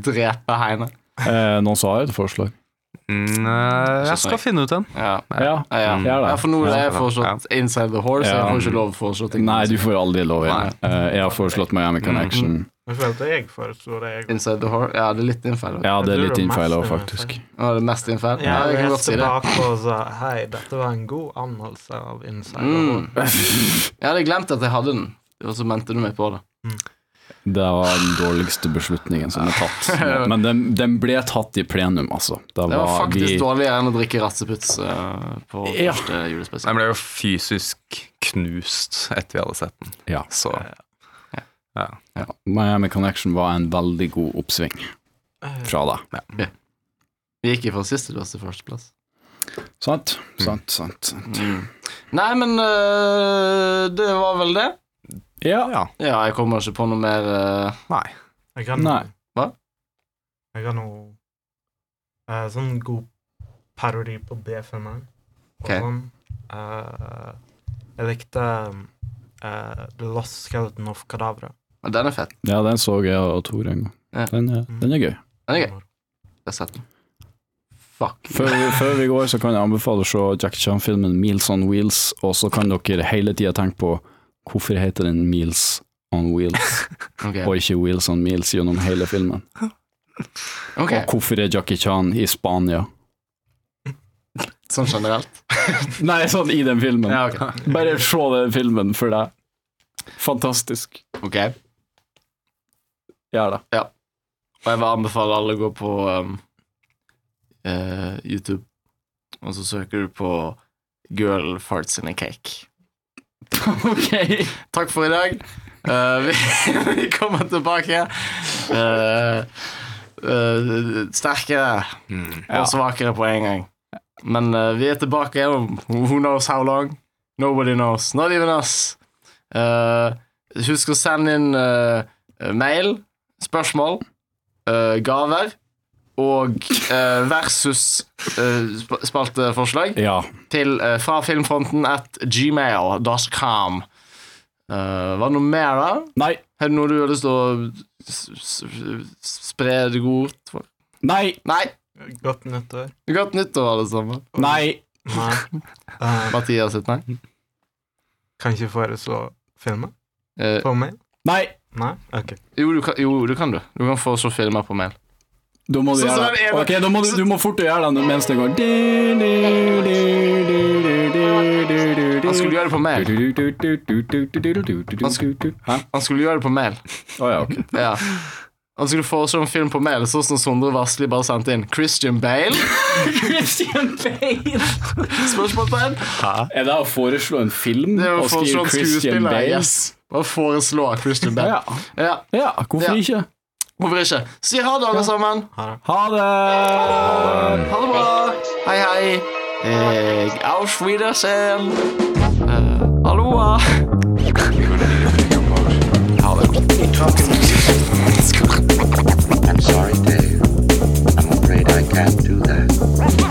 Drepe Heine. Eh, noen sa jo et forslag. Mm, Så jeg snakk. skal finne ut en. Mm. Ja. Ja, Ja, ja. gjør det. ja, for nå er jeg Ja. foreslått Inside the Horse. Mm. Ja. Jeg får ikke lov å foreslå ting. Nei, du får aldri lov igjen. Eh, jeg har foreslått Miami Connection. Jeg følte jeg foreslo det. Jeg. Inside the Horse? Ja, det er litt innfeil. Ja. Ja, det er Jeg tror litt det er innfeil òg, mest faktisk. Det er mest innfeil. Ja, Ja, jeg jeg kan godt si leste det. bakpå og sa hei, dette var en god anmeldelse av Inside. Mm. Out». Jeg hadde glemt at jeg hadde den, og så mente du meg på det. Det var den dårligste beslutningen som er tatt. Men den, den ble tatt i plenum, altså. Det Det var var faktisk vi dårligere enn å drikke ratseputz eh, på Ja. første julespesial. Jeg ble jo fysisk knust etter vi hadde sett den. Ja. Så ja, Miami Connection var en veldig god oppsving Eh, fra deg. Vi gikk ifra siste plass til førsteplass. Sant, sant, sant. sant. Nei, men eh, det var vel det. Ja. Ja, jeg kommer ikke på noe mer eh, nei. Jeg kan, Nei. Hva? Jeg kan noe eh, Sånn god parodi på B-filmer. Ok. Og sånn. Eh, jeg likte eh, The Lost Skeleton of Kadavra. Men den er fett. ja, den så jeg og Tor en gang. Ja. Den er, den er gøy. Den er gøy. Jeg har sett den. Fuck. Før vi, før vi går, så kan jeg anbefale å se Jack Chan-filmen 'Meals on Wheels', og så kan dere hele tida tenke på hvorfor heter den 'Meals on Wheels', Ok. og ikke 'Wheels on Meals' gjennom hele filmen. Ok. Og hvorfor er Jackie Chan i Spania? Sånn generelt. Nei, sånn i den filmen. Ja, ok. Bare se den filmen for deg. Fantastisk. Ok. Gjør det. Og jeg vil anbefale alle å gå på um, eh, YouTube, og så søker du på Girl farts in a cake. Ok. Takk for i dag. Eh, vi, (laughs) vi kommer tilbake. eh, eh, sterkere og svakere på en gang. Men eh, vi er tilbake om who knows how long. Nobody knows. Not even us. Eh, husk å sende inn eh, mail, spørsmål, eh, gaver og eh, versus eh, sp spalteforslag Ja. til eh, fra filmfronten at gmail.com. Eh, var det noe mer, da? Nei. Er det noe du har lyst til å s- s- spre det godt for? Nei. Nei! Godt nyttår. Godt nyttår, alle sammen. Nei. Nei. Eh, Mathias sitt, nei? kan ikke foreslå filmer Eh, på mail? Nei. Nei? OK. jo, du kan, jo, du kan du. Du kan foreslå filmer på mail. Da må du Så- så gjøre er det. det en- Ok, da må du, du må fort gjøre det mens det går. Du, du, du, du, du, du, du, du, du. Han skulle gjøre det på mail. Du, du, du, du, du, du, du, du, du, Han skulle- du. Hæ? Han skulle gjøre det på mail. Å ja, ok. Ja. Han skulle foreslå en film på mail, sånn som Sondre Vassli bare sendte inn. Christian Bale? Spørsmålstegn? Er det å foreslå en film Det er jo å og foreslå skrive en Christian skuespiller. Bale? Yes. Bare foreslå Christian Bale. Ja. Ja, ja, Ja. hvorfor ikke? hvorfor ikke? Si ha det, alle sammen. Ha det! Ha det bra. Hei, hei. Eh, auf Wiedersehen. Eh, halloa. I'm sorry, Dave. I'm afraid I can't do that.